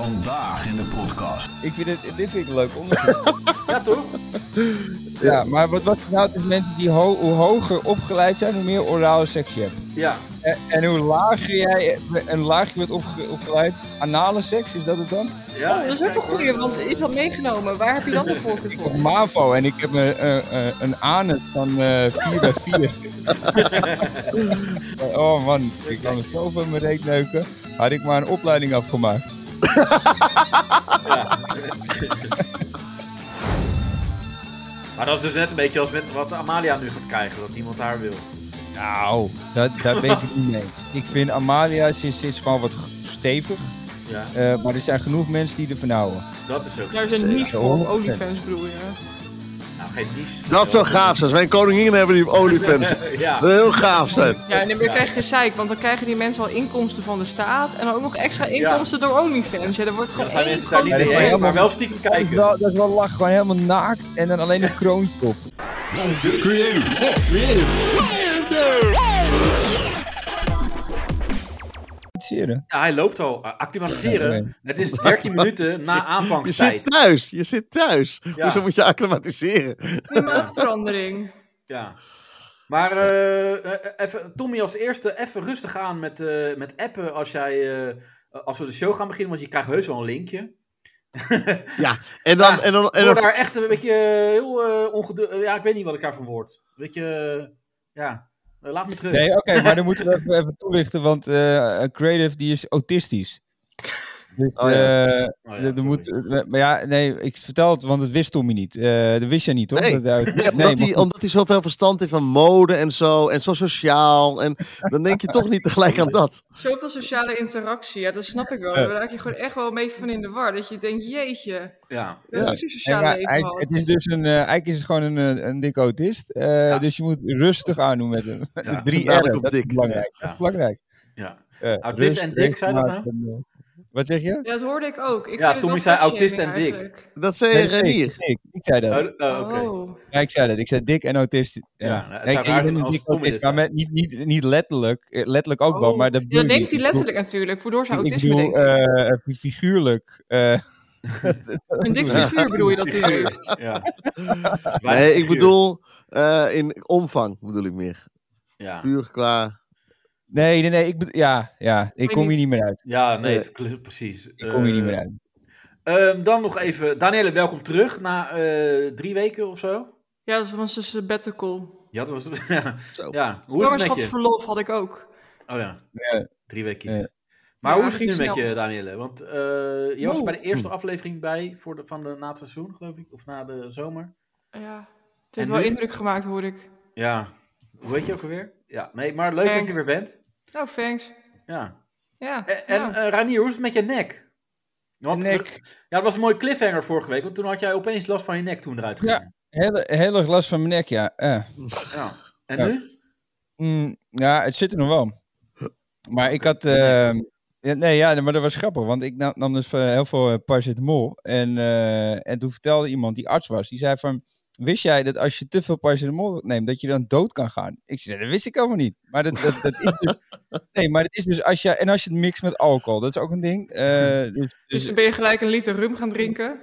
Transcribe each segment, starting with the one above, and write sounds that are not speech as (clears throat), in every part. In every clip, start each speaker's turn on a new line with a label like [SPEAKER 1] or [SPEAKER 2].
[SPEAKER 1] Vandaag in de podcast.
[SPEAKER 2] Ik vind het, dit vind ik een leuk (laughs) onderzoek.
[SPEAKER 3] Ja, toch?
[SPEAKER 2] ja, maar wat was het nou tussen mensen die ho- hoe hoger opgeleid zijn, hoe meer orale seks je hebt?
[SPEAKER 3] Ja.
[SPEAKER 2] En, en hoe lager jij een laagje wordt opge- opgeleid, anale seks, is dat het dan?
[SPEAKER 3] ja
[SPEAKER 4] Oh, dat is ook een goeie, want is dat meegenomen? Waar heb je dan de voorkeur
[SPEAKER 2] Ik
[SPEAKER 4] voor?
[SPEAKER 2] heb MAVO en ik heb een, eh, eh, een anus van eh 4 bij 4. (laughs) oh man, ik kan het zo van mijn reet neuken. Had ik maar een opleiding afgemaakt.
[SPEAKER 3] Maar dat is dus net een beetje als met wat Amalia nu gaat krijgen, dat iemand haar wil.
[SPEAKER 2] Nou, dat, daar ben ik het niet mee eens. Ik vind Amalia, ze, ze is gewoon wat g- stevig.
[SPEAKER 3] Ja,
[SPEAKER 2] eh, maar er zijn genoeg mensen die ervan houden.
[SPEAKER 3] dat is ook zo.
[SPEAKER 4] Daar is een niche voor,
[SPEAKER 2] Ja.
[SPEAKER 4] OnlyFans bedoel je.
[SPEAKER 3] Nou, geen niche.
[SPEAKER 5] Dat zou gaaf zijn. Mijn koningin hebben die op
[SPEAKER 1] (laughs)
[SPEAKER 5] OnlyFans. Dat
[SPEAKER 3] (laughs) Ja,
[SPEAKER 5] zou heel gaaf zijn.
[SPEAKER 4] Ja, en dan krijg je gezeik, want dan krijgen die mensen al inkomsten van de staat en dan ook nog extra inkomsten door OnlyFans. Ja, er wordt
[SPEAKER 3] Ja, dan
[SPEAKER 4] gewoon
[SPEAKER 3] zijn
[SPEAKER 4] één
[SPEAKER 3] mensen daar niet
[SPEAKER 4] grote-
[SPEAKER 3] mee
[SPEAKER 2] Ja,
[SPEAKER 3] eens,
[SPEAKER 2] maar-
[SPEAKER 3] maar wel stiekem
[SPEAKER 2] Dat is,
[SPEAKER 3] kijken.
[SPEAKER 2] wel, dat is wel lach, gewoon helemaal naakt en dan alleen een kroontje op. Creëren.
[SPEAKER 3] Ja, hij loopt al. Eh, Acclimatiseren. Het is 13 minuten na
[SPEAKER 5] (laughs) Je
[SPEAKER 3] aanvangstijd.
[SPEAKER 5] zit thuis. Je zit thuis.
[SPEAKER 3] Ja.
[SPEAKER 5] Hoezo moet je acclimatiseren?
[SPEAKER 4] (laughs) Klimaatverandering.
[SPEAKER 3] Ja. Maar eh, eh, even, Tommy als eerste, even rustig aan met, eh, met appen als, jij, eh, als we de show gaan beginnen, want je krijgt heus wel een linkje.
[SPEAKER 5] Ja. En dan,
[SPEAKER 3] Ja,
[SPEAKER 5] en dan, en
[SPEAKER 3] Ik word
[SPEAKER 5] dan
[SPEAKER 3] daar echt een beetje eh, heel eh ongedu- eh, Ja, ik weet niet wat ik daarvan word. Weet je, eh, ja, Eh, laat me terug.
[SPEAKER 2] Nee, oh, oké, maar dan moeten we even, even toelichten, want eh, een Creative die is autistisch. Dus, eh,
[SPEAKER 3] Oh
[SPEAKER 5] Oh
[SPEAKER 3] ja,
[SPEAKER 2] er- er
[SPEAKER 3] sorry.
[SPEAKER 2] moet, eh, maar ja, nee, ik vertel het, want dat wist Tommy niet. Eh dat wist jij niet, toch?
[SPEAKER 5] Nee.
[SPEAKER 2] Dat hij uit-
[SPEAKER 5] Nee,
[SPEAKER 2] nee,
[SPEAKER 5] omdat, hij, omdat hij zoveel verstand heeft van mode en zo. En zo sociaal. En dan denk je toch niet tegelijk aan dat.
[SPEAKER 4] Zoveel sociale interactie, ja, dat snap ik wel. Daar raak je gewoon echt wel mee van in de war. Dat je denkt, jeetje,
[SPEAKER 3] Ja,
[SPEAKER 4] dat
[SPEAKER 5] Ja.
[SPEAKER 4] is een
[SPEAKER 2] Nee,
[SPEAKER 4] sociaal
[SPEAKER 2] maar
[SPEAKER 4] leven
[SPEAKER 2] hij, het
[SPEAKER 4] gehad.
[SPEAKER 2] is dus een, eh, eigenlijk is het gewoon een, eh, een dikke autist. eh,
[SPEAKER 3] Ja.
[SPEAKER 2] Dus je moet rustig aandoen met hem.
[SPEAKER 3] Ja.
[SPEAKER 2] De (laughs) drie
[SPEAKER 5] Dadelijk
[SPEAKER 2] R'en,
[SPEAKER 5] op
[SPEAKER 2] dat is
[SPEAKER 5] dik.
[SPEAKER 2] belangrijk. Dat
[SPEAKER 3] Ja.
[SPEAKER 2] is belangrijk.
[SPEAKER 3] ja.
[SPEAKER 2] Eh,
[SPEAKER 3] Autist en
[SPEAKER 2] rust,
[SPEAKER 3] dik, zei dat nou?
[SPEAKER 2] regelmaat en, eh, wat zeg je?
[SPEAKER 4] Ja, dat hoorde ik ook. Ik
[SPEAKER 3] Ja,
[SPEAKER 4] vind het wel
[SPEAKER 3] Tommy zei
[SPEAKER 4] fat-shaming
[SPEAKER 3] autist en dik.
[SPEAKER 4] eigenlijk.
[SPEAKER 5] Dat zei
[SPEAKER 2] Nee,
[SPEAKER 5] Renier.
[SPEAKER 2] ik, ik, ik zei dat.
[SPEAKER 3] Oh, oh, oké.
[SPEAKER 4] Oh.
[SPEAKER 2] Ja, ik zei dat. Ik zei dik en autist. Ja,
[SPEAKER 3] Ja, nou, het
[SPEAKER 2] Nee,
[SPEAKER 3] zou
[SPEAKER 2] ik- ik
[SPEAKER 3] raar
[SPEAKER 2] ben
[SPEAKER 3] zijn
[SPEAKER 2] een
[SPEAKER 3] als
[SPEAKER 2] dik
[SPEAKER 3] Tommy dit
[SPEAKER 2] autist, maar
[SPEAKER 3] zei.
[SPEAKER 2] met, niet, niet, niet letterlijk. Eh, Letterlijk ook wel,
[SPEAKER 4] Oh.
[SPEAKER 2] maar dat
[SPEAKER 4] Ja,
[SPEAKER 2] bedoel
[SPEAKER 4] dat
[SPEAKER 2] ik
[SPEAKER 4] denkt hij
[SPEAKER 2] niet. Ik bedoel-
[SPEAKER 4] letterlijk natuurlijk, waardoor zijn
[SPEAKER 2] Ik, ik
[SPEAKER 4] autisme
[SPEAKER 2] bedoel,
[SPEAKER 4] denkt.
[SPEAKER 2] eh, figuurlijk. eh,
[SPEAKER 4] Een
[SPEAKER 2] (laughs)
[SPEAKER 4] dik figuur bedoel je dat hij heeft.
[SPEAKER 5] (laughs)
[SPEAKER 3] Ja.
[SPEAKER 5] Nee, ik bedoel eh, in omvang bedoel ik meer.
[SPEAKER 3] Ja,
[SPEAKER 5] Puur qua...
[SPEAKER 2] nee, nee, nee. Ik, bedoel- ja, ja, ik
[SPEAKER 4] Weet
[SPEAKER 2] kom
[SPEAKER 4] niet.
[SPEAKER 2] hier niet meer uit.
[SPEAKER 3] ja nee,
[SPEAKER 5] Eh,
[SPEAKER 3] het klopt precies.
[SPEAKER 2] Ik kom hier niet
[SPEAKER 3] Eh,
[SPEAKER 2] meer uit.
[SPEAKER 3] ehm, dan nog even, Danielle, welkom terug na eh, drie weken of zo.
[SPEAKER 4] Ja, dat was dus een better call.
[SPEAKER 3] Ja, dat was. (laughs) Ja,
[SPEAKER 5] Zo.
[SPEAKER 3] ja. hoe is het met je?
[SPEAKER 4] Zwangerschapsverlof had ik ook.
[SPEAKER 3] Oh ja,
[SPEAKER 2] Ja.
[SPEAKER 3] drie weken.
[SPEAKER 2] Ja.
[SPEAKER 3] Maar
[SPEAKER 4] Ja,
[SPEAKER 3] hoe is het nu
[SPEAKER 4] ging
[SPEAKER 3] met
[SPEAKER 4] snel.
[SPEAKER 3] je, Danielle? Want eh, je was er
[SPEAKER 4] Moe.
[SPEAKER 3] bij de eerste aflevering bij voor de, van de, na het seizoen, geloof ik, of na de zomer.
[SPEAKER 4] Ja, het
[SPEAKER 3] En
[SPEAKER 4] heeft wel
[SPEAKER 3] nu?
[SPEAKER 4] indruk gemaakt, hoor ik.
[SPEAKER 3] Ja, hoe weet je ook alweer? Ja, nee, maar leuk dat
[SPEAKER 4] Erg.
[SPEAKER 3] je weer bent.
[SPEAKER 4] Nou, thanks.
[SPEAKER 3] Ja.
[SPEAKER 4] Ja. Dus
[SPEAKER 3] En, en
[SPEAKER 4] ja.
[SPEAKER 3] eh, Ranier, hoe is het met je nek? Want-
[SPEAKER 2] Nek.
[SPEAKER 3] Ja, dat was een mooie cliffhanger vorige week, want toen had jij opeens last van je nek toen eruit ging.
[SPEAKER 2] Ja. Heel, heel erg last van mijn nek, ja. Eh.
[SPEAKER 3] Ja. En
[SPEAKER 2] Ja.
[SPEAKER 3] nu?
[SPEAKER 2] Mm, ja, het zit er nog wel. Maar ik had. eh, ja, nee, ja, maar dat was grappig. Want ik nam, nam dus eh, heel veel eh, paracetamol. En, eh, en toen vertelde iemand die arts was. Die zei van. Wist jij dat als je te veel paracetamol neemt, dat je dan dood kan gaan? Ik zei, dat wist ik helemaal niet. Maar dat, dat, dat is dus... Nee, maar dat is dus als je... En als je het mixt met alcohol, dat is ook een ding. Eh, dus,
[SPEAKER 4] Dus
[SPEAKER 2] dus,
[SPEAKER 4] dan ben je gelijk een liter rum gaan drinken.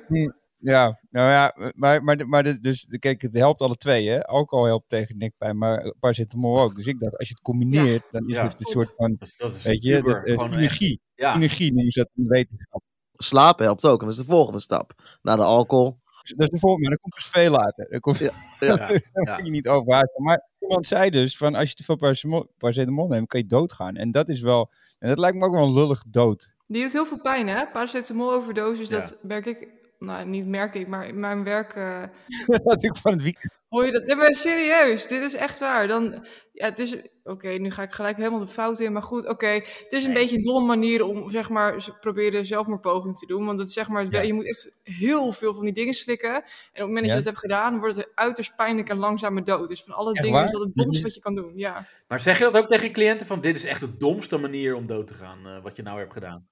[SPEAKER 2] ja, nou ja, maar, maar, maar dit- dus, kijk, het helpt alle twee, hè. Alcohol helpt tegen nekpijn, maar paracetamol ook. Dus ik dacht, als je het combineert, dan is
[SPEAKER 3] Ja.
[SPEAKER 2] het een soort van...
[SPEAKER 3] Dat is, dat is
[SPEAKER 2] Weet je,
[SPEAKER 3] puber,
[SPEAKER 2] dat, eh,
[SPEAKER 3] gewoon echt-
[SPEAKER 2] synergie.
[SPEAKER 3] Ja,
[SPEAKER 2] Synergie noemen ze dat in de wetenschap.
[SPEAKER 5] Slapen helpt ook. En dat is de volgende stap. Na de alcohol.
[SPEAKER 2] Dus dat is de volgende, maar dat komt dus veel later. Dat komt,
[SPEAKER 5] Ja.
[SPEAKER 3] Ja.
[SPEAKER 2] daar
[SPEAKER 3] Ja.
[SPEAKER 2] moet je niet overhaasten. Maar iemand zei dus, van als je te veel paracetamol- paracetamol neemt, kan je doodgaan. En dat is wel, en dat lijkt me ook wel een lullig dood. (laughs)
[SPEAKER 4] Die doet heel veel pijn, hè? Paracetamol overdosis,
[SPEAKER 3] Ja.
[SPEAKER 4] dat merk ik... Nou, niet merk ik, maar in mijn werk... eh,
[SPEAKER 2] dat had ik van het weekend.
[SPEAKER 4] hoor je dat? Nee, maar serieus, dit is echt waar. Dan, ja, het is... Oké, nu ga ik gelijk helemaal de fout in, maar goed. Oké, het is een beetje een domme manier om, zeg maar, ze proberen zelfmoordpoging te doen. Want het, is, zeg maar, het-
[SPEAKER 2] Ja.
[SPEAKER 4] je moet echt heel veel van die dingen slikken. En op het moment dat
[SPEAKER 2] Ja.
[SPEAKER 4] je dat hebt gedaan, wordt het een uiterst pijnlijk en langzame dood. Dus van alle
[SPEAKER 2] Echt
[SPEAKER 4] dingen
[SPEAKER 2] waar?
[SPEAKER 4] is dat het
[SPEAKER 2] Dus
[SPEAKER 4] domste
[SPEAKER 2] nu-
[SPEAKER 4] wat je kan doen, ja.
[SPEAKER 3] Maar zeg je dat ook tegen je cliënten? Van dit is echt de domste manier om dood te gaan, eh, wat je nou hebt gedaan.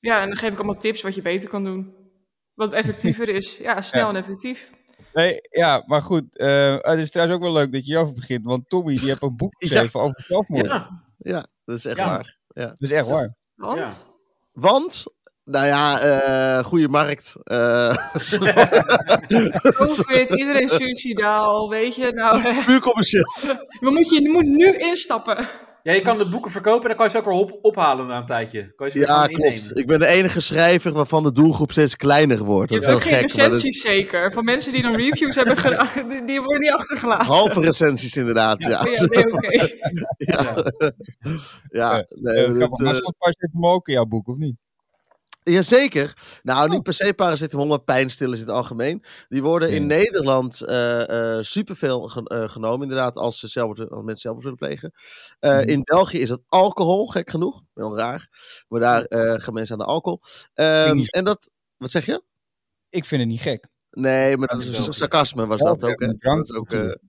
[SPEAKER 4] Ja, en dan geef ik allemaal tips wat je beter kan doen. Wat effectiever is. Ja, snel
[SPEAKER 2] Ja.
[SPEAKER 4] en effectief.
[SPEAKER 2] Nee, ja, maar goed. eh, het is trouwens ook wel leuk dat je hierover begint. Want Tommy, die heeft een boek
[SPEAKER 5] Ja.
[SPEAKER 2] geschreven over zelfmoord.
[SPEAKER 3] Ja,
[SPEAKER 5] Ja, dat is echt
[SPEAKER 3] Ja.
[SPEAKER 5] waar.
[SPEAKER 2] Dat is echt waar.
[SPEAKER 4] Want?
[SPEAKER 5] Want Nou ja, eh goede markt. Eh, (laughs)
[SPEAKER 3] (laughs)
[SPEAKER 4] Covid, iedereen suicidaal, weet je. Nou, (laughs)
[SPEAKER 5] puur commercieel.
[SPEAKER 4] we moet je, je moet nu instappen.
[SPEAKER 3] Ja, je kan de boeken verkopen en dan kan je ze ook weer op, ophalen na een tijdje. Kan je ze weer
[SPEAKER 5] Ja,
[SPEAKER 3] gewoon
[SPEAKER 5] klopt.
[SPEAKER 3] innemen.
[SPEAKER 5] Ik ben de enige schrijver waarvan de doelgroep steeds kleiner wordt.
[SPEAKER 4] Je
[SPEAKER 5] Dat
[SPEAKER 4] hebt
[SPEAKER 5] is heel
[SPEAKER 4] ook geen
[SPEAKER 5] gek. maar dat is-
[SPEAKER 4] recensies zeker. Van mensen die dan reviews
[SPEAKER 5] (laughs)
[SPEAKER 4] hebben gedaan, die, die worden niet achtergelaten.
[SPEAKER 5] Halve recensies inderdaad, Oh, ja. Ehm.
[SPEAKER 4] Ja, nee, oké.
[SPEAKER 5] (laughs) Ja, nee,
[SPEAKER 2] Eh,
[SPEAKER 5] dat,
[SPEAKER 2] grappig,
[SPEAKER 5] eh,
[SPEAKER 2] maar stond paracetamol ook in jouw boek, of niet?
[SPEAKER 5] Jazeker.
[SPEAKER 4] Oh.
[SPEAKER 5] Nou, niet per se paracetamol, maar pijnstillers in het algemeen. Die worden in
[SPEAKER 2] Ja.
[SPEAKER 5] Nederland eh, eh, superveel ge- eh, genomen, inderdaad, als, ze zelfmoord- als mensen zelfmoord willen plegen. Eh,
[SPEAKER 2] Mhm.
[SPEAKER 5] In België is dat alcohol, gek genoeg. Heel raar. Maar daar eh, gaan mensen aan de alcohol. Ehm,
[SPEAKER 2] niet
[SPEAKER 5] en dat, wat zeg je?
[SPEAKER 2] Ik vind het niet gek.
[SPEAKER 5] Nee, maar
[SPEAKER 3] Dat
[SPEAKER 5] dat
[SPEAKER 3] is
[SPEAKER 5] is
[SPEAKER 3] België.
[SPEAKER 5] een sarcasme, was
[SPEAKER 2] Ja,
[SPEAKER 5] dat
[SPEAKER 2] we
[SPEAKER 5] ook. Hè?
[SPEAKER 2] hebben drank
[SPEAKER 5] Dat is ook eh,
[SPEAKER 2] natuurlijk.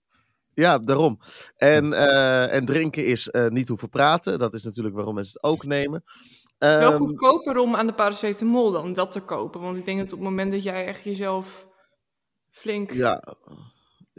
[SPEAKER 5] ja, daarom. En, eh, en drinken is eh, niet hoeven praten. Dat is natuurlijk waarom mensen het ook nemen.
[SPEAKER 4] Wel
[SPEAKER 5] Ehm,
[SPEAKER 4] goedkoper om aan de paracetamol dan dat te kopen. Want ik denk dat op het moment dat jij echt jezelf flink...
[SPEAKER 5] Ja.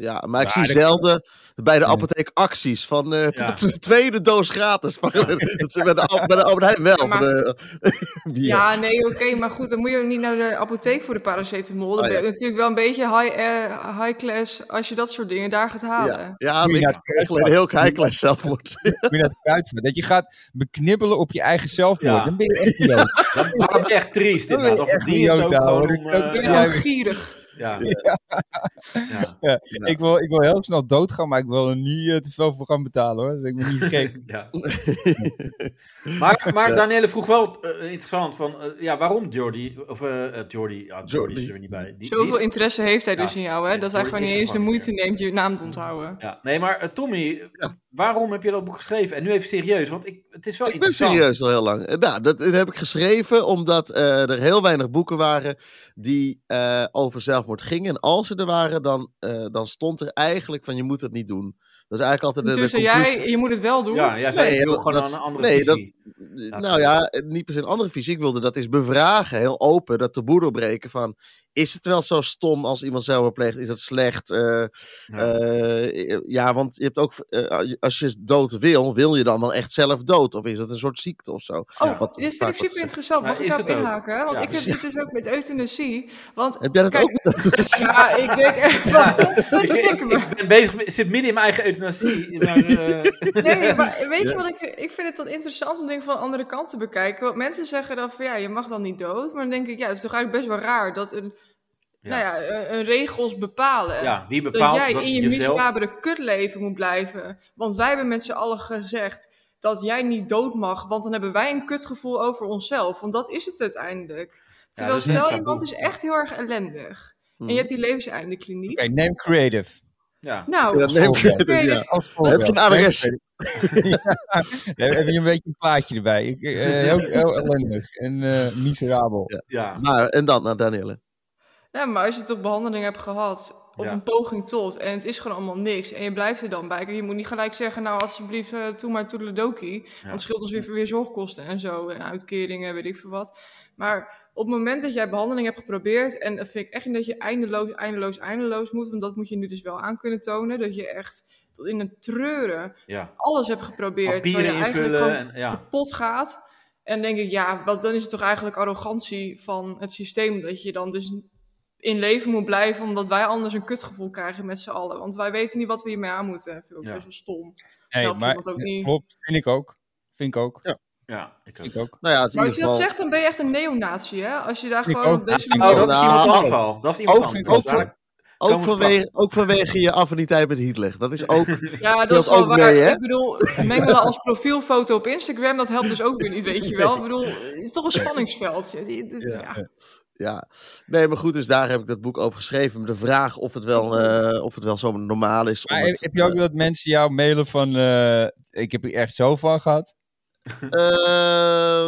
[SPEAKER 5] Ja, maar ik
[SPEAKER 2] Ja,
[SPEAKER 5] zie
[SPEAKER 2] dat-
[SPEAKER 5] zelden bij de
[SPEAKER 2] Ja.
[SPEAKER 5] apotheek acties van eh,
[SPEAKER 3] Ja.
[SPEAKER 5] t- t- tweede doos gratis. (laughs) Maar dat ze bij, de, Al- bij de Albert Heijn wel.
[SPEAKER 4] maar-
[SPEAKER 5] maar de- bier.
[SPEAKER 4] Ja, nee, oké, maar goed, dan moet je ook niet naar de apotheek voor de paracetamol. Dan
[SPEAKER 5] Ah,
[SPEAKER 4] ben je
[SPEAKER 5] ja.
[SPEAKER 4] natuurlijk wel een beetje high, eh, high class als je dat soort dingen daar gaat halen.
[SPEAKER 5] ja, ja maar
[SPEAKER 2] Doe je
[SPEAKER 5] ik
[SPEAKER 2] dat
[SPEAKER 5] heb echt een heel high class zelfmoord.
[SPEAKER 2] Moet je dat uitvoeren? Dat je gaat beknibbelen op je eigen zelfmoord.
[SPEAKER 3] Ja.
[SPEAKER 2] Dan ben je echt idioot.
[SPEAKER 3] Maar dat is echt
[SPEAKER 2] (laughs)
[SPEAKER 3] triest
[SPEAKER 2] Dat
[SPEAKER 3] inderdaad.
[SPEAKER 2] is
[SPEAKER 3] Als het
[SPEAKER 2] echt
[SPEAKER 3] drie het
[SPEAKER 2] idioot,
[SPEAKER 3] ook
[SPEAKER 2] ouwe.
[SPEAKER 3] gewoon om...
[SPEAKER 2] Dat-
[SPEAKER 3] eh,
[SPEAKER 4] Ik ben
[SPEAKER 2] Ja, (laughs)
[SPEAKER 4] gewoon
[SPEAKER 2] maar-
[SPEAKER 4] gierig.
[SPEAKER 3] ja. Ja.
[SPEAKER 5] Ja.
[SPEAKER 2] Ik, wil, ik wil heel snel doodgaan, maar ik wil er niet eh, te veel voor gaan betalen hoor. Dus ik ben niet
[SPEAKER 5] (laughs)
[SPEAKER 2] gek.
[SPEAKER 3] Ja. Maar, maar
[SPEAKER 5] Ja.
[SPEAKER 3] Danielle vroeg wel eh, interessant van, eh, ja, waarom Jordi, of eh eh, Jordi, ja, Jordi is er weer niet bij. Die- Die,
[SPEAKER 4] Zoveel
[SPEAKER 3] is-
[SPEAKER 4] interesse heeft hij
[SPEAKER 3] Ja.
[SPEAKER 4] dus in jou, hè? Dat
[SPEAKER 3] Ja,
[SPEAKER 4] hij gewoon
[SPEAKER 3] is
[SPEAKER 4] niet
[SPEAKER 3] er
[SPEAKER 4] eens de
[SPEAKER 3] gewoon
[SPEAKER 4] moeite neemt je naam te onthouden.
[SPEAKER 3] ja. Nee, maar eh, Tommy, waarom heb je dat boek geschreven? En nu even serieus, want ik, het is wel
[SPEAKER 5] Ik ben
[SPEAKER 3] interessant.
[SPEAKER 5] serieus al heel lang. Eh, Nou, dat, dat heb ik geschreven omdat eh, er heel weinig boeken waren die eh, over zelfmoord gingen. En als ze er waren, dan, eh, dan stond er eigenlijk van je moet het niet doen. Dat is eigenlijk altijd de, de
[SPEAKER 4] Dus
[SPEAKER 5] conclusie.
[SPEAKER 4] jij, je moet het wel doen.
[SPEAKER 3] Ja, ja, zij
[SPEAKER 5] Nee,
[SPEAKER 3] wil
[SPEAKER 5] dat-
[SPEAKER 3] gewoon
[SPEAKER 5] dat-
[SPEAKER 3] een andere
[SPEAKER 5] nee, dat-
[SPEAKER 3] visie.
[SPEAKER 5] nou ja, niet per se een andere visie. Ik wilde dat is bevragen, heel open, dat taboe doorbreken van... Is het wel zo stom als iemand zelfmoord pleegt? Is dat slecht? Eh,
[SPEAKER 3] Ja.
[SPEAKER 5] eh, ja, want je hebt ook, eh, als je dood wil, wil je dan wel echt zelf dood? Of is dat een soort ziekte of zo?
[SPEAKER 4] Oh,
[SPEAKER 5] Wat-
[SPEAKER 4] dit vind
[SPEAKER 5] vaak
[SPEAKER 4] ik
[SPEAKER 5] wordt
[SPEAKER 4] super interessant.
[SPEAKER 3] Nou,
[SPEAKER 4] Mag ik
[SPEAKER 3] is het
[SPEAKER 4] daarop
[SPEAKER 3] ook.
[SPEAKER 4] inhaken? Want
[SPEAKER 3] Ja.
[SPEAKER 4] ik heb dit dus ook met euthanasie. Want,
[SPEAKER 5] Heb jij dat
[SPEAKER 4] kijk,
[SPEAKER 5] ook met
[SPEAKER 4] Ja, ik denk
[SPEAKER 5] (laughs)
[SPEAKER 4] echt van,
[SPEAKER 3] (laughs) ik,
[SPEAKER 4] godverdikke me.
[SPEAKER 3] ik ben bezig, met- zit midden in mijn eigen
[SPEAKER 5] (laughs)
[SPEAKER 3] euthanasie. Maar, eh,
[SPEAKER 4] Nee, maar weet je
[SPEAKER 5] Ja.
[SPEAKER 4] wat ik... Ik vind het dan interessant om dingen van de andere kant te bekijken. Want mensen zeggen dan van, ja, je mag dan niet dood. Maar dan denk ik, ja, het is toch eigenlijk best wel raar dat een...
[SPEAKER 3] Ja.
[SPEAKER 4] Nou ja, een, een regels bepalen.
[SPEAKER 3] ja, die
[SPEAKER 4] dat
[SPEAKER 3] bepaalt
[SPEAKER 4] jij
[SPEAKER 3] dat,
[SPEAKER 4] in je
[SPEAKER 3] jezelf...
[SPEAKER 4] miserabele kutleven moet blijven. Want wij hebben met z'n allen gezegd dat jij niet dood mag. Want dan hebben wij een kutgevoel over onszelf. Want dat is het uiteindelijk. Terwijl
[SPEAKER 3] dat is echt
[SPEAKER 4] stel,
[SPEAKER 3] taboe.
[SPEAKER 4] iemand is echt heel erg ellendig. En
[SPEAKER 3] Mm.
[SPEAKER 4] je hebt die levenseindekliniek.
[SPEAKER 2] Oké, neem creative.
[SPEAKER 3] Ja.
[SPEAKER 5] (laughs)
[SPEAKER 4] Nou,
[SPEAKER 5] Ja, neem creative,
[SPEAKER 4] creative
[SPEAKER 5] ja.
[SPEAKER 2] Als
[SPEAKER 5] Heb je
[SPEAKER 2] voorbeeld.
[SPEAKER 5] een adres?
[SPEAKER 2] Ja, Heb je een beetje een plaatje erbij? Ik,
[SPEAKER 5] (laughs)
[SPEAKER 2] eh, heel, heel ellendig en eh, miserabel.
[SPEAKER 3] Ja.
[SPEAKER 5] Maar, en dan naar Danielle.
[SPEAKER 4] Ja, maar als je toch behandeling hebt gehad, of
[SPEAKER 3] Ja.
[SPEAKER 4] een poging tot, en het is gewoon allemaal niks, en je blijft er dan bij. Kijk, je moet niet gelijk zeggen, nou alsjeblieft, eh doe maar toedeledokie, want het scheelt ons weer, weer zorgkosten en zo, en uitkeringen, weet ik veel wat. Maar op het moment dat jij behandeling hebt geprobeerd, en dat vind ik echt niet dat je eindeloos, eindeloos, eindeloos moet, want dat moet je nu dus wel aan kunnen tonen, dat je echt tot in het treuren
[SPEAKER 3] ja.
[SPEAKER 4] alles hebt geprobeerd, terwijl
[SPEAKER 3] Papieren
[SPEAKER 4] je eigenlijk
[SPEAKER 3] invullen.
[SPEAKER 4] gewoon
[SPEAKER 3] En, ja.
[SPEAKER 4] pot gaat. En denk ik, ja, wat, dan is het toch eigenlijk arrogantie van het systeem. Dat je dan dus in leven moet blijven, omdat wij anders een kutgevoel krijgen met z'n allen. Want wij weten niet wat we hiermee aan moeten. Vind ik ook
[SPEAKER 3] Ja.
[SPEAKER 4] best wel stom.
[SPEAKER 2] Nee,
[SPEAKER 4] Helpt
[SPEAKER 2] maar
[SPEAKER 4] iemand ook niet.
[SPEAKER 2] klopt. Vind ik ook. Vind ik ook.
[SPEAKER 5] Ja.
[SPEAKER 3] ja, ik ook.
[SPEAKER 2] Vind ik ook.
[SPEAKER 5] Nou ja, het is in
[SPEAKER 4] Maar
[SPEAKER 5] ieder
[SPEAKER 4] als je dat
[SPEAKER 5] geval...
[SPEAKER 4] zegt, dan ben je echt een neonazi, hè? Als je daar
[SPEAKER 2] Ik
[SPEAKER 4] gewoon
[SPEAKER 2] ook.
[SPEAKER 4] op deze
[SPEAKER 2] Ja,
[SPEAKER 3] Oh,
[SPEAKER 4] manier...
[SPEAKER 3] dat is
[SPEAKER 5] Nou,
[SPEAKER 3] iemand
[SPEAKER 5] ook-
[SPEAKER 3] anders al. Dat is iemand
[SPEAKER 5] ook-
[SPEAKER 3] anders.
[SPEAKER 5] ook-
[SPEAKER 3] Daar-
[SPEAKER 5] Ook
[SPEAKER 3] komen we
[SPEAKER 5] vanwege, ook vanwege je affiniteit met Hitler. Dat
[SPEAKER 2] (laughs)
[SPEAKER 5] is ook...
[SPEAKER 4] Ja, dat
[SPEAKER 5] speelt
[SPEAKER 4] is wel
[SPEAKER 5] ook
[SPEAKER 4] waar.
[SPEAKER 5] mee, hè?
[SPEAKER 4] ik bedoel, mengelen als profielfoto op Instagram, dat helpt dus ook weer niet, weet je wel. Ik bedoel, het is toch een spanningsveld. Dus,
[SPEAKER 5] Ja.
[SPEAKER 4] ja.
[SPEAKER 5] Ja, nee, maar goed, dus daar heb ik dat boek over geschreven. Maar De vraag of het wel, eh, of het wel zo normaal is. om
[SPEAKER 2] Maar heb,
[SPEAKER 5] het,
[SPEAKER 2] heb je ook dat mensen jou mailen van... eh, ik heb hier echt zo van gehad.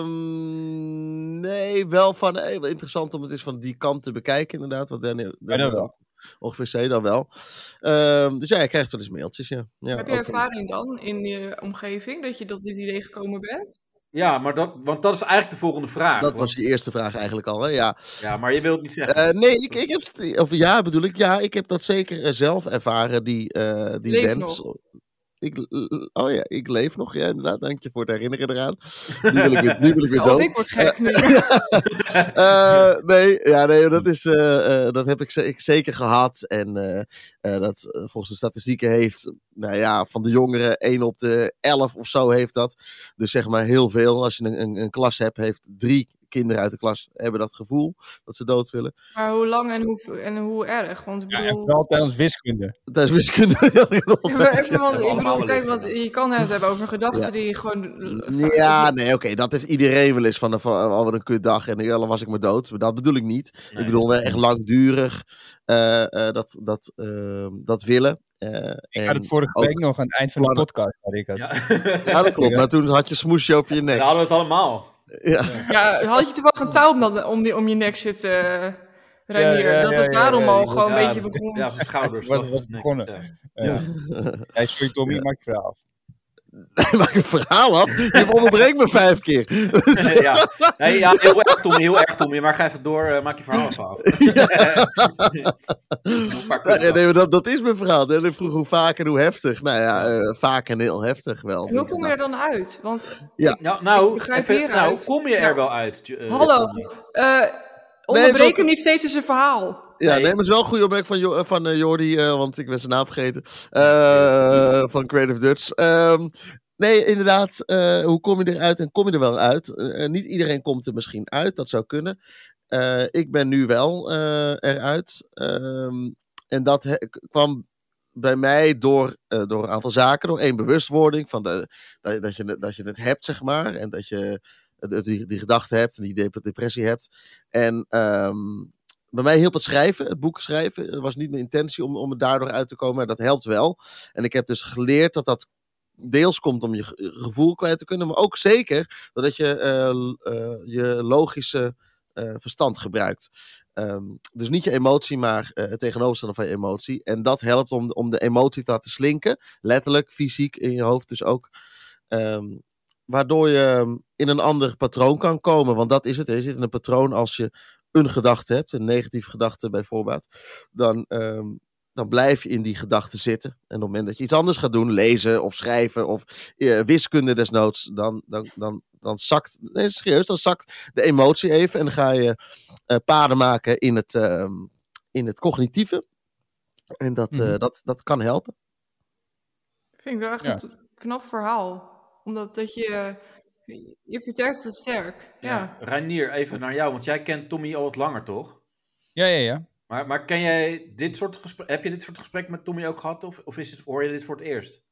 [SPEAKER 5] Ehm, nee, wel van. eh, wel interessant om het eens van die kant te bekijken, inderdaad. Wat Daniel, Daniel
[SPEAKER 2] wel.
[SPEAKER 5] Ongeveer zei dan wel. Ehm, dus ja, je krijgt wel eens mailtjes. Ja. Ja,
[SPEAKER 4] Heb je
[SPEAKER 5] ook van-
[SPEAKER 4] ervaring dan in je omgeving, dat je dat dit idee gekomen bent?
[SPEAKER 3] Ja, maar dat, want dat is eigenlijk de volgende vraag.
[SPEAKER 5] Dat
[SPEAKER 3] Want-
[SPEAKER 5] was je eerste vraag eigenlijk al. Hè? Ja.
[SPEAKER 3] Ja, maar je wilt het niet zeggen.
[SPEAKER 5] Eh, nee, ik, ik heb. Of ja, bedoel ik. Ja, ik heb dat zeker eh, zelf ervaren, die, eh, die
[SPEAKER 4] Leef
[SPEAKER 5] wens. ik, oh ja, ik leef nog. Ja, inderdaad. Dank je voor het herinneren eraan. Nu wil ik weer, nu wil ik weer
[SPEAKER 4] (laughs) Ja, want
[SPEAKER 5] dood.
[SPEAKER 4] ik word gek nu.
[SPEAKER 5] Eh, nee, ja, nee, dat, is, eh, eh, dat heb ik, ze- ik zeker gehad. En eh, eh, dat eh, volgens de statistieken heeft, nou ja, van de jongeren 1 op de 11 of zo heeft dat. Dus zeg maar heel veel. Als je een, een, een klas hebt, heeft drie kinderen uit de klas hebben dat gevoel dat ze dood willen.
[SPEAKER 4] Maar hoe lang en hoe, en hoe erg? Want ik
[SPEAKER 2] Ja, en
[SPEAKER 4] bedoel...
[SPEAKER 2] vooral tijdens wiskunde.
[SPEAKER 5] Tijdens wiskunde (laughs) had ik dat
[SPEAKER 4] Ja, (laughs) maar
[SPEAKER 5] altijd.
[SPEAKER 4] even, want
[SPEAKER 3] we
[SPEAKER 4] ik
[SPEAKER 3] allemaal
[SPEAKER 4] bedoel,
[SPEAKER 3] wel
[SPEAKER 4] kijk,
[SPEAKER 3] eens,
[SPEAKER 4] want
[SPEAKER 3] ja.
[SPEAKER 4] je kan het hebben over gedachten
[SPEAKER 5] Ja.
[SPEAKER 4] die je gewoon...
[SPEAKER 5] Ja, nee, oké, dat heeft iedereen wel eens van, een- van oh, wat een kutdag en jelle was ik maar dood. Maar dat bedoel ik niet.
[SPEAKER 3] Nee.
[SPEAKER 5] Ik bedoel, eh, echt langdurig eh, eh, dat, dat, ehm, dat willen. Eh,
[SPEAKER 2] Ik
[SPEAKER 5] en
[SPEAKER 2] had het vorige
[SPEAKER 5] ook-
[SPEAKER 2] week nog aan het eind van de
[SPEAKER 5] plannen.
[SPEAKER 2] podcast. Had ik dat.
[SPEAKER 3] Ja.
[SPEAKER 5] Ja, dat klopt. Maar toen had je smoesje over je
[SPEAKER 3] Daar
[SPEAKER 5] nek.
[SPEAKER 3] hadden we het allemaal.
[SPEAKER 5] Ja.
[SPEAKER 4] Ja, had je toevallig een touw om, dat, om, die, om je nek zitten, eh Reinier?
[SPEAKER 2] ja,
[SPEAKER 4] dat
[SPEAKER 2] ja,
[SPEAKER 4] het
[SPEAKER 2] ja,
[SPEAKER 4] daarom
[SPEAKER 2] ja,
[SPEAKER 4] al
[SPEAKER 2] ja.
[SPEAKER 4] gewoon
[SPEAKER 3] Ja,
[SPEAKER 4] een beetje
[SPEAKER 3] dat-
[SPEAKER 4] begon.
[SPEAKER 3] Ja,
[SPEAKER 5] (laughs)
[SPEAKER 3] zijn schouders.
[SPEAKER 2] Wat-
[SPEAKER 3] dat eh.
[SPEAKER 2] wat
[SPEAKER 3] het nek.
[SPEAKER 2] begonnen.
[SPEAKER 3] Ja.
[SPEAKER 2] Ja. Hij sorry Tommy,
[SPEAKER 5] Ja.
[SPEAKER 2] maak je verhaal af.
[SPEAKER 5] (laughs) Maak een verhaal af. Je onderbreekt me vijf keer.
[SPEAKER 3] ja. Nee, ja, heel erg Tommy, heel erg Tommy. Maar ga even door, eh, maak je verhaal even af.
[SPEAKER 5] (laughs)
[SPEAKER 3] (laughs) Een paar
[SPEAKER 5] Ja,
[SPEAKER 3] punten.
[SPEAKER 5] nee, maar dat, dat is mijn verhaal. Nee, Ik vroeg hoe vaak en hoe heftig. Nou ja, eh, vaak en heel heftig wel.
[SPEAKER 4] En hoe kom je er dan uit? Want,
[SPEAKER 3] Ja, nou,
[SPEAKER 4] Ik begrijp
[SPEAKER 3] even-
[SPEAKER 4] hieruit.
[SPEAKER 3] nou, kom je er
[SPEAKER 4] Nou.
[SPEAKER 3] wel uit? Ju- eh,
[SPEAKER 4] hallo,
[SPEAKER 3] Tommy?
[SPEAKER 4] eh onderbreek
[SPEAKER 5] zo-
[SPEAKER 4] hem niet steeds in zijn verhaal.
[SPEAKER 5] Ja,
[SPEAKER 3] Nee.
[SPEAKER 5] nee, maar het is wel een goede opmerking van, Jo- eh, van eh, Jordi, eh, want ik ben zijn naam vergeten. Eh, van Creative Dutch. Ehm, nee, inderdaad, eh, hoe kom je eruit en kom je er wel uit? Eh, eh, niet iedereen komt er misschien uit, dat zou kunnen. Eh, ik ben nu wel eh, eruit. Ehm, en dat he- k- kwam bij mij door, eh, door een aantal zaken, door één bewustwording van de, dat, dat, je, het- dat je het hebt, zeg maar. En dat je het- die, die gedachte hebt en die dep- depressie hebt. En ehm, bij mij hielp het schrijven, het boek schrijven. Het was niet mijn intentie om, om er daardoor uit te komen, maar dat helpt wel. En ik heb dus geleerd dat dat deels komt om je ge- gevoel kwijt te kunnen, maar ook zeker doordat je eh, l- eh, je logische eh, verstand gebruikt. Ehm, dus niet je emotie, maar eh, het tegenoverstellen van je emotie. En dat helpt om, om de emotie te laten slinken, letterlijk, fysiek in je hoofd dus ook. Ehm, waardoor je ehm, in een ander patroon kan komen, want dat is het. Je zit in een patroon als je een gedachte hebt, een negatieve gedachte bij voorbaat, dan, ehm, dan blijf je in die gedachte zitten. En op het moment dat je iets anders gaat doen, lezen of schrijven of eh, wiskunde desnoods, dan, dan, dan, dan zakt, nee serieus, dan zakt de emotie even en dan ga je eh, paden maken in het, ehm, in het cognitieve. En dat, eh,
[SPEAKER 2] Mhm.
[SPEAKER 5] dat, dat kan helpen.
[SPEAKER 4] Vind ik wel echt
[SPEAKER 2] Ja.
[SPEAKER 4] een t- knap verhaal. Omdat dat je... Je vertelt het sterk.
[SPEAKER 3] Ja.
[SPEAKER 4] Ja.
[SPEAKER 3] Reinier, even naar jou, want jij kent Tommy al wat langer, toch?
[SPEAKER 2] Ja, ja, ja.
[SPEAKER 3] Maar, maar ken jij dit soort gesprek, heb je dit soort gesprekken met Tommy ook gehad? Of, of is het, hoor je dit voor het eerst?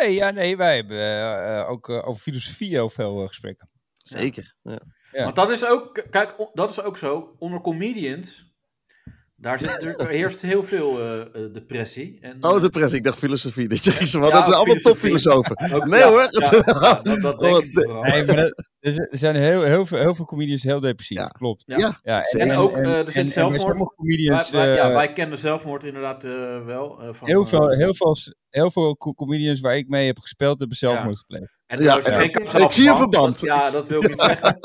[SPEAKER 2] Nee, ja, nee wij hebben eh, eh, ook eh, over filosofie heel veel eh, gesprekken.
[SPEAKER 5] Zeker. Ja.
[SPEAKER 2] Ja.
[SPEAKER 3] Want dat is ook, kijk, o- dat is ook zo. Onder comedians, daar zit, er er heerst heel veel eh, eh, depressie. En,
[SPEAKER 5] Oh, depressie. Ik dacht filosofie. Dat je gisteren wat.
[SPEAKER 3] Ja,
[SPEAKER 5] dat zijn allemaal
[SPEAKER 3] filosofie.
[SPEAKER 5] topfilosofen.
[SPEAKER 3] eh, Ook-
[SPEAKER 5] Nee
[SPEAKER 3] ja,
[SPEAKER 5] hoor.
[SPEAKER 3] ja, ja, dat, dat denk
[SPEAKER 5] Oh,
[SPEAKER 3] ik vooral.
[SPEAKER 2] Nee, maar dat- er z- er zijn heel, heel, veel, heel veel comedians heel depressief,
[SPEAKER 5] Ja.
[SPEAKER 2] klopt.
[SPEAKER 3] Ja.
[SPEAKER 5] Ja,
[SPEAKER 2] Ja,
[SPEAKER 5] zeker.
[SPEAKER 3] En ook, eh, er
[SPEAKER 2] en-
[SPEAKER 3] zit
[SPEAKER 2] en bij
[SPEAKER 3] zelfmoord.
[SPEAKER 2] sommige
[SPEAKER 3] Wij,
[SPEAKER 2] comedians,
[SPEAKER 3] wij- ja,
[SPEAKER 2] eh,
[SPEAKER 3] wij kennen zelfmoord inderdaad eh, wel. eh, van,
[SPEAKER 2] heel,
[SPEAKER 3] eh,
[SPEAKER 2] veel, heel, veel, heel veel co- comedians waar ik mee heb gespeeld hebben zelfmoord gepleegd.
[SPEAKER 3] En
[SPEAKER 5] Ja,
[SPEAKER 3] daar spreek
[SPEAKER 4] ja.
[SPEAKER 3] ik
[SPEAKER 4] Ik
[SPEAKER 3] zelf
[SPEAKER 5] zie een
[SPEAKER 3] van,
[SPEAKER 5] verband.
[SPEAKER 3] dat- ja, dat wil ik niet zeggen.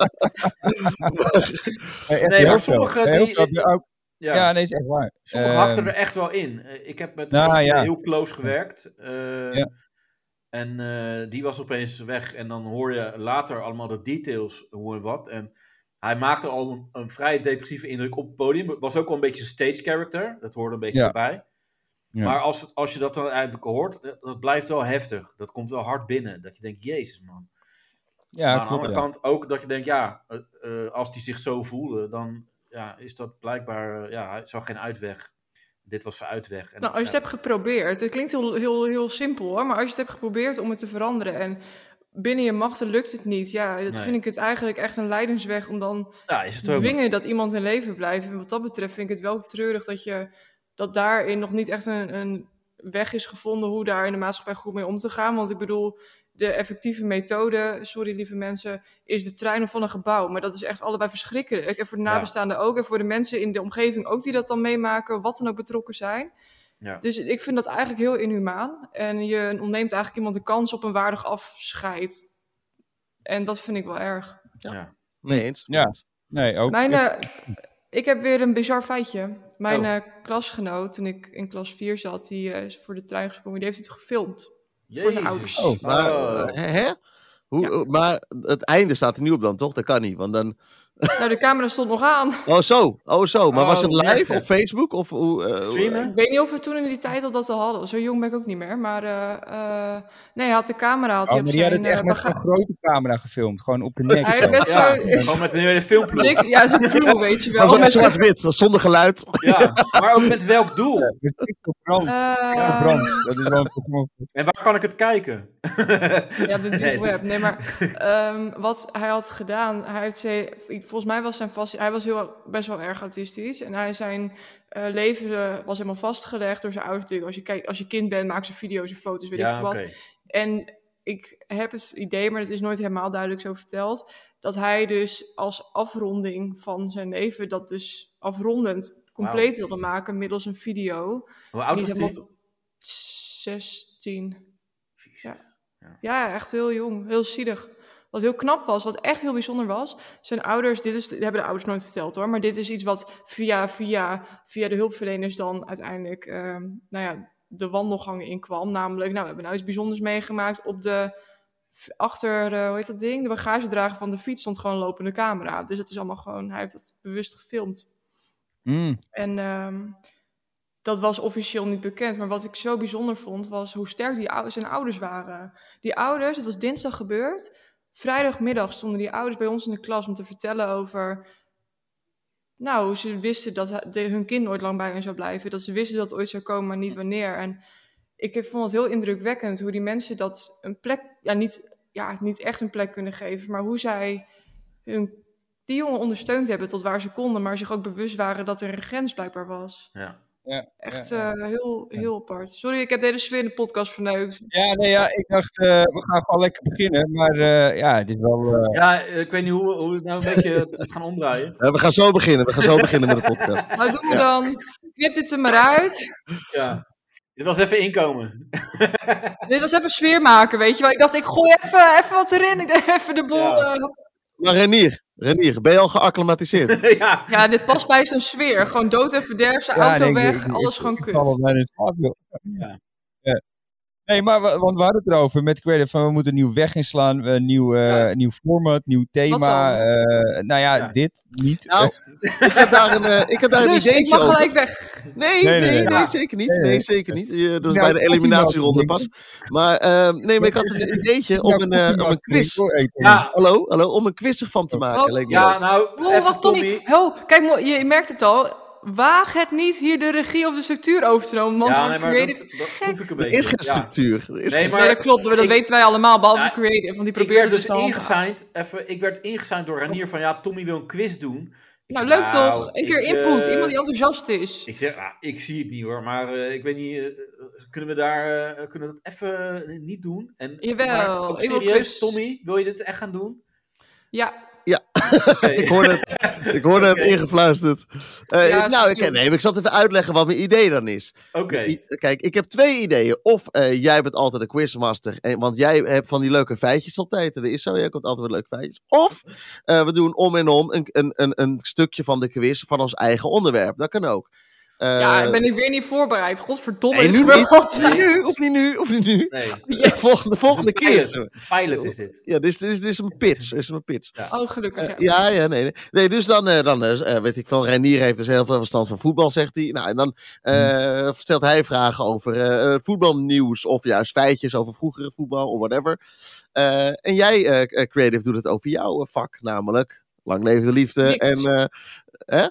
[SPEAKER 2] Nee, echt
[SPEAKER 3] maar
[SPEAKER 2] heel veel.
[SPEAKER 3] sommige
[SPEAKER 2] Heel
[SPEAKER 3] die-
[SPEAKER 2] veel, ook-
[SPEAKER 3] Ja,
[SPEAKER 2] ja. nee, is echt waar.
[SPEAKER 3] sommigen
[SPEAKER 2] Ehm,
[SPEAKER 3] hakten er echt wel in. Eh, Ik heb met
[SPEAKER 2] Nou,
[SPEAKER 3] iemand
[SPEAKER 2] ja.
[SPEAKER 3] heel close gewerkt. eh,
[SPEAKER 2] Ja.
[SPEAKER 3] En eh, die was opeens weg. En dan hoor je later allemaal de details, hoe en wat. En hij maakte al een, een vrij depressieve indruk op het podium. Het was ook wel een beetje een stage character. Dat hoorde een beetje
[SPEAKER 2] Ja.
[SPEAKER 3] erbij.
[SPEAKER 2] Ja.
[SPEAKER 3] Maar als, als je dat dan eigenlijk hoort, dat, dat blijft wel heftig. Dat komt wel hard binnen. Dat je denkt, jezus man.
[SPEAKER 2] ja,
[SPEAKER 3] maar Nou, aan de
[SPEAKER 2] klopt,
[SPEAKER 3] andere
[SPEAKER 2] ja.
[SPEAKER 3] kant ook dat je denkt, ja, eh, eh, als die zich zo voelde, dan ja, is dat blijkbaar, eh, ja, hij zag geen uitweg. Dit was zijn uitweg. En,
[SPEAKER 4] Nou, als je
[SPEAKER 3] ja,
[SPEAKER 4] het hebt geprobeerd, het klinkt heel, heel, heel simpel hoor, maar als je het hebt geprobeerd om het te veranderen en binnen je machten lukt het niet, ja, dat
[SPEAKER 3] Nee.
[SPEAKER 4] vind ik het eigenlijk echt een leidensweg om dan
[SPEAKER 3] ja, is het
[SPEAKER 4] te
[SPEAKER 3] ook.
[SPEAKER 4] dwingen dat iemand in leven blijft. En wat dat betreft vind ik het wel treurig dat je dat daarin nog niet echt een, een weg is gevonden hoe daar in de maatschappij goed mee om te gaan. Want ik bedoel, de effectieve methode, sorry lieve mensen, is de treinen van een gebouw. Maar dat is echt allebei verschrikkelijk. En voor de
[SPEAKER 3] Ja.
[SPEAKER 4] nabestaanden ook en voor de mensen in de omgeving ook die dat dan meemaken, wat dan ook betrokken zijn.
[SPEAKER 3] Ja.
[SPEAKER 4] Dus ik vind dat eigenlijk heel inhumaan. En je ontneemt eigenlijk iemand de kans op een waardig afscheid. En dat vind ik wel erg.
[SPEAKER 5] Nee eens.
[SPEAKER 2] Ja. Nee, ook.
[SPEAKER 4] Mijn, eh, ik heb weer een bizar feitje.
[SPEAKER 2] Oh.
[SPEAKER 4] Mijn eh, klasgenoot, toen ik in klas 4 zat, die eh, is voor de trein gesprongen. Die heeft het gefilmd. Voor zijn ouders.
[SPEAKER 2] Oh.
[SPEAKER 5] Maar,
[SPEAKER 3] Oh.
[SPEAKER 5] eh, hè? Hoe,
[SPEAKER 4] Ja.
[SPEAKER 5] maar het einde staat er niet op dan, toch? Dat kan niet. Want dan...
[SPEAKER 4] (laughs) Nou, de camera stond nog aan.
[SPEAKER 5] Oh, zo. Oh, zo. Maar was
[SPEAKER 3] Oh,
[SPEAKER 5] het live
[SPEAKER 3] mensen.
[SPEAKER 5] op Facebook? Of, hoe, eh, hoe-
[SPEAKER 4] Ik
[SPEAKER 3] Streamen?
[SPEAKER 4] weet niet of we toen in die tijd al dat al hadden. Zo jong ben ik ook niet meer. Maar eh, eh, nee, hij had de camera had
[SPEAKER 2] Oh,
[SPEAKER 4] hij op
[SPEAKER 2] maar die had
[SPEAKER 4] zijn
[SPEAKER 2] het echt
[SPEAKER 4] eh,
[SPEAKER 2] met
[SPEAKER 4] baga- (laughs)
[SPEAKER 2] zo'n (laughs) grote camera gefilmd. Gewoon op de nek.
[SPEAKER 4] Hij
[SPEAKER 2] zo.
[SPEAKER 4] heeft best
[SPEAKER 3] Ja,
[SPEAKER 4] zo...
[SPEAKER 3] gewoon met een hele filmploeg.
[SPEAKER 4] Dik, ja, zo'n crew, weet je
[SPEAKER 5] Maar
[SPEAKER 4] wel.
[SPEAKER 5] was het
[SPEAKER 4] Met-
[SPEAKER 5] Oh, zwart-wit, was zonder geluid.
[SPEAKER 3] Ja, maar ook met welk doel?
[SPEAKER 2] Met TikTok brand.
[SPEAKER 4] eh,
[SPEAKER 2] Brand. Dat is wel een
[SPEAKER 3] En waar kan ik het kijken? (laughs)
[SPEAKER 4] Ja, de deep
[SPEAKER 3] Nee, dat-
[SPEAKER 4] web. Nee,
[SPEAKER 3] (laughs)
[SPEAKER 4] maar ehm, wat hij had gedaan, hij heeft ze, volgens mij was zijn vast, hij was heel, best wel erg autistisch en hij zijn eh, leven eh, was helemaal vastgelegd door zijn ouders natuurlijk. Als je kijkt, als je kind bent, maken ze video's en foto's, weet ik
[SPEAKER 3] Ja,
[SPEAKER 4] veel
[SPEAKER 3] oké.
[SPEAKER 4] wat. En ik heb het idee, maar het is nooit helemaal duidelijk zo verteld, dat hij dus als afronding van zijn leven dat dus afrondend compleet
[SPEAKER 3] Wauw.
[SPEAKER 4] wilde maken middels een video.
[SPEAKER 3] Hoe oud
[SPEAKER 4] Niet
[SPEAKER 3] was die?
[SPEAKER 4] helemaal- 16.
[SPEAKER 3] Jezus.
[SPEAKER 4] Ja.
[SPEAKER 3] Ja.
[SPEAKER 4] ja, echt heel jong. Heel zielig. Wat heel knap was, wat echt heel bijzonder was. Zijn ouders, dit is, dit hebben de ouders nooit verteld hoor. Maar dit is iets wat via, via, via de hulpverleners dan uiteindelijk ehm, nou ja, de wandelgangen in kwam. Namelijk, nou, we hebben nou iets bijzonders meegemaakt op de. Achter, eh, hoe heet dat ding? De bagagedrager van de fiets stond gewoon een lopende camera. Dus het is allemaal gewoon, hij heeft dat bewust gefilmd. En ehm, dat was officieel niet bekend. Maar wat ik zo bijzonder vond, was hoe sterk die ou- zijn ouders waren. Die ouders, het was dinsdag gebeurd. Vrijdagmiddag stonden die ouders bij ons in de klas om te vertellen over. Nou, hoe ze wisten dat hij- de- hun kind nooit lang bij hen zou blijven. Dat ze wisten dat het ooit zou komen, maar niet wanneer. En ik heb- vond het heel indrukwekkend hoe die mensen dat een plek, ja niet, ja, niet echt een plek kunnen geven, maar hoe zij hun, die jongen ondersteund hebben tot waar ze konden, maar zich ook bewust waren dat er een grens blijkbaar was.
[SPEAKER 3] Ja.
[SPEAKER 4] Echt
[SPEAKER 2] Ja, ja.
[SPEAKER 4] eh, heel, heel apart. Sorry, ik heb de hele sfeer in de podcast verneukt.
[SPEAKER 2] Ja, nee, ja, ik dacht, eh, we gaan gewoon lekker beginnen. Maar eh, ja, het is wel... eh,
[SPEAKER 3] ja, ik weet niet hoe, hoe we het nou een beetje het gaan omdraaien.
[SPEAKER 5] Eh, we gaan zo beginnen. We gaan zo beginnen met de podcast.
[SPEAKER 4] Maar doen we
[SPEAKER 5] Ja.
[SPEAKER 4] dan? Knip dit er maar uit.
[SPEAKER 3] Ja. Dit was even inkomen. (laughs)
[SPEAKER 4] Dit was even sfeer maken, weet je wel. Ik dacht, ik gooi even, even wat erin. Ik deed even de eh. boel.
[SPEAKER 3] Ja.
[SPEAKER 4] Ja,
[SPEAKER 5] Maar Renier, Renier, ben je al geacclimatiseerd?
[SPEAKER 3] ja.
[SPEAKER 4] ja dit past bij zo'n sfeer. Gewoon dood en verderf, zijn
[SPEAKER 2] ja,
[SPEAKER 4] auto
[SPEAKER 2] nee, ik-
[SPEAKER 4] weg,
[SPEAKER 2] ik-
[SPEAKER 4] alles
[SPEAKER 2] ik-
[SPEAKER 4] gewoon
[SPEAKER 2] ik val al
[SPEAKER 4] kut.
[SPEAKER 2] bijna in slaap, joh.
[SPEAKER 3] Ja.
[SPEAKER 2] Ja. Nee, maar wa- want we hadden het erover met Creative van we moeten een nieuw weg inslaan, een nieuw, eh,
[SPEAKER 3] Ja.
[SPEAKER 2] een nieuw format, nieuw thema.
[SPEAKER 4] dan?
[SPEAKER 2] eh, nou ja,
[SPEAKER 3] Ja.
[SPEAKER 2] dit niet.
[SPEAKER 5] Nou, ik heb daar een, eh, ik heb daar een
[SPEAKER 4] Dus ik
[SPEAKER 5] ideetje
[SPEAKER 4] mag
[SPEAKER 5] over.
[SPEAKER 4] gelijk weg.
[SPEAKER 5] Nee,
[SPEAKER 2] Nee, nee,
[SPEAKER 5] nee, nee,
[SPEAKER 2] nee.
[SPEAKER 5] zeker niet.
[SPEAKER 2] Nee, nee.
[SPEAKER 5] Nee, zeker niet. Eh, dat is
[SPEAKER 2] Ja,
[SPEAKER 5] bij
[SPEAKER 2] ik
[SPEAKER 5] de
[SPEAKER 2] had die
[SPEAKER 5] eliminatieronde
[SPEAKER 2] wel
[SPEAKER 5] pas. Maar, ehm, nee, maar ik had een ideetje om
[SPEAKER 2] (laughs)
[SPEAKER 5] een, eh, om een quiz.
[SPEAKER 3] Ja,
[SPEAKER 5] Hallo, hallo, om een quiz ervan te maken.
[SPEAKER 4] Oh.
[SPEAKER 5] Leek me
[SPEAKER 3] ja,
[SPEAKER 5] leuk.
[SPEAKER 3] nou,
[SPEAKER 4] Oh,
[SPEAKER 3] even
[SPEAKER 4] wacht, Tommy. Ho, kijk, mo- je merkt het al. Waag het niet hier de regie of de structuur over te nemen. Want
[SPEAKER 3] ja,
[SPEAKER 4] wordt
[SPEAKER 3] nee, maar
[SPEAKER 4] creative...
[SPEAKER 3] dat, dat
[SPEAKER 4] gek.
[SPEAKER 3] proef ik een
[SPEAKER 5] Er
[SPEAKER 3] beetje.
[SPEAKER 5] is geen
[SPEAKER 3] ja.
[SPEAKER 5] structuur. Er is
[SPEAKER 3] Nee,
[SPEAKER 5] geen-
[SPEAKER 4] Nee,
[SPEAKER 3] maar-
[SPEAKER 4] dat klopt, dat
[SPEAKER 3] ik-
[SPEAKER 4] weten wij allemaal, behalve
[SPEAKER 3] Ja,
[SPEAKER 4] creative. Want die
[SPEAKER 3] Ik werd
[SPEAKER 4] probeerde dus
[SPEAKER 3] dus
[SPEAKER 4] te handhaven.
[SPEAKER 3] ingesigned, even, ik werd ingesigned door Ranier van ja, Tommy wil een quiz doen. Ik
[SPEAKER 4] Nou,
[SPEAKER 3] zeg,
[SPEAKER 4] leuk
[SPEAKER 3] nou,
[SPEAKER 4] toch? Een keer
[SPEAKER 3] ik,
[SPEAKER 4] input.
[SPEAKER 3] eh,
[SPEAKER 4] Iemand die enthousiast is.
[SPEAKER 3] Ik zeg, ah, ik zie het niet hoor, maar eh, ik weet niet, eh, kunnen we daar, eh, kunnen we dat even eh, niet doen? En,
[SPEAKER 4] Jawel,
[SPEAKER 3] maar ook
[SPEAKER 4] ik wil
[SPEAKER 3] serieus,
[SPEAKER 4] quiz.
[SPEAKER 3] Tommy, wil je dit echt gaan doen?
[SPEAKER 4] Ja,
[SPEAKER 3] Oké.
[SPEAKER 5] Ik hoorde het, ik hoorde het ingefluisterd. Eh,
[SPEAKER 4] Ja,
[SPEAKER 5] nou, ik,
[SPEAKER 4] natuurlijk.
[SPEAKER 5] nee, maar ik zal even uitleggen wat mijn idee dan is.
[SPEAKER 3] Oké,
[SPEAKER 5] I- Kijk, ik heb twee ideeën. Of eh, jij bent altijd een quizmaster, en, want jij hebt van die leuke feitjes altijd. En dat is zo, jij komt altijd met leuke feitjes. Of eh, we doen om en om een, een, een, een stukje van de quiz van ons eigen onderwerp. Dat kan ook. Eh,
[SPEAKER 4] ja, ben ik weer niet voorbereid. Godverdomme.
[SPEAKER 5] nee,
[SPEAKER 4] dit
[SPEAKER 5] nu
[SPEAKER 4] gebeurt
[SPEAKER 5] niet.
[SPEAKER 4] altijd.
[SPEAKER 5] nu, of niet nu, of niet
[SPEAKER 4] (laughs)
[SPEAKER 5] nu.
[SPEAKER 3] nee,
[SPEAKER 5] Volgende, volgende keer.
[SPEAKER 3] pilot is dit.
[SPEAKER 5] Ja, dit is, dit is, dit is een pitch. Dit is een pitch.
[SPEAKER 4] Oh, gelukkig. ja.
[SPEAKER 5] Eh, Ja, ja, nee. nee. Nee, dus dan, eh, dan eh, weet ik veel, Reinier heeft dus heel veel verstand van voetbal, zegt hij. Nou, en dan eh,
[SPEAKER 4] Hmm.
[SPEAKER 5] stelt hij vragen over eh, voetbalnieuws of juist feitjes over vroegere voetbal of whatever. Eh, en jij, eh, eh, Creative, doet het over jouw eh, vak, namelijk lang leven de liefde
[SPEAKER 4] Niks.
[SPEAKER 5] en eh,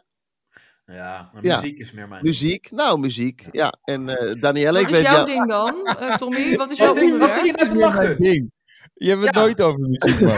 [SPEAKER 3] Ja, maar
[SPEAKER 5] Ja.
[SPEAKER 3] muziek is meer mijn...
[SPEAKER 5] muziek. Nou, muziek, ja. En eh Danielle,
[SPEAKER 4] Wat
[SPEAKER 5] ik
[SPEAKER 4] is
[SPEAKER 5] weet
[SPEAKER 4] jouw
[SPEAKER 5] jou...
[SPEAKER 4] ding dan, eh, Tommy? Wat is
[SPEAKER 3] Wat
[SPEAKER 4] jouw
[SPEAKER 3] zit-
[SPEAKER 4] ding?
[SPEAKER 3] wat zit je nou te lachen?
[SPEAKER 2] ding. Je hebt het
[SPEAKER 3] (laughs) Ja.
[SPEAKER 2] nooit over muziek, (laughs) man.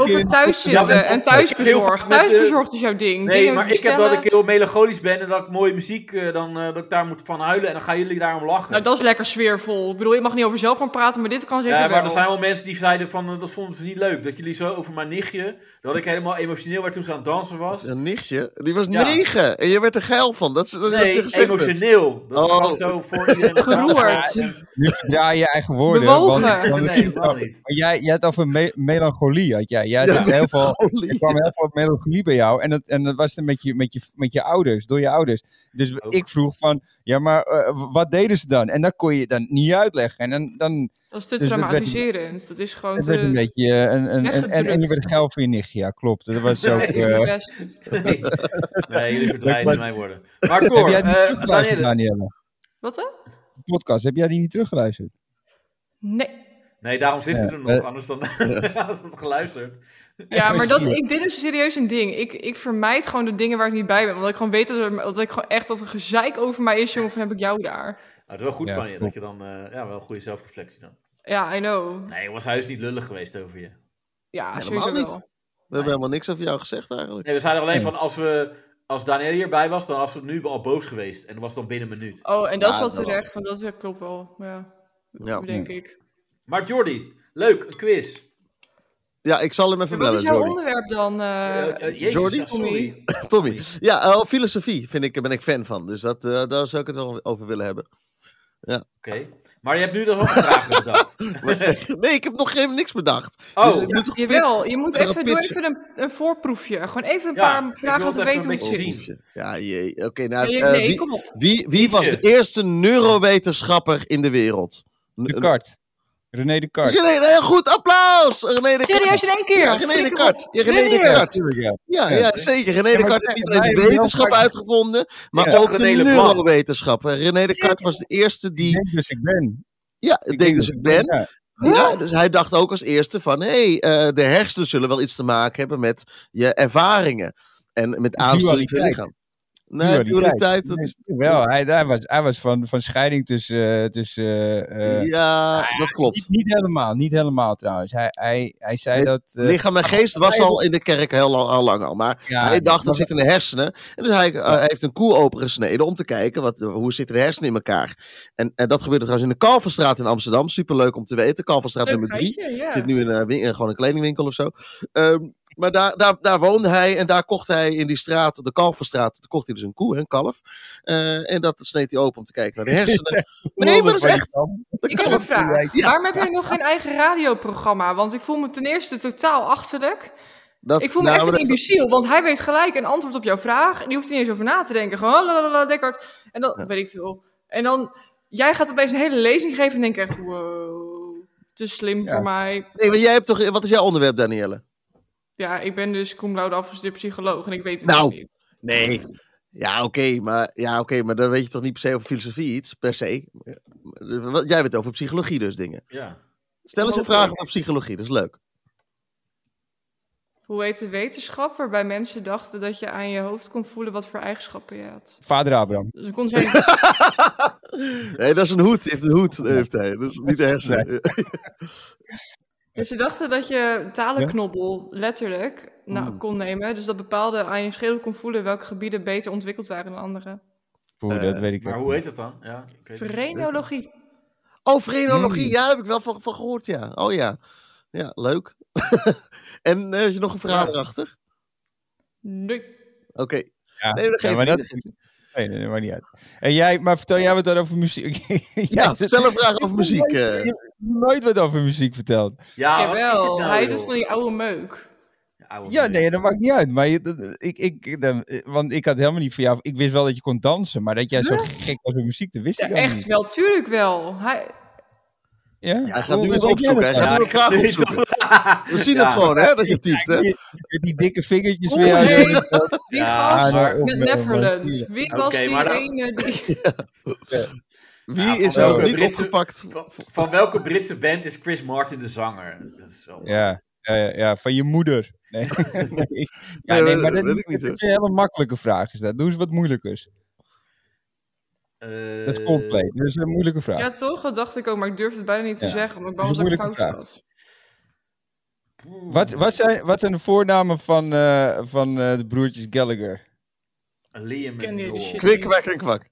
[SPEAKER 4] Over thuis zitten
[SPEAKER 3] maar-
[SPEAKER 4] en
[SPEAKER 3] Ik heb
[SPEAKER 4] thuisbezorgd.
[SPEAKER 3] heel veel-
[SPEAKER 4] Thuisbezorgd is jouw ding.
[SPEAKER 3] Nee,
[SPEAKER 4] Dingen
[SPEAKER 3] maar ik heb dat
[SPEAKER 4] bestellen.
[SPEAKER 3] ik heel melancholisch ben en dat ik mooie muziek, eh, dan, eh, dat ik daar moet van huilen en dan gaan jullie daarom lachen.
[SPEAKER 4] Nou, dat is lekker sfeervol. Ik bedoel, je mag niet over zelf gaan praten, maar dit kan zeker
[SPEAKER 3] ja, maar
[SPEAKER 4] wel.
[SPEAKER 3] er zijn wel mensen die zeiden van, eh, dat vonden ze niet leuk. Dat jullie zo over mijn nichtje, dat ik helemaal emotioneel werd toen ze aan het dansen was.
[SPEAKER 5] Een nichtje, die was
[SPEAKER 3] Ja.
[SPEAKER 5] negen en je werd er geil van. Dat is, dat is wat je
[SPEAKER 3] Nee,
[SPEAKER 5] gezegd hebt.
[SPEAKER 3] emotioneel. Dat is
[SPEAKER 5] Oh.
[SPEAKER 4] (laughs)
[SPEAKER 3] gewoon zo voor iedereen.
[SPEAKER 4] Geroerd.
[SPEAKER 3] Ja, en-
[SPEAKER 2] Nu verdraai je eigen woorden.
[SPEAKER 4] Bewogen.
[SPEAKER 2] Want, want
[SPEAKER 3] nee, helemaal
[SPEAKER 2] (laughs)
[SPEAKER 3] niet.
[SPEAKER 2] Maar jij, jij had over me- melancholie, had jij. jij had
[SPEAKER 5] Ja,
[SPEAKER 2] heel veel, er
[SPEAKER 5] Holy.
[SPEAKER 2] kwam heel veel melancholie bij jou. En dat, en dat was dan met je, met, je, met je ouders, door je ouders. Dus
[SPEAKER 3] Ook.
[SPEAKER 5] Oh.
[SPEAKER 2] ik vroeg van, ja, maar eh, wat deden ze dan? En dat kon je dan niet uitleggen. En dan, dan
[SPEAKER 4] Dat is te
[SPEAKER 2] Dus dat werd-
[SPEAKER 4] traumatiserend. Dat is gewoon
[SPEAKER 2] dat
[SPEAKER 4] te...
[SPEAKER 2] werd een beetje... eh, Een, een, en, en, en je
[SPEAKER 4] weggedrukt.
[SPEAKER 2] werd geld voor je nichtje, ja, klopt. Dat
[SPEAKER 5] (laughs)
[SPEAKER 2] was ook...
[SPEAKER 3] Nee.
[SPEAKER 2] eh,
[SPEAKER 4] best.
[SPEAKER 3] Nee, nee jullie verdrijven mij worden. Maar Cor,
[SPEAKER 2] heb jij die
[SPEAKER 3] eh,
[SPEAKER 2] teruggeluisterd,
[SPEAKER 3] Danielle-
[SPEAKER 2] Danielle?
[SPEAKER 4] Wat dan?
[SPEAKER 2] De podcast, heb jij die niet teruggeluisterd?
[SPEAKER 4] Nee.
[SPEAKER 3] Nee, daarom zit ze
[SPEAKER 2] Ja,
[SPEAKER 3] er
[SPEAKER 2] eh,
[SPEAKER 3] nog, anders dan (laughs) had ze het geluisterd.
[SPEAKER 4] Ja, maar dat,
[SPEAKER 2] plezier.
[SPEAKER 4] ik, dit is serieus een ding. Ik, ik vermijd gewoon de dingen waar ik niet bij ben. Omdat ik gewoon weet dat, er, dat ik gewoon echt dat er gezeik over mij is. Jongen, van heb ik jou daar.
[SPEAKER 3] Nou, dat is wel goed
[SPEAKER 2] Ja,
[SPEAKER 3] van je, dat
[SPEAKER 2] klopt.
[SPEAKER 3] je dan, eh, ja, wel een goede zelfreflectie dan.
[SPEAKER 4] Ja, I know.
[SPEAKER 3] Nee, was hij is niet lullig geweest over je.
[SPEAKER 4] Ja,
[SPEAKER 5] Helemaal
[SPEAKER 4] sowieso
[SPEAKER 5] niet.
[SPEAKER 4] wel.
[SPEAKER 5] We hebben helemaal niks over jou gezegd eigenlijk.
[SPEAKER 3] Nee, we zeiden alleen
[SPEAKER 2] Nee.
[SPEAKER 3] van, als we, als Daniel hierbij was, dan was ze nu al boos geweest. En dat was dan binnen een minuut.
[SPEAKER 4] Oh, en dat
[SPEAKER 5] Ja,
[SPEAKER 4] is
[SPEAKER 5] dat
[SPEAKER 4] wel terecht, want dat eh, klopt wel. Ja,
[SPEAKER 5] Ja, hmm.
[SPEAKER 4] denk ik.
[SPEAKER 3] Maar Jordi, leuk, een quiz.
[SPEAKER 5] ja ik zal hem
[SPEAKER 4] Ja,
[SPEAKER 5] even
[SPEAKER 4] wat
[SPEAKER 5] bellen,
[SPEAKER 4] is jouw
[SPEAKER 5] Jordi.
[SPEAKER 4] onderwerp dan? eh?
[SPEAKER 3] Eh, eh, jezus,
[SPEAKER 5] Jordi?
[SPEAKER 3] ja, sorry.
[SPEAKER 5] Tommy. Ja, eh, oh, filosofie vind ik, ben ik fan van. Dus dat, eh, daar zou ik het wel over willen hebben. (laughs)
[SPEAKER 3] Oké, maar je hebt nu dan nog een vraag bedacht.
[SPEAKER 2] (laughs)
[SPEAKER 5] Wat zeg je? Nee, ik heb nog geen niks bedacht.
[SPEAKER 3] Oh,
[SPEAKER 5] Je- je moet toch
[SPEAKER 4] Jawel, je moet
[SPEAKER 5] Even
[SPEAKER 4] even,
[SPEAKER 5] een
[SPEAKER 4] doe
[SPEAKER 5] pitchen.
[SPEAKER 4] even een, een voorproefje. Gewoon even een
[SPEAKER 3] Ja, ik
[SPEAKER 4] paar
[SPEAKER 3] wil
[SPEAKER 4] vragen dat we
[SPEAKER 3] het
[SPEAKER 4] weten
[SPEAKER 3] even
[SPEAKER 4] hoe het
[SPEAKER 3] een
[SPEAKER 5] pitchen?
[SPEAKER 3] beetje
[SPEAKER 4] zit.
[SPEAKER 3] zien.
[SPEAKER 5] Oh, Ja, jee. Oké, nou,
[SPEAKER 4] Nee,
[SPEAKER 5] eh,
[SPEAKER 4] nee,
[SPEAKER 5] wie,
[SPEAKER 4] kom op.
[SPEAKER 5] wie, wie was de
[SPEAKER 3] Nietzsche.
[SPEAKER 5] eerste neurowetenschapper in de wereld?
[SPEAKER 2] De kart. René de kart.
[SPEAKER 5] René, heel goed, applaus! René de
[SPEAKER 4] Serieus in één keer?
[SPEAKER 5] Ja, René de
[SPEAKER 4] Flikker
[SPEAKER 5] Kart.
[SPEAKER 4] op.
[SPEAKER 5] Ja, René de
[SPEAKER 4] Meneer.
[SPEAKER 5] Kart.
[SPEAKER 2] tuurlijk, ja.
[SPEAKER 5] Ja,
[SPEAKER 2] Ja.
[SPEAKER 5] ja, zeker. René
[SPEAKER 2] Ja,
[SPEAKER 5] de
[SPEAKER 2] maar
[SPEAKER 5] Kart
[SPEAKER 2] wij-
[SPEAKER 5] heeft niet
[SPEAKER 2] wij
[SPEAKER 5] alleen
[SPEAKER 2] hebben
[SPEAKER 5] wetenschap
[SPEAKER 2] heel vaak-
[SPEAKER 5] uitgevonden, maar
[SPEAKER 2] Ja.
[SPEAKER 5] ook de
[SPEAKER 3] René Leblanc.
[SPEAKER 5] neurowetenschap. René de Kart was de eerste
[SPEAKER 2] Ik
[SPEAKER 5] die,
[SPEAKER 2] denk dus ik ben.
[SPEAKER 5] ja, ik denk dus ik ben.
[SPEAKER 2] Ja.
[SPEAKER 5] Ja, dus hij dacht ook als eerste van, hé, hey, de hersenen zullen wel iets te maken hebben met je ervaringen en met aansturing van je
[SPEAKER 2] Dualiteit.
[SPEAKER 5] lichaam. Nee,
[SPEAKER 2] Dualiteit.
[SPEAKER 5] dualiteit, (laughs) dat
[SPEAKER 2] Nee,
[SPEAKER 5] is...
[SPEAKER 2] Wel, hij, hij was, hij was van, van scheiding tussen... eh, tussen eh, eh,
[SPEAKER 5] Ja, dat klopt.
[SPEAKER 2] niet, niet helemaal, niet helemaal trouwens. Hij, hij, hij zei
[SPEAKER 5] Nee,
[SPEAKER 2] dat... eh,
[SPEAKER 5] Lichaam en geest was al in de kerk heel lang al, lang al maar
[SPEAKER 2] ja,
[SPEAKER 5] hij dacht,
[SPEAKER 2] maar-
[SPEAKER 5] dat zit in de hersenen. En dus hij eh, heeft een koe opengesneden om te kijken, wat, hoe zitten de hersenen in elkaar. En, en dat gebeurde trouwens in de Kalverstraat in Amsterdam. Superleuk om te weten. Kalverstraat
[SPEAKER 4] Leuk
[SPEAKER 5] nummer drie.
[SPEAKER 4] feitje, ja.
[SPEAKER 5] Zit nu in een, win- eh, gewoon een kledingwinkel of zo. Ehm, maar daar, daar, daar woonde hij en daar kocht hij in die straat, de Kalverstraat, daar kocht hij dus een koe, hè, een kalf. Eh, en dat sneed hij open om te kijken naar
[SPEAKER 4] (laughs)
[SPEAKER 5] de hersenen. nee, maar dat is echt... Dat
[SPEAKER 4] Ik
[SPEAKER 5] kan
[SPEAKER 4] heb een
[SPEAKER 5] ook.
[SPEAKER 4] vraag.
[SPEAKER 5] Ja.
[SPEAKER 4] Waarom heb jij nog geen eigen radioprogramma? Want ik voel me ten eerste totaal achterlijk.
[SPEAKER 5] Dat-
[SPEAKER 4] Ik voel me
[SPEAKER 5] nou,
[SPEAKER 4] echt
[SPEAKER 5] maar
[SPEAKER 4] een
[SPEAKER 5] dat-
[SPEAKER 4] imbeciel, want hij weet gelijk een antwoord op jouw vraag. En die hoeft er niet eens over na te denken. Gewoon, "Oh, lalala, Dekkard. En dan,
[SPEAKER 5] Ja.
[SPEAKER 4] weet ik veel. En dan, jij gaat opeens een hele lezing geven en denk ik echt, wow, te slim
[SPEAKER 2] Ja.
[SPEAKER 4] voor mij.
[SPEAKER 5] Nee, maar jij hebt toch... Wat is jouw onderwerp, Danielle?
[SPEAKER 4] Ja, ik ben dus cum laude afgestudeerd psycholoog en ik weet het dus
[SPEAKER 5] Nou.
[SPEAKER 4] niet.
[SPEAKER 5] Nee. Ja, oké, maar, ja, oké, maar dan weet je toch niet per se over filosofie iets, per se. Eh, wat- Jij weet over psychologie dus dingen.
[SPEAKER 3] Ja.
[SPEAKER 5] Stel eens een
[SPEAKER 4] Oké.
[SPEAKER 5] vraag over psychologie, dat is leuk. (laughs)
[SPEAKER 4] Hoe heet de wetenschap waarbij mensen dachten dat je aan je hoofd kon voelen wat voor eigenschappen je had?
[SPEAKER 2] Vader Abraham.
[SPEAKER 4] Dus ik kon zeggen,
[SPEAKER 5] nee, dat is een hoed, die heeft een hoed, heeft hij. Dat is niet de hersenen.
[SPEAKER 4] dus ze dachten dat je talenknobbel letterlijk nou,
[SPEAKER 2] Hmm.
[SPEAKER 5] Mm.
[SPEAKER 4] kon nemen. Dus dat bepaalde aan je schedel kon voelen welke gebieden beter ontwikkeld waren dan andere.
[SPEAKER 2] Oeh,
[SPEAKER 5] Eh,
[SPEAKER 2] dat weet ik
[SPEAKER 3] Maar
[SPEAKER 2] ook
[SPEAKER 3] hoe
[SPEAKER 2] niet.
[SPEAKER 3] heet het dan? Ja, ik weet het niet.
[SPEAKER 4] Verenologie.
[SPEAKER 5] Oh, frenologie,
[SPEAKER 2] Hmm.
[SPEAKER 5] ja, daar heb ik wel van, van gehoord, ja. Oh ja, ja, leuk. (laughs) en eh, heb je nog een vraag
[SPEAKER 3] Ja.
[SPEAKER 5] erachter?
[SPEAKER 4] Nee.
[SPEAKER 5] Oké,
[SPEAKER 2] Ja,
[SPEAKER 5] nee, dat
[SPEAKER 2] ja,
[SPEAKER 5] geeft
[SPEAKER 2] maar dat...
[SPEAKER 5] niet.
[SPEAKER 2] Nee, nee, maar niet uit. En jij, maar vertel jij wat dan over muziek? (laughs) Jij
[SPEAKER 5] Ja,
[SPEAKER 2] zit-
[SPEAKER 5] stel een vraag over muziek.
[SPEAKER 2] Je
[SPEAKER 5] eh.
[SPEAKER 2] hebt nooit wat over muziek verteld.
[SPEAKER 3] Ja, wat is
[SPEAKER 4] Jawel,
[SPEAKER 3] het nou,
[SPEAKER 4] hij
[SPEAKER 3] joh?
[SPEAKER 4] doet van die oude meuk.
[SPEAKER 3] Ja, ouwe
[SPEAKER 2] Ja,
[SPEAKER 3] meneer.
[SPEAKER 2] nee, dat maakt niet uit. Maar je- dat- ik, ik, dan- want ik had helemaal niet van jou... Ik wist wel dat je kon dansen, maar dat jij zo gek was op muziek, dat wist
[SPEAKER 4] Ja,
[SPEAKER 2] ik helemaal
[SPEAKER 4] echt wel, tuurlijk wel. Hij,
[SPEAKER 2] niet. Ja?
[SPEAKER 5] Hij gaat
[SPEAKER 2] Hoe-
[SPEAKER 5] nu
[SPEAKER 2] hoe
[SPEAKER 5] iets
[SPEAKER 2] weet jij
[SPEAKER 5] opzoeken, hij
[SPEAKER 2] dat dan?
[SPEAKER 3] (laughs)
[SPEAKER 5] gaat nu een vraag
[SPEAKER 3] Ja, ik-
[SPEAKER 5] opzoeken. We zien het
[SPEAKER 3] Ja.
[SPEAKER 5] gewoon, hè, dat je typt, hè.
[SPEAKER 2] Met die dikke vingertjes
[SPEAKER 4] Hoe
[SPEAKER 2] weer.
[SPEAKER 3] (laughs)
[SPEAKER 4] heet oh, die
[SPEAKER 3] Ja,
[SPEAKER 4] gast
[SPEAKER 2] maar-
[SPEAKER 4] met Neverland?
[SPEAKER 2] Oké,
[SPEAKER 4] Wie was die
[SPEAKER 3] maar dan-
[SPEAKER 4] ene
[SPEAKER 2] (laughs)
[SPEAKER 4] die...
[SPEAKER 5] Wie
[SPEAKER 3] Ja, van
[SPEAKER 5] is er nog
[SPEAKER 2] welke
[SPEAKER 5] niet
[SPEAKER 3] Britse-
[SPEAKER 5] opgepakt?
[SPEAKER 3] Van, van welke Britse band is Chris Martin de zanger? Dat is wel...
[SPEAKER 2] Ja, ja, ja, ja, van je moeder.
[SPEAKER 4] (laughs)
[SPEAKER 2] Nee, nee. Ja, nee,
[SPEAKER 5] dat-
[SPEAKER 2] maar
[SPEAKER 5] dat
[SPEAKER 2] dat,
[SPEAKER 5] weet ik niet,
[SPEAKER 2] dat is een hele makkelijke vraag. Is dat. Doe eens wat moeilijkers.
[SPEAKER 3] Eh,
[SPEAKER 2] Dat is Coldplay. Dat is een moeilijke vraag.
[SPEAKER 4] Ja, toch? Dat dacht ik ook, maar ik durfde het bijna niet te
[SPEAKER 2] Ja.
[SPEAKER 4] zeggen, omdat ik
[SPEAKER 2] Dat
[SPEAKER 4] bang
[SPEAKER 2] is
[SPEAKER 4] was dat ik
[SPEAKER 2] een
[SPEAKER 4] fout
[SPEAKER 2] moeilijke
[SPEAKER 4] zat.
[SPEAKER 2] Wat, wat, zijn, wat zijn de voornamen van, eh, van eh, de broertjes Gallagher?
[SPEAKER 3] Liam
[SPEAKER 4] Ken
[SPEAKER 3] en
[SPEAKER 4] je die
[SPEAKER 3] Noel.
[SPEAKER 4] shit?
[SPEAKER 5] Kwik, kwak en kwak.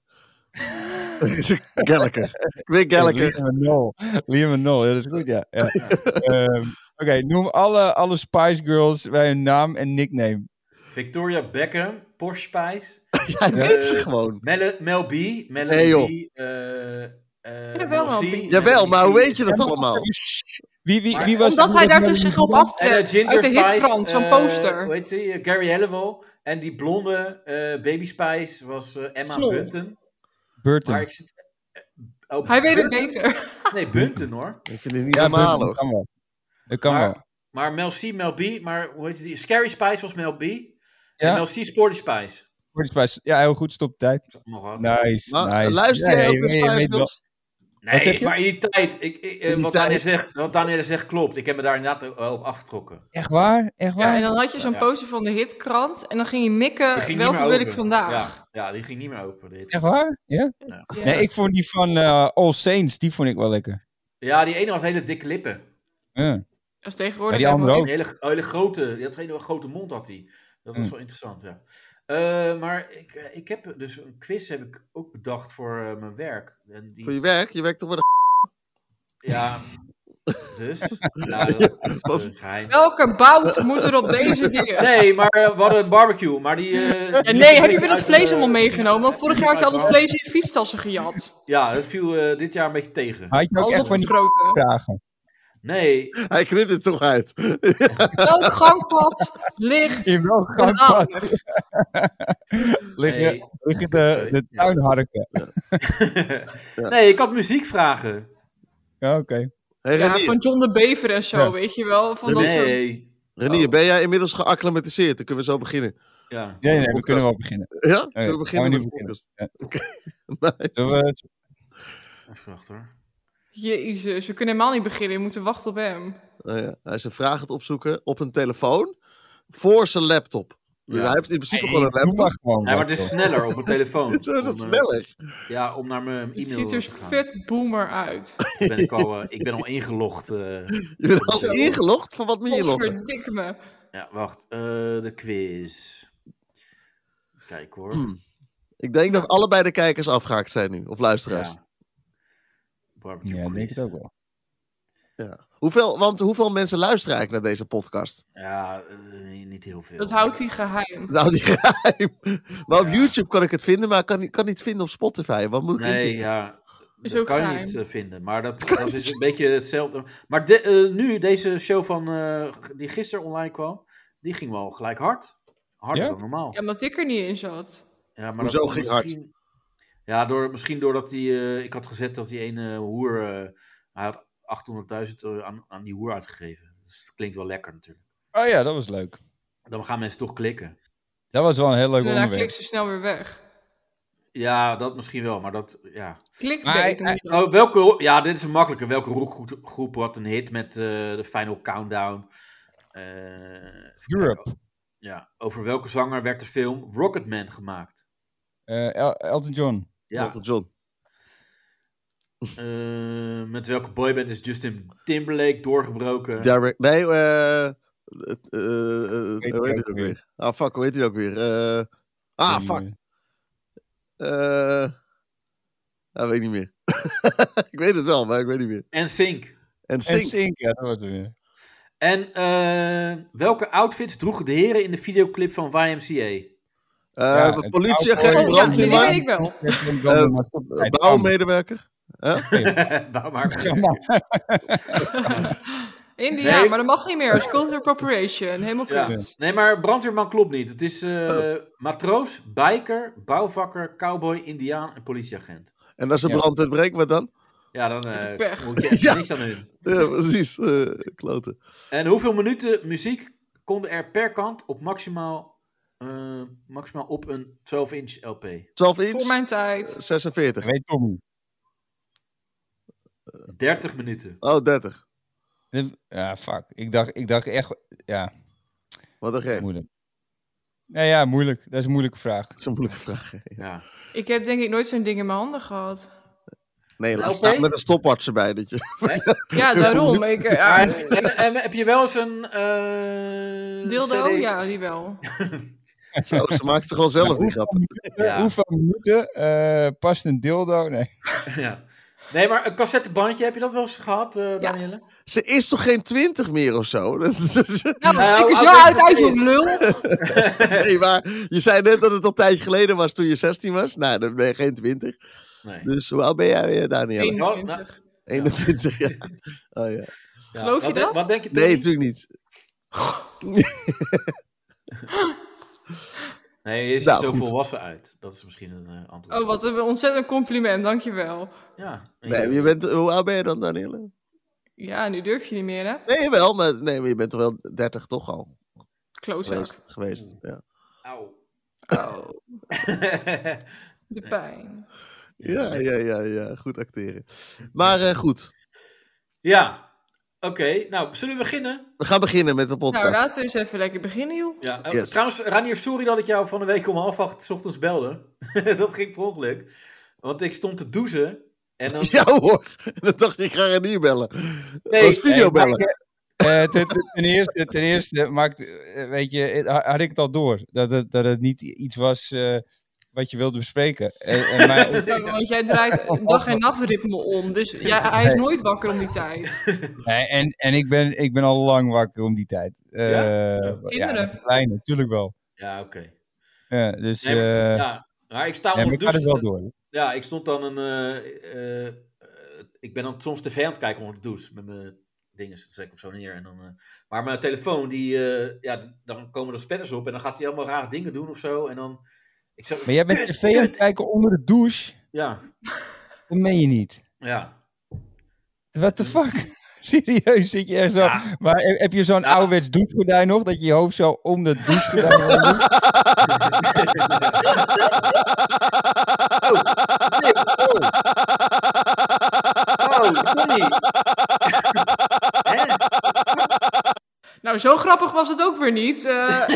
[SPEAKER 5] Gallagher. Kwik, Gallagher.
[SPEAKER 2] Liam en Noel. Liam en Noel, ja, dat is goed, ja.
[SPEAKER 5] (laughs)
[SPEAKER 2] ja. Ehm, Oké, noem alle, alle Spice Girls bij hun naam en nickname.
[SPEAKER 3] Victoria Beckham, Porsche Spice,
[SPEAKER 5] Jij weet ze gewoon.
[SPEAKER 3] Mel, Mel B, Mel
[SPEAKER 5] Nee, joh.
[SPEAKER 3] B, eh, eh,
[SPEAKER 4] Jawel,
[SPEAKER 3] Morsi,
[SPEAKER 4] Appie.
[SPEAKER 5] Jawel,
[SPEAKER 3] en
[SPEAKER 5] maar hoe
[SPEAKER 3] Gigi.
[SPEAKER 5] weet je dat allemaal?
[SPEAKER 2] Wie, wie,
[SPEAKER 3] Maar
[SPEAKER 2] wie was
[SPEAKER 4] Omdat
[SPEAKER 2] wie
[SPEAKER 4] hij
[SPEAKER 2] was
[SPEAKER 4] daar
[SPEAKER 2] die-
[SPEAKER 4] dus zich op
[SPEAKER 3] En eh,
[SPEAKER 4] aftrekt.
[SPEAKER 3] Ginger
[SPEAKER 4] uit de
[SPEAKER 3] Spice,
[SPEAKER 4] hitkrant, zo'n
[SPEAKER 3] eh,
[SPEAKER 4] poster.
[SPEAKER 3] hoe heet ze? Eh, Gary Halliwell. En die blonde eh, Baby Spice was eh, Emma
[SPEAKER 4] Snol.
[SPEAKER 3] Bunten.
[SPEAKER 2] Burton.
[SPEAKER 3] Maar ik zit... eh, oh,
[SPEAKER 4] Hij weet het
[SPEAKER 3] Bunten?
[SPEAKER 4] beter.
[SPEAKER 3] Nee, Bunten hoor.
[SPEAKER 5] Ik vind het niet
[SPEAKER 2] Ja,
[SPEAKER 5] normaal
[SPEAKER 2] Burton,
[SPEAKER 5] hoor.
[SPEAKER 2] kan wel. Dat kan wel.
[SPEAKER 3] maar, maar Mel C, Mel B, maar hoe heet die? Scary Spice was Mel B. En
[SPEAKER 2] Ja.
[SPEAKER 3] Mel C, Sporty Spice.
[SPEAKER 2] Voor die Spice. Ja, heel goed, stop tijd.
[SPEAKER 3] Nog wat.
[SPEAKER 2] Nice,
[SPEAKER 5] Maar, eh,
[SPEAKER 2] nice.
[SPEAKER 5] Luister
[SPEAKER 2] Ja,
[SPEAKER 5] jij
[SPEAKER 2] ja,
[SPEAKER 5] op de
[SPEAKER 2] ja, je
[SPEAKER 5] Spice
[SPEAKER 2] weet wel-
[SPEAKER 5] Girls?
[SPEAKER 3] Nee,
[SPEAKER 2] Wat zeg je?
[SPEAKER 3] maar in die tijd. Ik, ik, eh,
[SPEAKER 5] In die
[SPEAKER 3] wat, Daniel
[SPEAKER 5] tijd.
[SPEAKER 3] zegt, wat Daniel zegt klopt. Ik heb me daar inderdaad ook wel op afgetrokken.
[SPEAKER 2] Echt waar? Echt
[SPEAKER 4] Ja,
[SPEAKER 2] waar?
[SPEAKER 4] en dan had je zo'n
[SPEAKER 3] Ja.
[SPEAKER 4] poster van de hitkrant. En dan ging je
[SPEAKER 3] Die
[SPEAKER 4] mikken.
[SPEAKER 3] ging niet
[SPEAKER 4] Welke
[SPEAKER 3] meer
[SPEAKER 4] wil
[SPEAKER 3] open.
[SPEAKER 4] ik vandaag?
[SPEAKER 3] Ja, ja, die ging niet meer open. Dit.
[SPEAKER 2] Echt waar? Ja?
[SPEAKER 4] Ja.
[SPEAKER 2] Nee, ik vond die van eh, All Saints, die vond ik wel lekker.
[SPEAKER 3] Ja, die ene had hele dikke lippen.
[SPEAKER 2] Ja.
[SPEAKER 4] Als
[SPEAKER 2] Ja,
[SPEAKER 4] tegenwoordig.
[SPEAKER 2] die andere
[SPEAKER 4] helemaal-
[SPEAKER 2] ook.
[SPEAKER 3] Een hele, hele grote, die had een hele grote mond had hij. Dat was
[SPEAKER 2] Mm.
[SPEAKER 3] wel interessant, ja. Eh, maar ik, eh, ik heb dus een quiz heb ik ook bedacht voor eh, mijn werk. En die,
[SPEAKER 5] Voor je werk? Je werkt toch wel
[SPEAKER 3] Ja, dus. Nou, dat is een geheim.
[SPEAKER 4] Welke bout moet er op
[SPEAKER 2] (laughs)
[SPEAKER 4] deze dingen?
[SPEAKER 3] Nee, maar eh, we hadden een barbecue, maar die... eh,
[SPEAKER 4] Ja,
[SPEAKER 3] die
[SPEAKER 4] nee,
[SPEAKER 3] viel
[SPEAKER 4] heb je weer dat
[SPEAKER 3] uit,
[SPEAKER 4] vlees
[SPEAKER 3] eh,
[SPEAKER 4] allemaal meegenomen? Want vorig jaar had je al dat
[SPEAKER 3] uit-
[SPEAKER 4] vlees in je fietstassen
[SPEAKER 2] (laughs)
[SPEAKER 4] gejat.
[SPEAKER 3] Ja, dat viel eh, dit jaar een beetje tegen.
[SPEAKER 2] Had je ook
[SPEAKER 4] Al
[SPEAKER 2] echt van die
[SPEAKER 4] dat
[SPEAKER 2] (laughs)
[SPEAKER 4] grote.
[SPEAKER 2] vragen?
[SPEAKER 3] Nee,
[SPEAKER 5] een- (laughs) Hij knipt het toch uit.
[SPEAKER 4] Welk gangpad ligt
[SPEAKER 2] In welk gangpad
[SPEAKER 4] bananen?
[SPEAKER 2] liggen,
[SPEAKER 3] Nee. (laughs)
[SPEAKER 2] liggen de, de
[SPEAKER 3] Ja.
[SPEAKER 2] tuinharken?
[SPEAKER 3] nee, ik had muziekvragen.
[SPEAKER 2] Ja, Oké.
[SPEAKER 5] Hey,
[SPEAKER 4] Ja,
[SPEAKER 5] Renier,
[SPEAKER 4] van John de Bever en zo,
[SPEAKER 2] Ja.
[SPEAKER 4] weet je wel. Van dat soort...
[SPEAKER 3] Nee.
[SPEAKER 5] Renier,
[SPEAKER 3] Oh.
[SPEAKER 5] ben jij inmiddels geacclimatiseerd? Dan kunnen we zo beginnen.
[SPEAKER 3] Ja.
[SPEAKER 2] Nee, nee, we
[SPEAKER 5] Podcast.
[SPEAKER 2] kunnen wel beginnen.
[SPEAKER 5] Ja? Kunnen we
[SPEAKER 2] gaan
[SPEAKER 5] beginnen
[SPEAKER 2] we
[SPEAKER 5] met
[SPEAKER 2] nu
[SPEAKER 5] de
[SPEAKER 2] beginnen.
[SPEAKER 5] podcast? (laughs) Oké. Nice.
[SPEAKER 2] Zullen we-
[SPEAKER 3] Even wachten hoor.
[SPEAKER 4] Jezus, we kunnen helemaal niet beginnen. We moeten wachten op hem.
[SPEAKER 5] Nou ja, hij is een vraag aan het opzoeken op een telefoon voor zijn laptop. Dus
[SPEAKER 3] Ja.
[SPEAKER 5] Hij heeft in principe
[SPEAKER 2] Hey,
[SPEAKER 5] gewoon een
[SPEAKER 2] doe
[SPEAKER 3] (laughs)
[SPEAKER 5] laptop.
[SPEAKER 2] maar gewoon.
[SPEAKER 3] Nee, maar dus- het is sneller op mijn telefoon.
[SPEAKER 2] (laughs)
[SPEAKER 5] Zo is dat
[SPEAKER 3] Om, eh,
[SPEAKER 5] sneller.
[SPEAKER 3] Ja, om naar mijn
[SPEAKER 4] Het
[SPEAKER 3] e-mail
[SPEAKER 4] ziet er
[SPEAKER 3] te gaan.
[SPEAKER 4] vet boomer uit.
[SPEAKER 3] Ik ben, ik, al, eh, ik ben al ingelogd. eh.
[SPEAKER 5] Je bent al
[SPEAKER 3] Zo.
[SPEAKER 5] ingelogd voor wat moet je inloggen?
[SPEAKER 4] Verdikke me.
[SPEAKER 3] Ja, wacht. eh, de quiz. Kijk hoor.
[SPEAKER 2] Hmm,
[SPEAKER 5] Ik denk dat allebei de kijkers afgehaakt zijn nu. Of luisteraars.
[SPEAKER 3] Ja. Barbecue
[SPEAKER 2] Ja, ik denk
[SPEAKER 3] quiz.
[SPEAKER 2] het ook wel.
[SPEAKER 5] Hoeveel, want hoeveel mensen luisteren eigenlijk naar deze podcast?
[SPEAKER 3] Ja, eh, niet heel veel.
[SPEAKER 4] Dat houdt hij geheim.
[SPEAKER 5] Nou, die (laughs) geheim. Maar op
[SPEAKER 3] Ja.
[SPEAKER 5] YouTube kan ik het vinden, maar ik kan, niet- kan niet vinden op Spotify. Wat moet ik
[SPEAKER 3] Nee,
[SPEAKER 5] intikken?
[SPEAKER 3] ja.
[SPEAKER 4] Is
[SPEAKER 3] dat
[SPEAKER 4] ook
[SPEAKER 3] kan je
[SPEAKER 4] geheim.
[SPEAKER 3] niet eh, vinden. Maar dat, dat is een beetje hetzelfde. Maar de, eh, nu, deze show van, eh, die gisteren online kwam, die ging wel gelijk hard. Harder
[SPEAKER 2] Ja?
[SPEAKER 3] dan normaal.
[SPEAKER 4] Ja, omdat ik er niet in zat.
[SPEAKER 3] Ja, maar
[SPEAKER 5] Hoezo
[SPEAKER 3] dat
[SPEAKER 5] ging
[SPEAKER 3] misschien- Ja, door, misschien doordat die, eh, ik had gezet dat die ene hoer, eh, hij had 800.000 euro aan, aan die hoer uitgegeven. Dus dat klinkt wel lekker natuurlijk.
[SPEAKER 2] Oh ja, dat was leuk.
[SPEAKER 3] Dan gaan mensen toch klikken.
[SPEAKER 2] Dat was wel een heel leuk
[SPEAKER 4] En daarna klik
[SPEAKER 2] onderwerp.
[SPEAKER 4] ze snel weer weg.
[SPEAKER 3] Ja, dat misschien wel, maar dat, ja.
[SPEAKER 2] Maar hij-
[SPEAKER 4] Klikbait. noem je dat.
[SPEAKER 3] Oh, welke, ja, dit is een makkelijke. Welke roepgroep groep had een hit met eh, de Final Countdown? Eh, even
[SPEAKER 2] Europe.
[SPEAKER 3] kijken. Ja, over welke zanger werd de film Rocketman gemaakt?
[SPEAKER 2] Eh, El- Elton John.
[SPEAKER 3] Ja,
[SPEAKER 5] Elton John.
[SPEAKER 3] eh, met welke boyband is Justin Timberlake doorgebroken?
[SPEAKER 5] Direct. Nee, eh. eh, eh,
[SPEAKER 2] Weet
[SPEAKER 5] hoe
[SPEAKER 2] hij
[SPEAKER 5] heet het
[SPEAKER 2] ook
[SPEAKER 5] ook
[SPEAKER 2] weer?
[SPEAKER 5] weer? Ah, fuck, hoe heet hij ook weer? Eh, ah,
[SPEAKER 2] Die,
[SPEAKER 5] fuck.
[SPEAKER 2] eh,
[SPEAKER 5] Eh dat weet ik niet meer. (laughs) ik weet het wel, maar ik weet niet meer.
[SPEAKER 3] En Sink.
[SPEAKER 5] En
[SPEAKER 2] En
[SPEAKER 5] Sing.
[SPEAKER 2] Sink, ja, dat was het weer.
[SPEAKER 3] En eh, welke outfits droegen de heren in de videoclip van YMCA?
[SPEAKER 5] Eh,
[SPEAKER 2] Ja,
[SPEAKER 5] een
[SPEAKER 2] het
[SPEAKER 5] politieagent,
[SPEAKER 2] oude-
[SPEAKER 4] Oh, ja, die
[SPEAKER 5] brandweerman,
[SPEAKER 4] weet ik wel.
[SPEAKER 5] eh, bouwmedewerker.
[SPEAKER 3] (laughs) nou, maar...
[SPEAKER 4] (laughs) India,
[SPEAKER 3] Nee.
[SPEAKER 4] maar dat mag niet meer. It's Cultural appropriation. Helemaal
[SPEAKER 3] Ja.
[SPEAKER 4] kut.
[SPEAKER 3] Nee, maar brandweerman klopt niet. Het is eh, matroos, biker, bouwvakker, cowboy, indiaan en politieagent.
[SPEAKER 5] En als er
[SPEAKER 2] Ja.
[SPEAKER 5] brand uitbreekt, wat dan? (laughs)
[SPEAKER 3] Ja, dan eh,
[SPEAKER 4] Pech.
[SPEAKER 3] moet je echt
[SPEAKER 5] Ja.
[SPEAKER 3] niks aan doen.
[SPEAKER 5] Ja, precies. eh kloten.
[SPEAKER 3] En hoeveel minuten muziek konden er per kant op maximaal, eh, maximaal op een 12-inch LP?
[SPEAKER 5] 12 inch,
[SPEAKER 4] Voor mijn tijd.
[SPEAKER 5] 46.
[SPEAKER 2] Weet Tommy.
[SPEAKER 3] 30 minuten.
[SPEAKER 5] Oh, 30.
[SPEAKER 2] Dit- Ja, fuck. Ik dacht, ik dacht echt, ja,
[SPEAKER 5] Wat een gek. Dat
[SPEAKER 2] moeilijk. Nou ja, moeilijk. Dat is een moeilijke vraag.
[SPEAKER 5] is een moeilijke vraag. hè.
[SPEAKER 3] Ja.
[SPEAKER 4] Ik heb denk ik nooit zo'n ding in mijn handen gehad.
[SPEAKER 5] Nee, laat
[SPEAKER 3] Oké.
[SPEAKER 5] staan met een stopwatch erbij.
[SPEAKER 2] (laughs)
[SPEAKER 5] Dat je...
[SPEAKER 4] Ja, daarom. Ik, ja,
[SPEAKER 3] Maar, eh, en, en heb je wel eens een... eh,
[SPEAKER 4] dildo?
[SPEAKER 3] CD?
[SPEAKER 4] Ja, die wel.
[SPEAKER 5] Zo, ze maakt ze gewoon zelf die grap.
[SPEAKER 3] Ja.
[SPEAKER 2] Hoeveel minuten eh, past een dildo? Nee.
[SPEAKER 3] Ja. Nee, maar een cassettebandje, heb je dat wel eens gehad, eh Danielle?
[SPEAKER 5] Ze is toch geen 20 meer of zo? (laughs) Dat is-
[SPEAKER 4] Ja, maar
[SPEAKER 3] Nou,
[SPEAKER 4] stik
[SPEAKER 3] als
[SPEAKER 4] er zo
[SPEAKER 3] ik
[SPEAKER 4] uit
[SPEAKER 3] het
[SPEAKER 4] uit,
[SPEAKER 3] is.
[SPEAKER 4] je lul.
[SPEAKER 5] (laughs) nee, maar je zei net dat het al een tijdje geleden was toen je 16 was. Nou, dan ben je geen 20.
[SPEAKER 3] Nee.
[SPEAKER 5] Dus hoe oud ben jij, eh, Danielle?
[SPEAKER 4] 21.
[SPEAKER 5] 21 jaar. Oh, ja.
[SPEAKER 3] Ja,
[SPEAKER 4] Geloof je
[SPEAKER 3] wat denk-
[SPEAKER 4] dat?
[SPEAKER 3] Wat denk je? Tony?
[SPEAKER 5] Nee, natuurlijk niet.
[SPEAKER 3] Nee, je ziet
[SPEAKER 5] Nou,
[SPEAKER 3] zo
[SPEAKER 5] goed.
[SPEAKER 3] volwassen uit. Dat is misschien een eh, antwoord.
[SPEAKER 4] Oh, wat een ontzettend compliment, dankjewel.
[SPEAKER 3] Ja.
[SPEAKER 5] Nee, maar je bent, hoe oud ben je dan, Danielle?
[SPEAKER 4] Ja, nu durf je niet meer, hè?
[SPEAKER 5] Nee, wel, maar, nee, maar je bent toch wel 30 toch al
[SPEAKER 4] Klootzak.
[SPEAKER 5] geweest. geweest ja.
[SPEAKER 3] Auw.
[SPEAKER 4] Oh, de pijn.
[SPEAKER 5] Ja, ja, ja, ja, goed acteren. Maar eh, goed,
[SPEAKER 3] (laughs) ja. Oké, nou, zullen we beginnen?
[SPEAKER 5] we gaan beginnen met de
[SPEAKER 4] Nou,
[SPEAKER 5] podcast.
[SPEAKER 4] laten we eens even lekker beginnen, joh.
[SPEAKER 3] Ja. eh,
[SPEAKER 5] Yes.
[SPEAKER 3] Trouwens, Ranier, sorry dat ik jou van de week om half acht 's ochtends belde. (laughs) dat ging per ongeluk. Want ik stond te douchen. En dan...
[SPEAKER 5] (laughs) (laughs) Ja hoor, dan dacht je, ik ga Renier bellen.
[SPEAKER 3] Nee,
[SPEAKER 5] Nee, studio
[SPEAKER 2] nee,
[SPEAKER 5] bellen.
[SPEAKER 2] Eh, ten, ten- ten eerste, ten eerste maakt, eh, weet je, eh, ha- had ik het al door. Dat het, dat het niet i- iets was eh, wat je wilde bespreken. Eh, eh, maar,
[SPEAKER 4] Ja, Want jij draait dag- en nachtritme om, dus jij, hij is nooit wakker om die tijd.
[SPEAKER 2] Nee, en en ik, ben, ik ben al lang wakker om die tijd. Eh,
[SPEAKER 3] Ja?
[SPEAKER 2] ja,
[SPEAKER 4] Kinderen.
[SPEAKER 2] met de kleine, natuurlijk wel.
[SPEAKER 3] Ja, oké.
[SPEAKER 2] Ja, dus,
[SPEAKER 3] Nee, maar-
[SPEAKER 2] eh,
[SPEAKER 3] ja. Maar ik sta
[SPEAKER 2] nee, maar
[SPEAKER 3] onder
[SPEAKER 2] ik
[SPEAKER 3] de
[SPEAKER 2] had het
[SPEAKER 3] douche.
[SPEAKER 2] wel door.
[SPEAKER 3] Ja, ik stond dan een. eh, eh, eh, ik ben dan soms tv aan het kijken onder de douche. Met mijn dingen zet ik op zo neer. En dan, eh, maar mijn telefoon, die, eh, ja, d- dan komen er spetters op. En dan gaat hij allemaal rare dingen doen of zo. En dan. Ik zeg,
[SPEAKER 2] Maar jij bent (laughs) tv aan het kijken onder de douche?
[SPEAKER 3] ja,
[SPEAKER 2] Dat meen je niet.
[SPEAKER 3] ja.
[SPEAKER 2] What the fuck? (laughs) Serieus, zit je er zo...
[SPEAKER 3] Ja.
[SPEAKER 2] Maar heb heb je zo'n
[SPEAKER 3] Ja.
[SPEAKER 2] ouderwets douchegordijn nog? Dat je je hoofd zo om de douchegordijn... heen doet?
[SPEAKER 3] (laughs) Nee, oh. Oh, Tony. Hè?
[SPEAKER 4] Nou, zo grappig was het ook weer niet. eh,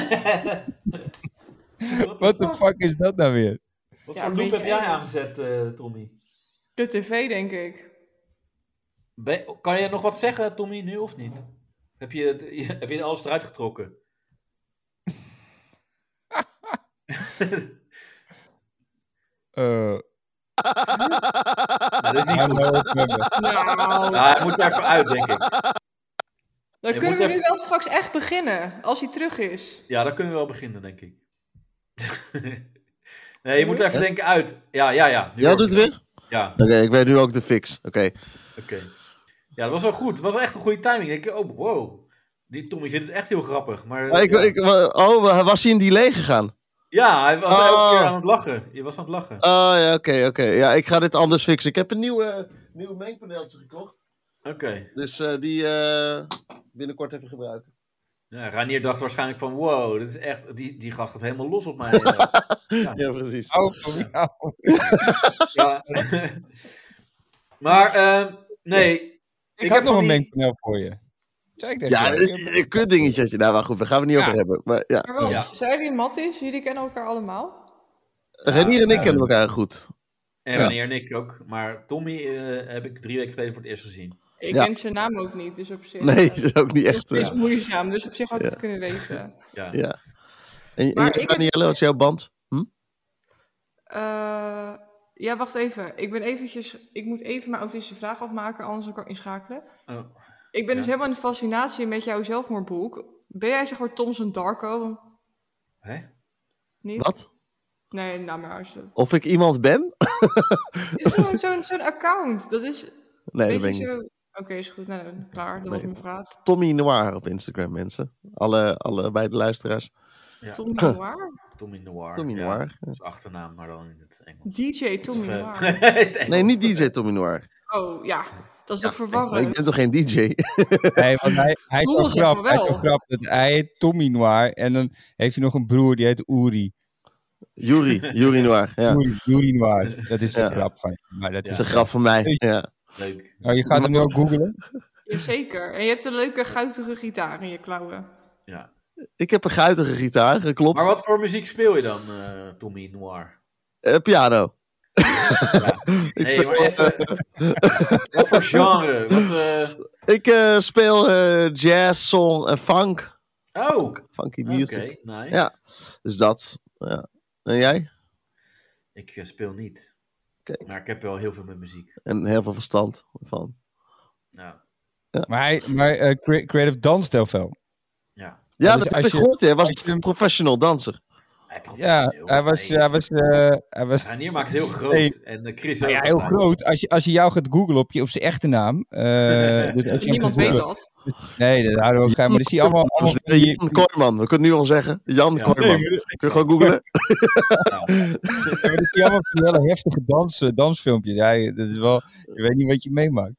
[SPEAKER 2] What the fuck is dat nou weer?
[SPEAKER 3] Wat
[SPEAKER 4] Ja,
[SPEAKER 3] voor
[SPEAKER 4] ben
[SPEAKER 3] loop
[SPEAKER 4] je
[SPEAKER 3] heb jij
[SPEAKER 4] echt?
[SPEAKER 3] aangezet, eh, Tommy?
[SPEAKER 4] (laughs) de tv, denk ik.
[SPEAKER 3] Ben- kan je nog wat zeggen, Tommy, nu of niet? Heb je, het- (laughs) heb je alles eruit getrokken?
[SPEAKER 2] Eh,
[SPEAKER 3] Nou, dat is niet
[SPEAKER 2] hou
[SPEAKER 3] goed.
[SPEAKER 2] nou op met me.
[SPEAKER 4] Nou,
[SPEAKER 3] Nou, hij moet er even uit, denk ik.
[SPEAKER 4] dan
[SPEAKER 3] je
[SPEAKER 4] kunnen
[SPEAKER 3] moet
[SPEAKER 4] we nu
[SPEAKER 3] even-
[SPEAKER 4] wel straks echt beginnen, als hij terug is.
[SPEAKER 3] Ja, dan kunnen we wel beginnen, denk ik. (laughs) nee, je moet er even
[SPEAKER 5] Yes.
[SPEAKER 3] denken uit. Ja, ja, ja. Nu
[SPEAKER 5] Jij
[SPEAKER 3] hoor
[SPEAKER 5] doet
[SPEAKER 3] ik
[SPEAKER 5] het weer?
[SPEAKER 3] Ja,
[SPEAKER 5] Oké, ik weet nu ook de fix. Oké,
[SPEAKER 3] oké. Ja, dat was wel goed. Dat was echt een goede timing. Ik denk, oh, wow. Die Tommy vindt het echt heel grappig. Maar,
[SPEAKER 5] Ah, ik,
[SPEAKER 3] ja.
[SPEAKER 5] ik, oh, wa- was hij in delay gegaan?
[SPEAKER 3] Ja, hij was
[SPEAKER 5] Oh.
[SPEAKER 3] elke keer aan het lachen. Je was aan het lachen.
[SPEAKER 5] Oh ja, oké, oké. Ja, ik ga dit anders fixen. Ik heb een nieuw, eh, nieuw mengpaneeltje gekocht.
[SPEAKER 3] Oké.
[SPEAKER 5] Dus eh, die eh, binnenkort even gebruiken.
[SPEAKER 3] Ja, Ranier dacht waarschijnlijk van, wow, dit is echt, die, die gast gaat helemaal los op mij.
[SPEAKER 5] Ja, precies.
[SPEAKER 2] Hou van Oh, jou.
[SPEAKER 3] ja. maar, ehm, nee.
[SPEAKER 2] Ik, heb nog
[SPEAKER 3] van
[SPEAKER 2] een
[SPEAKER 3] die-
[SPEAKER 2] mengpaneel voor je. Zei ik dat
[SPEAKER 5] Ja,
[SPEAKER 2] zo?
[SPEAKER 5] een een kutdingetje had je. Nou, maar goed, daar gaan we het niet
[SPEAKER 3] Ja.
[SPEAKER 5] over hebben. Maar ja,
[SPEAKER 4] Maar wel,
[SPEAKER 3] Ja.
[SPEAKER 4] Zij en Mattis, jullie kennen elkaar allemaal.
[SPEAKER 5] Renier en ik
[SPEAKER 3] ja.
[SPEAKER 5] kennen elkaar goed.
[SPEAKER 3] En
[SPEAKER 5] Ja.
[SPEAKER 3] wanneer en ik ook. Maar Tommy eh, heb ik drie weken geleden voor het eerst gezien.
[SPEAKER 4] Ik
[SPEAKER 5] Ja.
[SPEAKER 4] ken zijn naam ook niet, dus op zich... (laughs)
[SPEAKER 5] Nee,
[SPEAKER 4] eh,
[SPEAKER 5] dat is ook niet echt...
[SPEAKER 4] Het is
[SPEAKER 5] eh,
[SPEAKER 4] moeizaam, dus op zich had ik
[SPEAKER 5] Ja.
[SPEAKER 4] het kunnen weten.
[SPEAKER 3] Ja.
[SPEAKER 5] ja. En, en
[SPEAKER 4] Maar
[SPEAKER 5] jij,
[SPEAKER 4] ik-
[SPEAKER 5] Danielle, wat is jouw band? Hm?
[SPEAKER 4] Eh, ja, wacht even. Ik, ben eventjes, ik moet even mijn autistische vraag afmaken, anders kan ik inschakelen.
[SPEAKER 3] Oh.
[SPEAKER 4] Ik ben dus
[SPEAKER 3] Ja.
[SPEAKER 4] helemaal in de fascinatie met jouw zelfmoordboek. Ben jij zeg maar Thompson Darko?
[SPEAKER 3] Hè?
[SPEAKER 4] Niet?
[SPEAKER 5] Wat?
[SPEAKER 4] Nee, nou maar als je...
[SPEAKER 5] Of ik iemand ben? (laughs)
[SPEAKER 4] Is Zo'n zo'n zo'n account, dat is...
[SPEAKER 5] Nee, dat
[SPEAKER 4] weet
[SPEAKER 5] ben ik
[SPEAKER 4] je
[SPEAKER 5] niet.
[SPEAKER 4] zo- Oké, is goed. Nou, dan- klaar. Dat was
[SPEAKER 5] Nee.
[SPEAKER 4] mijn vraag.
[SPEAKER 5] Tommy Noir op Instagram, mensen. Alle, alle beide luisteraars.
[SPEAKER 3] Ja.
[SPEAKER 4] Tommy Noir? (laughs)
[SPEAKER 3] Tommy Noir.
[SPEAKER 5] Tommy
[SPEAKER 3] ja.
[SPEAKER 5] Noir.
[SPEAKER 3] Dat is achternaam, maar dan in het Engels.
[SPEAKER 4] DJ Tommy
[SPEAKER 3] Of, eh,
[SPEAKER 4] Noir.
[SPEAKER 3] (laughs) het Engels.
[SPEAKER 5] Nee, niet DJ Tommy Noir.
[SPEAKER 4] Oh, ja. Dat is toch
[SPEAKER 5] Maar ik
[SPEAKER 4] verwarrend?
[SPEAKER 5] ben toch geen DJ?
[SPEAKER 2] Nee, want hij, hij is
[SPEAKER 4] Doel
[SPEAKER 2] wel
[SPEAKER 4] is het
[SPEAKER 2] grap. Hij is
[SPEAKER 4] wel.
[SPEAKER 2] wel grap. Dat hij heet Tommy Noir. En dan heeft hij nog een broer die heet Uri.
[SPEAKER 5] Jury, (laughs) Jury Noir. Ja. Dat
[SPEAKER 2] Uri, Uri Noir. Dat is de
[SPEAKER 5] Ja.
[SPEAKER 2] grap van. Maar dat
[SPEAKER 5] is
[SPEAKER 2] is
[SPEAKER 5] een grap van mij. Ja.
[SPEAKER 3] Leuk.
[SPEAKER 2] Oh, je gaat hem nu ook googlen?
[SPEAKER 4] Jazeker. En je hebt een leuke guitige gitaar in je klauwen.
[SPEAKER 3] Ja.
[SPEAKER 5] Ik heb een guitige gitaar, dat klopt.
[SPEAKER 3] Maar wat voor muziek speel je dan, eh, Tommy Noir?
[SPEAKER 5] Eh, piano.
[SPEAKER 2] (laughs)
[SPEAKER 3] Nee, maar even... wat voor genre? Wat, eh,
[SPEAKER 5] Ik eh, speel eh, jazz, soul en funk.
[SPEAKER 3] Oh, oké.
[SPEAKER 5] Funky music.
[SPEAKER 3] nice.
[SPEAKER 5] Ja. Dus dat. Ja. En jij?
[SPEAKER 3] Ik eh, speel niet.
[SPEAKER 5] Kijk.
[SPEAKER 3] Maar ik heb wel heel veel met muziek.
[SPEAKER 5] En heel veel verstand van.
[SPEAKER 3] Ja.
[SPEAKER 2] Maar, hij, maar eh, cre- Creative danst heel veel.
[SPEAKER 3] ja.
[SPEAKER 5] Ja,
[SPEAKER 2] dus
[SPEAKER 5] dat heb
[SPEAKER 2] als
[SPEAKER 5] ik
[SPEAKER 2] je-
[SPEAKER 5] gehoord. Hij was
[SPEAKER 2] als je- Oh,
[SPEAKER 5] een professional danser.
[SPEAKER 3] Hij
[SPEAKER 2] Ja,
[SPEAKER 3] professioneel.
[SPEAKER 2] hij was...
[SPEAKER 3] Nee.
[SPEAKER 2] Hij was, eh, hij was
[SPEAKER 3] Zijn neermaak is heel groot.
[SPEAKER 2] Nee.
[SPEAKER 3] En eh, Chris
[SPEAKER 2] Nou
[SPEAKER 3] ook
[SPEAKER 2] ja, heel
[SPEAKER 3] altijd.
[SPEAKER 2] groot. Als je, als je jou gaat googlen op, je, op zijn echte naam.
[SPEAKER 3] (laughs)
[SPEAKER 2] eh, dus als je hem
[SPEAKER 4] Niemand
[SPEAKER 2] gaat
[SPEAKER 4] weet
[SPEAKER 2] googlen-
[SPEAKER 4] dat.
[SPEAKER 2] Nee, dat houden we ook geheim. Maar dan zie (laughs) je allemaal... allemaal van die-
[SPEAKER 5] Jan Kooijman, we kunnen het nu al zeggen. Jan
[SPEAKER 3] Ja.
[SPEAKER 5] Kooijman. Kun je gewoon googlen?
[SPEAKER 2] Ja, maar dat zie je allemaal van die hele heftige dans, eh, dansfilmpjes. Ja, je- dat is wel, je weet niet wat je meemaakt.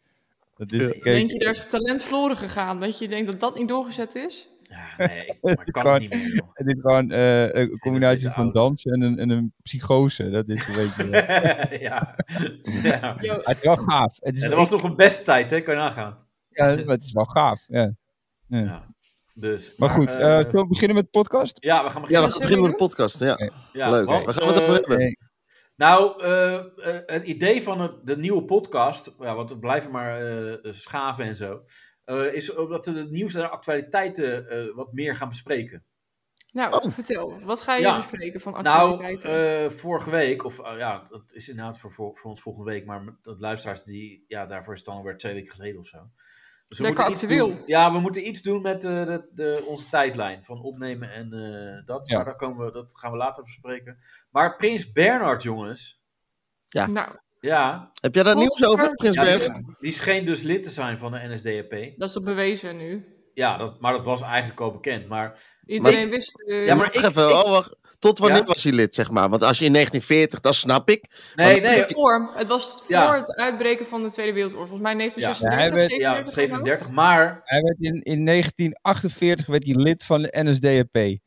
[SPEAKER 2] Dat is,
[SPEAKER 5] Ja.
[SPEAKER 2] kijk,
[SPEAKER 4] Denk je, daar is talent verloren gegaan. Dat je denkt dat dat niet doorgezet is?
[SPEAKER 3] Ja, nee, ik
[SPEAKER 2] (laughs)
[SPEAKER 3] maar ik kan het niet meer. joh.
[SPEAKER 2] dit is gewoon eh, een combinatie
[SPEAKER 3] Dit is
[SPEAKER 2] van
[SPEAKER 3] oud.
[SPEAKER 2] dans en een, en een psychose. Dat is een
[SPEAKER 3] (laughs)
[SPEAKER 2] beetje... eh, (laughs)
[SPEAKER 3] ja. ja.
[SPEAKER 5] Oh.
[SPEAKER 4] Yo,
[SPEAKER 2] maar het is wel gaaf. Het is,
[SPEAKER 3] En
[SPEAKER 2] wel,
[SPEAKER 3] dat was nog een beste tijd, hè? Kan je nagaan.
[SPEAKER 2] ja, maar het is wel gaaf, ja.
[SPEAKER 3] Dus,
[SPEAKER 2] Maar goed, eh
[SPEAKER 3] eh,
[SPEAKER 2] zullen we beginnen met de podcast?
[SPEAKER 3] ja, we gaan
[SPEAKER 5] Ja, we
[SPEAKER 3] beginnen.
[SPEAKER 5] gaan beginnen met de podcast. Ja,
[SPEAKER 3] Ja,
[SPEAKER 5] leuk.
[SPEAKER 3] want,
[SPEAKER 5] Waar gaan we het
[SPEAKER 3] eh,
[SPEAKER 5] over hebben?
[SPEAKER 2] Nee.
[SPEAKER 3] Nou, eh, eh, het idee van het, de nieuwe podcast, ja, want we blijven maar eh, schaven en zo, eh, is omdat we het nieuws en de actualiteiten eh, wat meer gaan bespreken.
[SPEAKER 4] Nou,
[SPEAKER 5] Oh.
[SPEAKER 4] vertel. Wat ga je
[SPEAKER 3] Ja.
[SPEAKER 4] bespreken van
[SPEAKER 3] Nou,
[SPEAKER 4] actualiteiten?
[SPEAKER 3] eh, vorige week, of eh, ja, dat is inderdaad voor, voor, voor ons volgende week, maar met dat luisteraars die, ja, daarvoor is het dan alweer twee weken geleden of zo. Dus
[SPEAKER 4] Lekker
[SPEAKER 3] moeten iets
[SPEAKER 4] actueel.
[SPEAKER 3] doen- Ja, we moeten iets doen met eh, de, de, onze tijdlijn van opnemen en eh, dat.
[SPEAKER 2] Ja.
[SPEAKER 3] Maar daar komen we, dat gaan we later bespreken. Maar Prins Bernard, jongens.
[SPEAKER 5] ja.
[SPEAKER 4] Nou,
[SPEAKER 3] Ja,
[SPEAKER 5] Heb jij daar
[SPEAKER 4] Pot-
[SPEAKER 5] nieuws over, Prins
[SPEAKER 3] ja die,
[SPEAKER 5] Bernhard?
[SPEAKER 3] sch- die scheen dus lid te zijn van de NSDAP.
[SPEAKER 4] dat is al bewezen nu.
[SPEAKER 3] Ja, dat, maar dat was eigenlijk al bekend. Maar
[SPEAKER 4] Iedereen wist... eh,
[SPEAKER 3] Ja, maar
[SPEAKER 5] Wacht
[SPEAKER 3] ik-
[SPEAKER 5] even,
[SPEAKER 3] ik-
[SPEAKER 5] oh, wacht. Tot wanneer
[SPEAKER 3] Ja?
[SPEAKER 5] was hij lid, zeg maar? Want als je in 1940, dat snap ik.
[SPEAKER 3] nee,
[SPEAKER 5] Maar-
[SPEAKER 3] nee.
[SPEAKER 4] de vorm. Het was voor
[SPEAKER 3] Ja.
[SPEAKER 4] het uitbreken van de Tweede Wereldoorlog. Volgens mij
[SPEAKER 2] Ja, hij
[SPEAKER 4] 1936,
[SPEAKER 2] werd-
[SPEAKER 3] Ja,
[SPEAKER 4] 37.
[SPEAKER 3] 37. Maar (clears throat)
[SPEAKER 2] Hij werd in, in 1948 werd hij lid van de (laughs) NSDAP.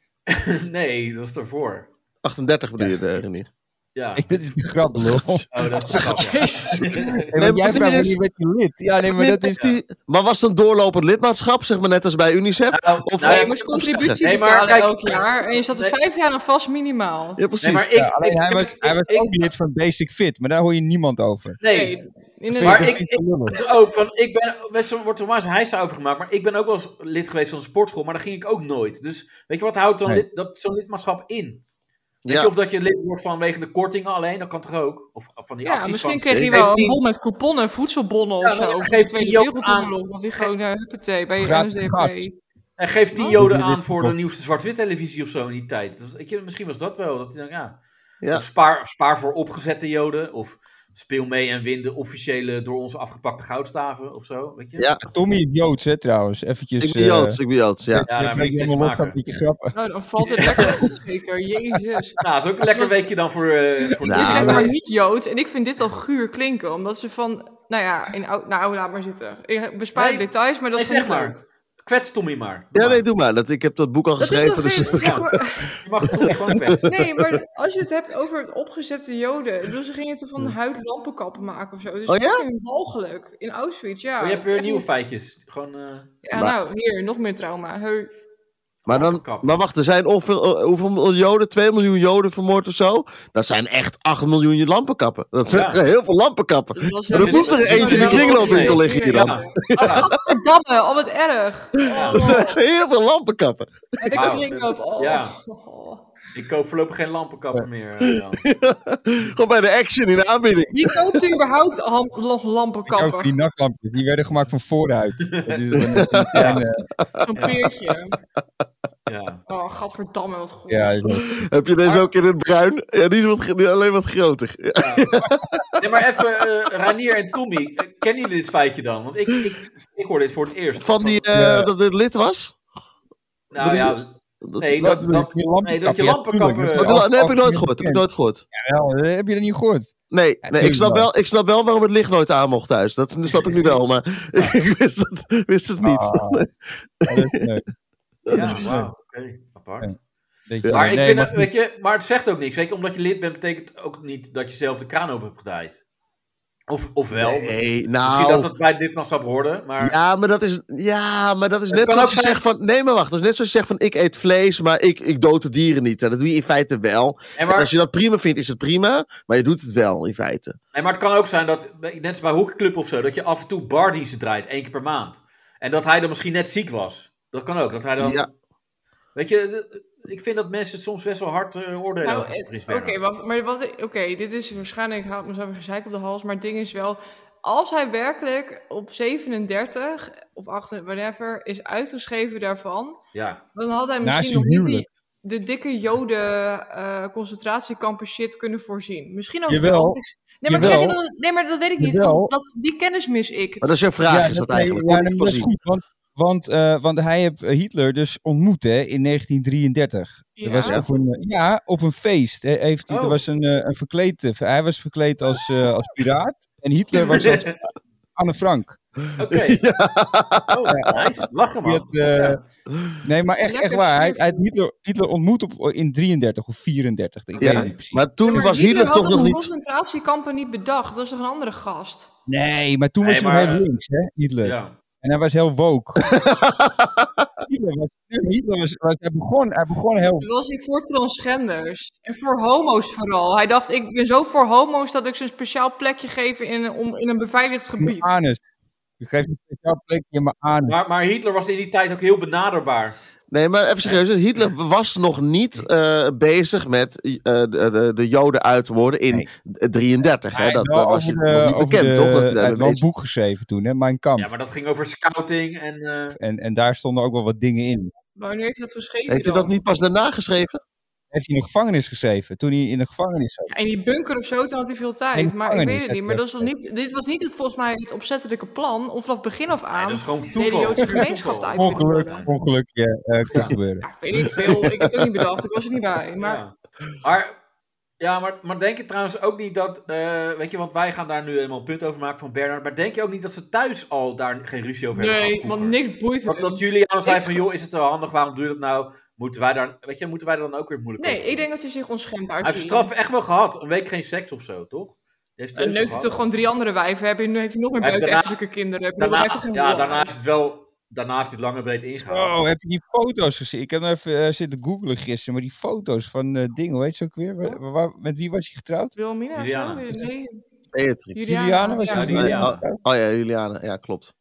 [SPEAKER 3] nee, dat is daarvoor.
[SPEAKER 5] 38 bedoel je, eh, Renier.
[SPEAKER 3] Ja.
[SPEAKER 2] Dit is de grap, lol.
[SPEAKER 3] Oh,
[SPEAKER 5] (laughs)
[SPEAKER 3] dat is een grap, ja.
[SPEAKER 2] Nee,
[SPEAKER 5] Nee,
[SPEAKER 2] want
[SPEAKER 5] maar
[SPEAKER 2] jij vraagt
[SPEAKER 5] dit is-
[SPEAKER 2] wanneer werd hij lid? Ja, nee, maar dat is...
[SPEAKER 5] die... maar was het een doorlopend lidmaatschap, zeg maar net als bij UNICEF?
[SPEAKER 3] Nou,
[SPEAKER 5] Of-
[SPEAKER 3] nou,
[SPEAKER 4] Nee,
[SPEAKER 3] ja,
[SPEAKER 4] je moest contributie
[SPEAKER 3] Nee, maar
[SPEAKER 4] betalen
[SPEAKER 3] kijk-
[SPEAKER 4] elk jaar. En je zat er
[SPEAKER 3] Nee.
[SPEAKER 4] vijf jaar aan vast minimaal.
[SPEAKER 5] Ja, precies.
[SPEAKER 3] nee, maar ik,
[SPEAKER 2] Ja, alleen
[SPEAKER 3] ik-
[SPEAKER 2] hij
[SPEAKER 3] ik-
[SPEAKER 2] was, hij was
[SPEAKER 3] ik-
[SPEAKER 2] ook lid van Basic Fit, maar daar hoor je niemand over.
[SPEAKER 3] nee,
[SPEAKER 4] inderdaad.
[SPEAKER 3] Maar
[SPEAKER 2] Dat
[SPEAKER 3] ik-
[SPEAKER 2] vind wel lullig.
[SPEAKER 3] Dus ook, van, ik ben, best wel- wordt er maar eens een heisa over gemaakt, maar ik ben ook wel eens lid geweest van een sportschool, maar daar ging ik ook nooit. Dus weet je wat houdt dan
[SPEAKER 2] Nee.
[SPEAKER 3] lid- dat, zo'n lidmaatschap in? Weet je,
[SPEAKER 5] ja,
[SPEAKER 3] Of dat je lid wordt vanwege de kortingen alleen, dat kan toch ook? Of van die
[SPEAKER 4] ja,
[SPEAKER 3] acties
[SPEAKER 4] misschien
[SPEAKER 3] van...
[SPEAKER 4] kreeg hij
[SPEAKER 3] heeft
[SPEAKER 4] wel een
[SPEAKER 3] tien-
[SPEAKER 4] bon met couponnen, voedselbonnen of
[SPEAKER 3] Ja, maar
[SPEAKER 4] zo.
[SPEAKER 3] dan
[SPEAKER 4] Of
[SPEAKER 3] geeft
[SPEAKER 4] de Tweede
[SPEAKER 3] hij ook
[SPEAKER 4] Wereldoorlog. Dat hij gewoon, eh huppatee, bij je
[SPEAKER 2] Gratis
[SPEAKER 4] NSDAP.
[SPEAKER 2] gas.
[SPEAKER 3] En geeft die
[SPEAKER 2] Oh.
[SPEAKER 3] joden aan voor de nieuwste zwart-wit televisie of zo in die tijd. Dus, weet je, misschien was dat wel. Dat, hij dan, ja.
[SPEAKER 5] Ja.
[SPEAKER 3] Of spaar, spaar voor opgezette joden. Of speel mee en win de officiële door ons afgepakte goudstaven of zo. Weet je?
[SPEAKER 5] Ja.
[SPEAKER 2] Tommy is Joods, hè, trouwens. Eventjes, eh,
[SPEAKER 5] ik ben Joods, ik ben Joods, ja.
[SPEAKER 3] Ja, daar ben ik
[SPEAKER 2] weet
[SPEAKER 3] steeds
[SPEAKER 2] helemaal los van
[SPEAKER 3] maker.
[SPEAKER 2] een beetje grappig.
[SPEAKER 4] Nou, dan valt het lekker goed
[SPEAKER 3] (laughs)
[SPEAKER 4] zeker. Jezus.
[SPEAKER 3] Nou, dat is ook een lekker weekje dan voor, eh voor
[SPEAKER 5] Nou,
[SPEAKER 4] ik
[SPEAKER 3] de
[SPEAKER 4] ben
[SPEAKER 5] maar-
[SPEAKER 4] maar niet Joods en ik vind dit al guur klinken. Omdat ze van, nou ja, in oud, nou laat maar zitten. Ik bespaar
[SPEAKER 3] Nee,
[SPEAKER 4] details, maar dat
[SPEAKER 3] Nee,
[SPEAKER 4] is gewoon
[SPEAKER 3] zeg
[SPEAKER 4] niet leuk.
[SPEAKER 3] maar. Kwets Tommy maar.
[SPEAKER 5] Ja, nee, doe maar. Dat, ik heb dat boek al
[SPEAKER 4] Dat is
[SPEAKER 5] geschreven,
[SPEAKER 4] toch
[SPEAKER 5] dus
[SPEAKER 4] geen-
[SPEAKER 5] dat
[SPEAKER 4] zeg
[SPEAKER 5] kan.
[SPEAKER 4] maar- (laughs)
[SPEAKER 3] Je mag Tommy gewoon kwetsen.
[SPEAKER 4] Nee, maar als je het hebt over het opgezette joden. Ik bedoel, ze gingen het van huid lampenkappen maken of zo. Dus
[SPEAKER 5] Oh ja?
[SPEAKER 4] fucking mogelijk. In Auschwitz, ja.
[SPEAKER 3] Maar Oh, je hebt
[SPEAKER 4] Het is
[SPEAKER 3] weer
[SPEAKER 4] echt
[SPEAKER 3] nieuwe
[SPEAKER 4] niet-
[SPEAKER 3] feitjes. Gewoon, eh,
[SPEAKER 4] Ja, nou, hier, nog meer trauma. Heu.
[SPEAKER 5] (laughs) Maar, dan,
[SPEAKER 3] Kap.
[SPEAKER 5] maar wacht, er zijn ongeveer eh, hoeveel miljoen Joden? 2 miljoen Joden vermoord of zo? Dat zijn echt 8 miljoen lampenkappen. Dat zijn
[SPEAKER 3] Ja.
[SPEAKER 5] echt heel veel lampenkappen. (laughs)
[SPEAKER 4] Dat was
[SPEAKER 5] Maar
[SPEAKER 4] echt-
[SPEAKER 5] er hoeft er
[SPEAKER 4] dat is
[SPEAKER 5] eentje
[SPEAKER 4] wel
[SPEAKER 5] die
[SPEAKER 4] wel
[SPEAKER 5] kringloopwinkel
[SPEAKER 4] goed.
[SPEAKER 5] liggen hier
[SPEAKER 3] dan.
[SPEAKER 4] Ja. Oh, Gadverdamme, al wat erg.
[SPEAKER 3] Ja.
[SPEAKER 4] Oh,
[SPEAKER 5] Dat zijn heel veel lampenkappen.
[SPEAKER 4] en ik
[SPEAKER 3] Wauw.
[SPEAKER 4] kringloop. Oh.
[SPEAKER 3] Ja.
[SPEAKER 4] Oh.
[SPEAKER 3] ik koop voorlopig geen lampenkapper meer. eh, dan.
[SPEAKER 5] Gewoon bij de action in de aanbieding.
[SPEAKER 4] Wie koopt er überhaupt ham- nog
[SPEAKER 2] Ook die
[SPEAKER 4] lampenkappen?
[SPEAKER 2] nachtlampjes, die werden gemaakt van
[SPEAKER 3] (laughs)
[SPEAKER 2] vooruit. Dat is een, een kleine-
[SPEAKER 4] Zo'n peertje.
[SPEAKER 3] Ja.
[SPEAKER 4] Oh, gadverdamme, wat goed.
[SPEAKER 2] ja, dat is-
[SPEAKER 5] Heb je deze ook in het bruin? Ja, die is wat, gro- die is alleen wat groter. Ja.
[SPEAKER 3] Nee, maar even, eh, Ranier en Tommy, eh, kennen jullie dit feitje dan? Want ik, ik, ik hoor dit voor het eerst.
[SPEAKER 5] Van die eh,
[SPEAKER 2] Ja.
[SPEAKER 5] dat dit lid was?
[SPEAKER 3] Nou ja,
[SPEAKER 5] Dat-
[SPEAKER 3] nee,
[SPEAKER 2] dat
[SPEAKER 3] dat,
[SPEAKER 2] bedoel ik,
[SPEAKER 3] dat,
[SPEAKER 2] die
[SPEAKER 3] nee, dat
[SPEAKER 2] lampenkappen, ja,
[SPEAKER 3] je
[SPEAKER 2] tuurlijk,
[SPEAKER 3] lampenkappen...
[SPEAKER 2] dat is
[SPEAKER 5] Maar
[SPEAKER 2] wel-
[SPEAKER 3] eh,
[SPEAKER 5] dat, dat heb ik nooit
[SPEAKER 2] Algemeen
[SPEAKER 5] gehoord. Heb ik
[SPEAKER 2] bekend.
[SPEAKER 5] nooit gehoord.
[SPEAKER 2] Jawel, dat heb je dat niet (laughs) gehoord?
[SPEAKER 5] Nee, nee ik,
[SPEAKER 2] tuurlijk
[SPEAKER 5] snap
[SPEAKER 2] wel.
[SPEAKER 5] wel, ik snap wel waarom het licht nooit aan mocht thuis. Dat, dat snap ik nu wel, maar
[SPEAKER 3] (laughs)
[SPEAKER 5] (laughs) ik wist het, wist het niet.
[SPEAKER 2] Ah,
[SPEAKER 5] (laughs)
[SPEAKER 2] dat is leuk.
[SPEAKER 3] ja, wauw, oké, apart.
[SPEAKER 2] Ja. Dat je-
[SPEAKER 3] Maar, ik
[SPEAKER 2] nee,
[SPEAKER 3] vind
[SPEAKER 2] maar
[SPEAKER 3] het, weet je, maar het zegt ook niks. Weet je, omdat je lid bent, betekent ook niet dat je zelf de kraan open hebt gedaaid. Of, of wel.
[SPEAKER 5] Nee,
[SPEAKER 3] Misschien dat
[SPEAKER 5] nou.
[SPEAKER 3] het bij dit maatschap hoorde, maar...
[SPEAKER 5] Ja, maar dat is, ja, maar dat is net
[SPEAKER 3] kan
[SPEAKER 5] zoals
[SPEAKER 3] ook
[SPEAKER 5] je
[SPEAKER 3] zijn-
[SPEAKER 5] zegt van... Nee, maar wacht. Dat is net zoals je zegt van ik eet vlees, maar ik, ik dood de dieren niet. Nou, Dat doe je in feite wel.
[SPEAKER 3] en
[SPEAKER 5] En
[SPEAKER 3] maar,
[SPEAKER 5] als je dat prima vindt, is het prima. Maar je doet het wel in feite.
[SPEAKER 3] nee, maar het kan ook zijn dat, net als bij hockeyclub of zo, dat je af en toe bardiensten draait, één keer per maand. En dat hij dan misschien net ziek was. Dat kan ook, dat hij dan...
[SPEAKER 5] Ja.
[SPEAKER 3] Weet je, d- ik vind dat mensen soms best wel hard eh, oordelen
[SPEAKER 4] Nou,
[SPEAKER 3] over
[SPEAKER 4] eh,
[SPEAKER 3] Prins
[SPEAKER 4] Oké,
[SPEAKER 3] Bernhard.
[SPEAKER 4] wat- maar wat, oké, dit is waarschijnlijk, ik haal mezelf een gezeik op de hals, maar het ding is wel, als hij werkelijk op 37 of 8, whatever, is uitgeschreven daarvan,
[SPEAKER 3] Ja,
[SPEAKER 4] dan had hij
[SPEAKER 2] Na
[SPEAKER 4] misschien
[SPEAKER 2] zijn
[SPEAKER 4] nog niet die,
[SPEAKER 2] huwelijk.
[SPEAKER 4] de dikke joden eh, concentratiekampen shit kunnen voorzien. Misschien ook...
[SPEAKER 2] Jawel.
[SPEAKER 4] want ik- Nee, maar, ik zeg
[SPEAKER 2] Jawel.
[SPEAKER 4] je dan, nee, maar dat weet ik niet.
[SPEAKER 2] Jawel.
[SPEAKER 4] want dat, die kennis mis ik.
[SPEAKER 5] Maar dat is je vraag,
[SPEAKER 2] Ja,
[SPEAKER 5] is dat
[SPEAKER 2] nee,
[SPEAKER 5] eigenlijk?
[SPEAKER 2] ja,
[SPEAKER 5] Kon niet
[SPEAKER 2] nee, dat is
[SPEAKER 5] voorzien.
[SPEAKER 2] goed, want, want, eh, want hij heeft Hitler dus ontmoet hè, in 1933.
[SPEAKER 4] Ja.
[SPEAKER 2] Er was
[SPEAKER 5] Ja?
[SPEAKER 2] op een, eh, ja, op een feest. hè, heeft hij,
[SPEAKER 3] Oh.
[SPEAKER 2] Er was een, eh, een verkleed, eh, hij was verkleed als, eh, als piraat en Hitler was
[SPEAKER 3] (laughs)
[SPEAKER 2] als Anne Frank.
[SPEAKER 3] Oké. Oh, nice. Lachen, man.
[SPEAKER 2] Die had, eh,
[SPEAKER 3] Ja.
[SPEAKER 2] Nee, maar echt, echt
[SPEAKER 4] Lekker
[SPEAKER 2] waar. Hij,
[SPEAKER 4] slim.
[SPEAKER 2] hij heeft Hitler, Hitler ontmoet op, oh, in 33 of 34. Ik
[SPEAKER 5] Ja,
[SPEAKER 2] weet het niet precies.
[SPEAKER 5] Maar toen
[SPEAKER 4] Maar
[SPEAKER 5] was Hitler
[SPEAKER 4] had
[SPEAKER 5] toch nog
[SPEAKER 4] een
[SPEAKER 5] niet...
[SPEAKER 4] concentratiekampen niet bedacht. Dat is toch een andere gast?
[SPEAKER 2] nee, maar toen was
[SPEAKER 3] Nee,
[SPEAKER 2] hij
[SPEAKER 3] maar,
[SPEAKER 2] nog heel
[SPEAKER 3] eh,
[SPEAKER 2] links, hè, Hitler.
[SPEAKER 3] Ja.
[SPEAKER 2] En hij was heel woke. Hitler was, Hitler was, was- hij, begon, hij begon heel...
[SPEAKER 4] Toen was hij voor transgenders. En voor homo's vooral. Hij dacht, ik ben zo voor homo's dat ik ze een speciaal plekje geef in, een- om, in een beveiligd
[SPEAKER 2] in mijn
[SPEAKER 4] gebied.
[SPEAKER 2] anus. Ik geef een speciaal plekje in mijn anus.
[SPEAKER 3] Maar, maar Hitler was in die tijd ook heel benaderbaar.
[SPEAKER 5] Nee, maar even serieus. Hitler was nog niet eh, bezig met eh, de, de, de Joden uit te worden in
[SPEAKER 2] Nee.
[SPEAKER 5] 33. Hè?
[SPEAKER 2] Hij
[SPEAKER 5] Dat,
[SPEAKER 2] had wel
[SPEAKER 5] dat was je
[SPEAKER 2] over
[SPEAKER 5] nog
[SPEAKER 2] de-
[SPEAKER 5] niet
[SPEAKER 2] over
[SPEAKER 5] bekend,
[SPEAKER 2] de-
[SPEAKER 5] toch?
[SPEAKER 2] Hij
[SPEAKER 5] Dat, eh,
[SPEAKER 2] heeft wel een
[SPEAKER 5] mensen-
[SPEAKER 2] boek geschreven toen, hè? Mijn Kamp.
[SPEAKER 3] Ja, maar dat ging over scouting en... eh,
[SPEAKER 2] en, en daar stonden ook wel wat dingen in.
[SPEAKER 4] Maar nu heeft hij dat geschreven
[SPEAKER 5] Heeft hij
[SPEAKER 4] dan.
[SPEAKER 5] dat niet pas daarna geschreven?
[SPEAKER 2] Heeft hij in de gevangenis geschreven, toen hij in de gevangenis zat.
[SPEAKER 4] Ja, in die bunker of zo, toen had hij veel
[SPEAKER 2] In
[SPEAKER 4] tijd.
[SPEAKER 2] de
[SPEAKER 4] Maar ik weet
[SPEAKER 2] gevangenis
[SPEAKER 4] het niet.
[SPEAKER 2] heb
[SPEAKER 4] Maar
[SPEAKER 2] je
[SPEAKER 4] dat is toch niet, dit was niet het, volgens mij het opzettelijke plan. Of vanaf begin af
[SPEAKER 3] nee,
[SPEAKER 4] aan.
[SPEAKER 3] dat is gewoon
[SPEAKER 4] de hele
[SPEAKER 3] toeval.
[SPEAKER 4] Joodse
[SPEAKER 3] (laughs)
[SPEAKER 4] gemeenschap uit willen
[SPEAKER 2] Ongeluk,
[SPEAKER 4] worden.
[SPEAKER 2] ongelukje eh (laughs) kan gebeuren.
[SPEAKER 4] Ja, weet ik veel. Ik heb het ook niet bedacht. Ik was er niet bij. Maar
[SPEAKER 3] Ja. Maar, ja, maar, maar denk je trouwens ook niet dat. eh, weet je, want wij gaan daar nu helemaal een punt over maken van Bernard. Maar denk je ook niet dat ze thuis al daar geen ruzie over hebben?
[SPEAKER 4] nee,
[SPEAKER 3] gehad
[SPEAKER 4] want
[SPEAKER 3] vroeger?
[SPEAKER 4] niks boeit
[SPEAKER 3] Dat,
[SPEAKER 4] hem.
[SPEAKER 3] dat Juliana zei
[SPEAKER 4] Ik-
[SPEAKER 3] van: joh, is het wel handig? Waarom doe je dat nou? Moeten wij daar, weet je, moeten wij er dan ook weer moeilijk
[SPEAKER 4] Nee,
[SPEAKER 3] over
[SPEAKER 4] ik
[SPEAKER 3] doen?
[SPEAKER 4] denk dat hij zich onschendbaar
[SPEAKER 3] Hij heeft straf echt wel gehad. Een week geen seks of zo, toch? Hij heeft
[SPEAKER 4] En
[SPEAKER 3] thuis
[SPEAKER 4] neukt hij
[SPEAKER 3] gehad.
[SPEAKER 4] toch gewoon drie andere wijven? Hebben, nu heeft hij nog meer
[SPEAKER 3] Hij heeft daarna-
[SPEAKER 4] buitenechtelijke kinderen? Ik bedoel,
[SPEAKER 3] Daarna,
[SPEAKER 4] hij heeft toch geen
[SPEAKER 3] ja,
[SPEAKER 4] rol
[SPEAKER 3] daarna
[SPEAKER 4] aan?
[SPEAKER 3] is het wel. Daarna heeft hij het lange breed ingehaald.
[SPEAKER 2] Oh, heb je die foto's gezien? Ik heb nog even eh, zitten googlen gisteren, maar die foto's van eh dingen, hoe heet ze ook weer? Wa- wa- waar- met wie was hij getrouwd?
[SPEAKER 4] Wilhelmina of
[SPEAKER 3] Juliana.
[SPEAKER 4] zo? Nee,
[SPEAKER 5] Beatrix.
[SPEAKER 4] Juliana.
[SPEAKER 2] Juliana was
[SPEAKER 4] ja.
[SPEAKER 2] hij
[SPEAKER 3] Ja, die-
[SPEAKER 5] Nee,
[SPEAKER 3] Juliana.
[SPEAKER 5] oh, oh ja, Juliana. Ja, klopt.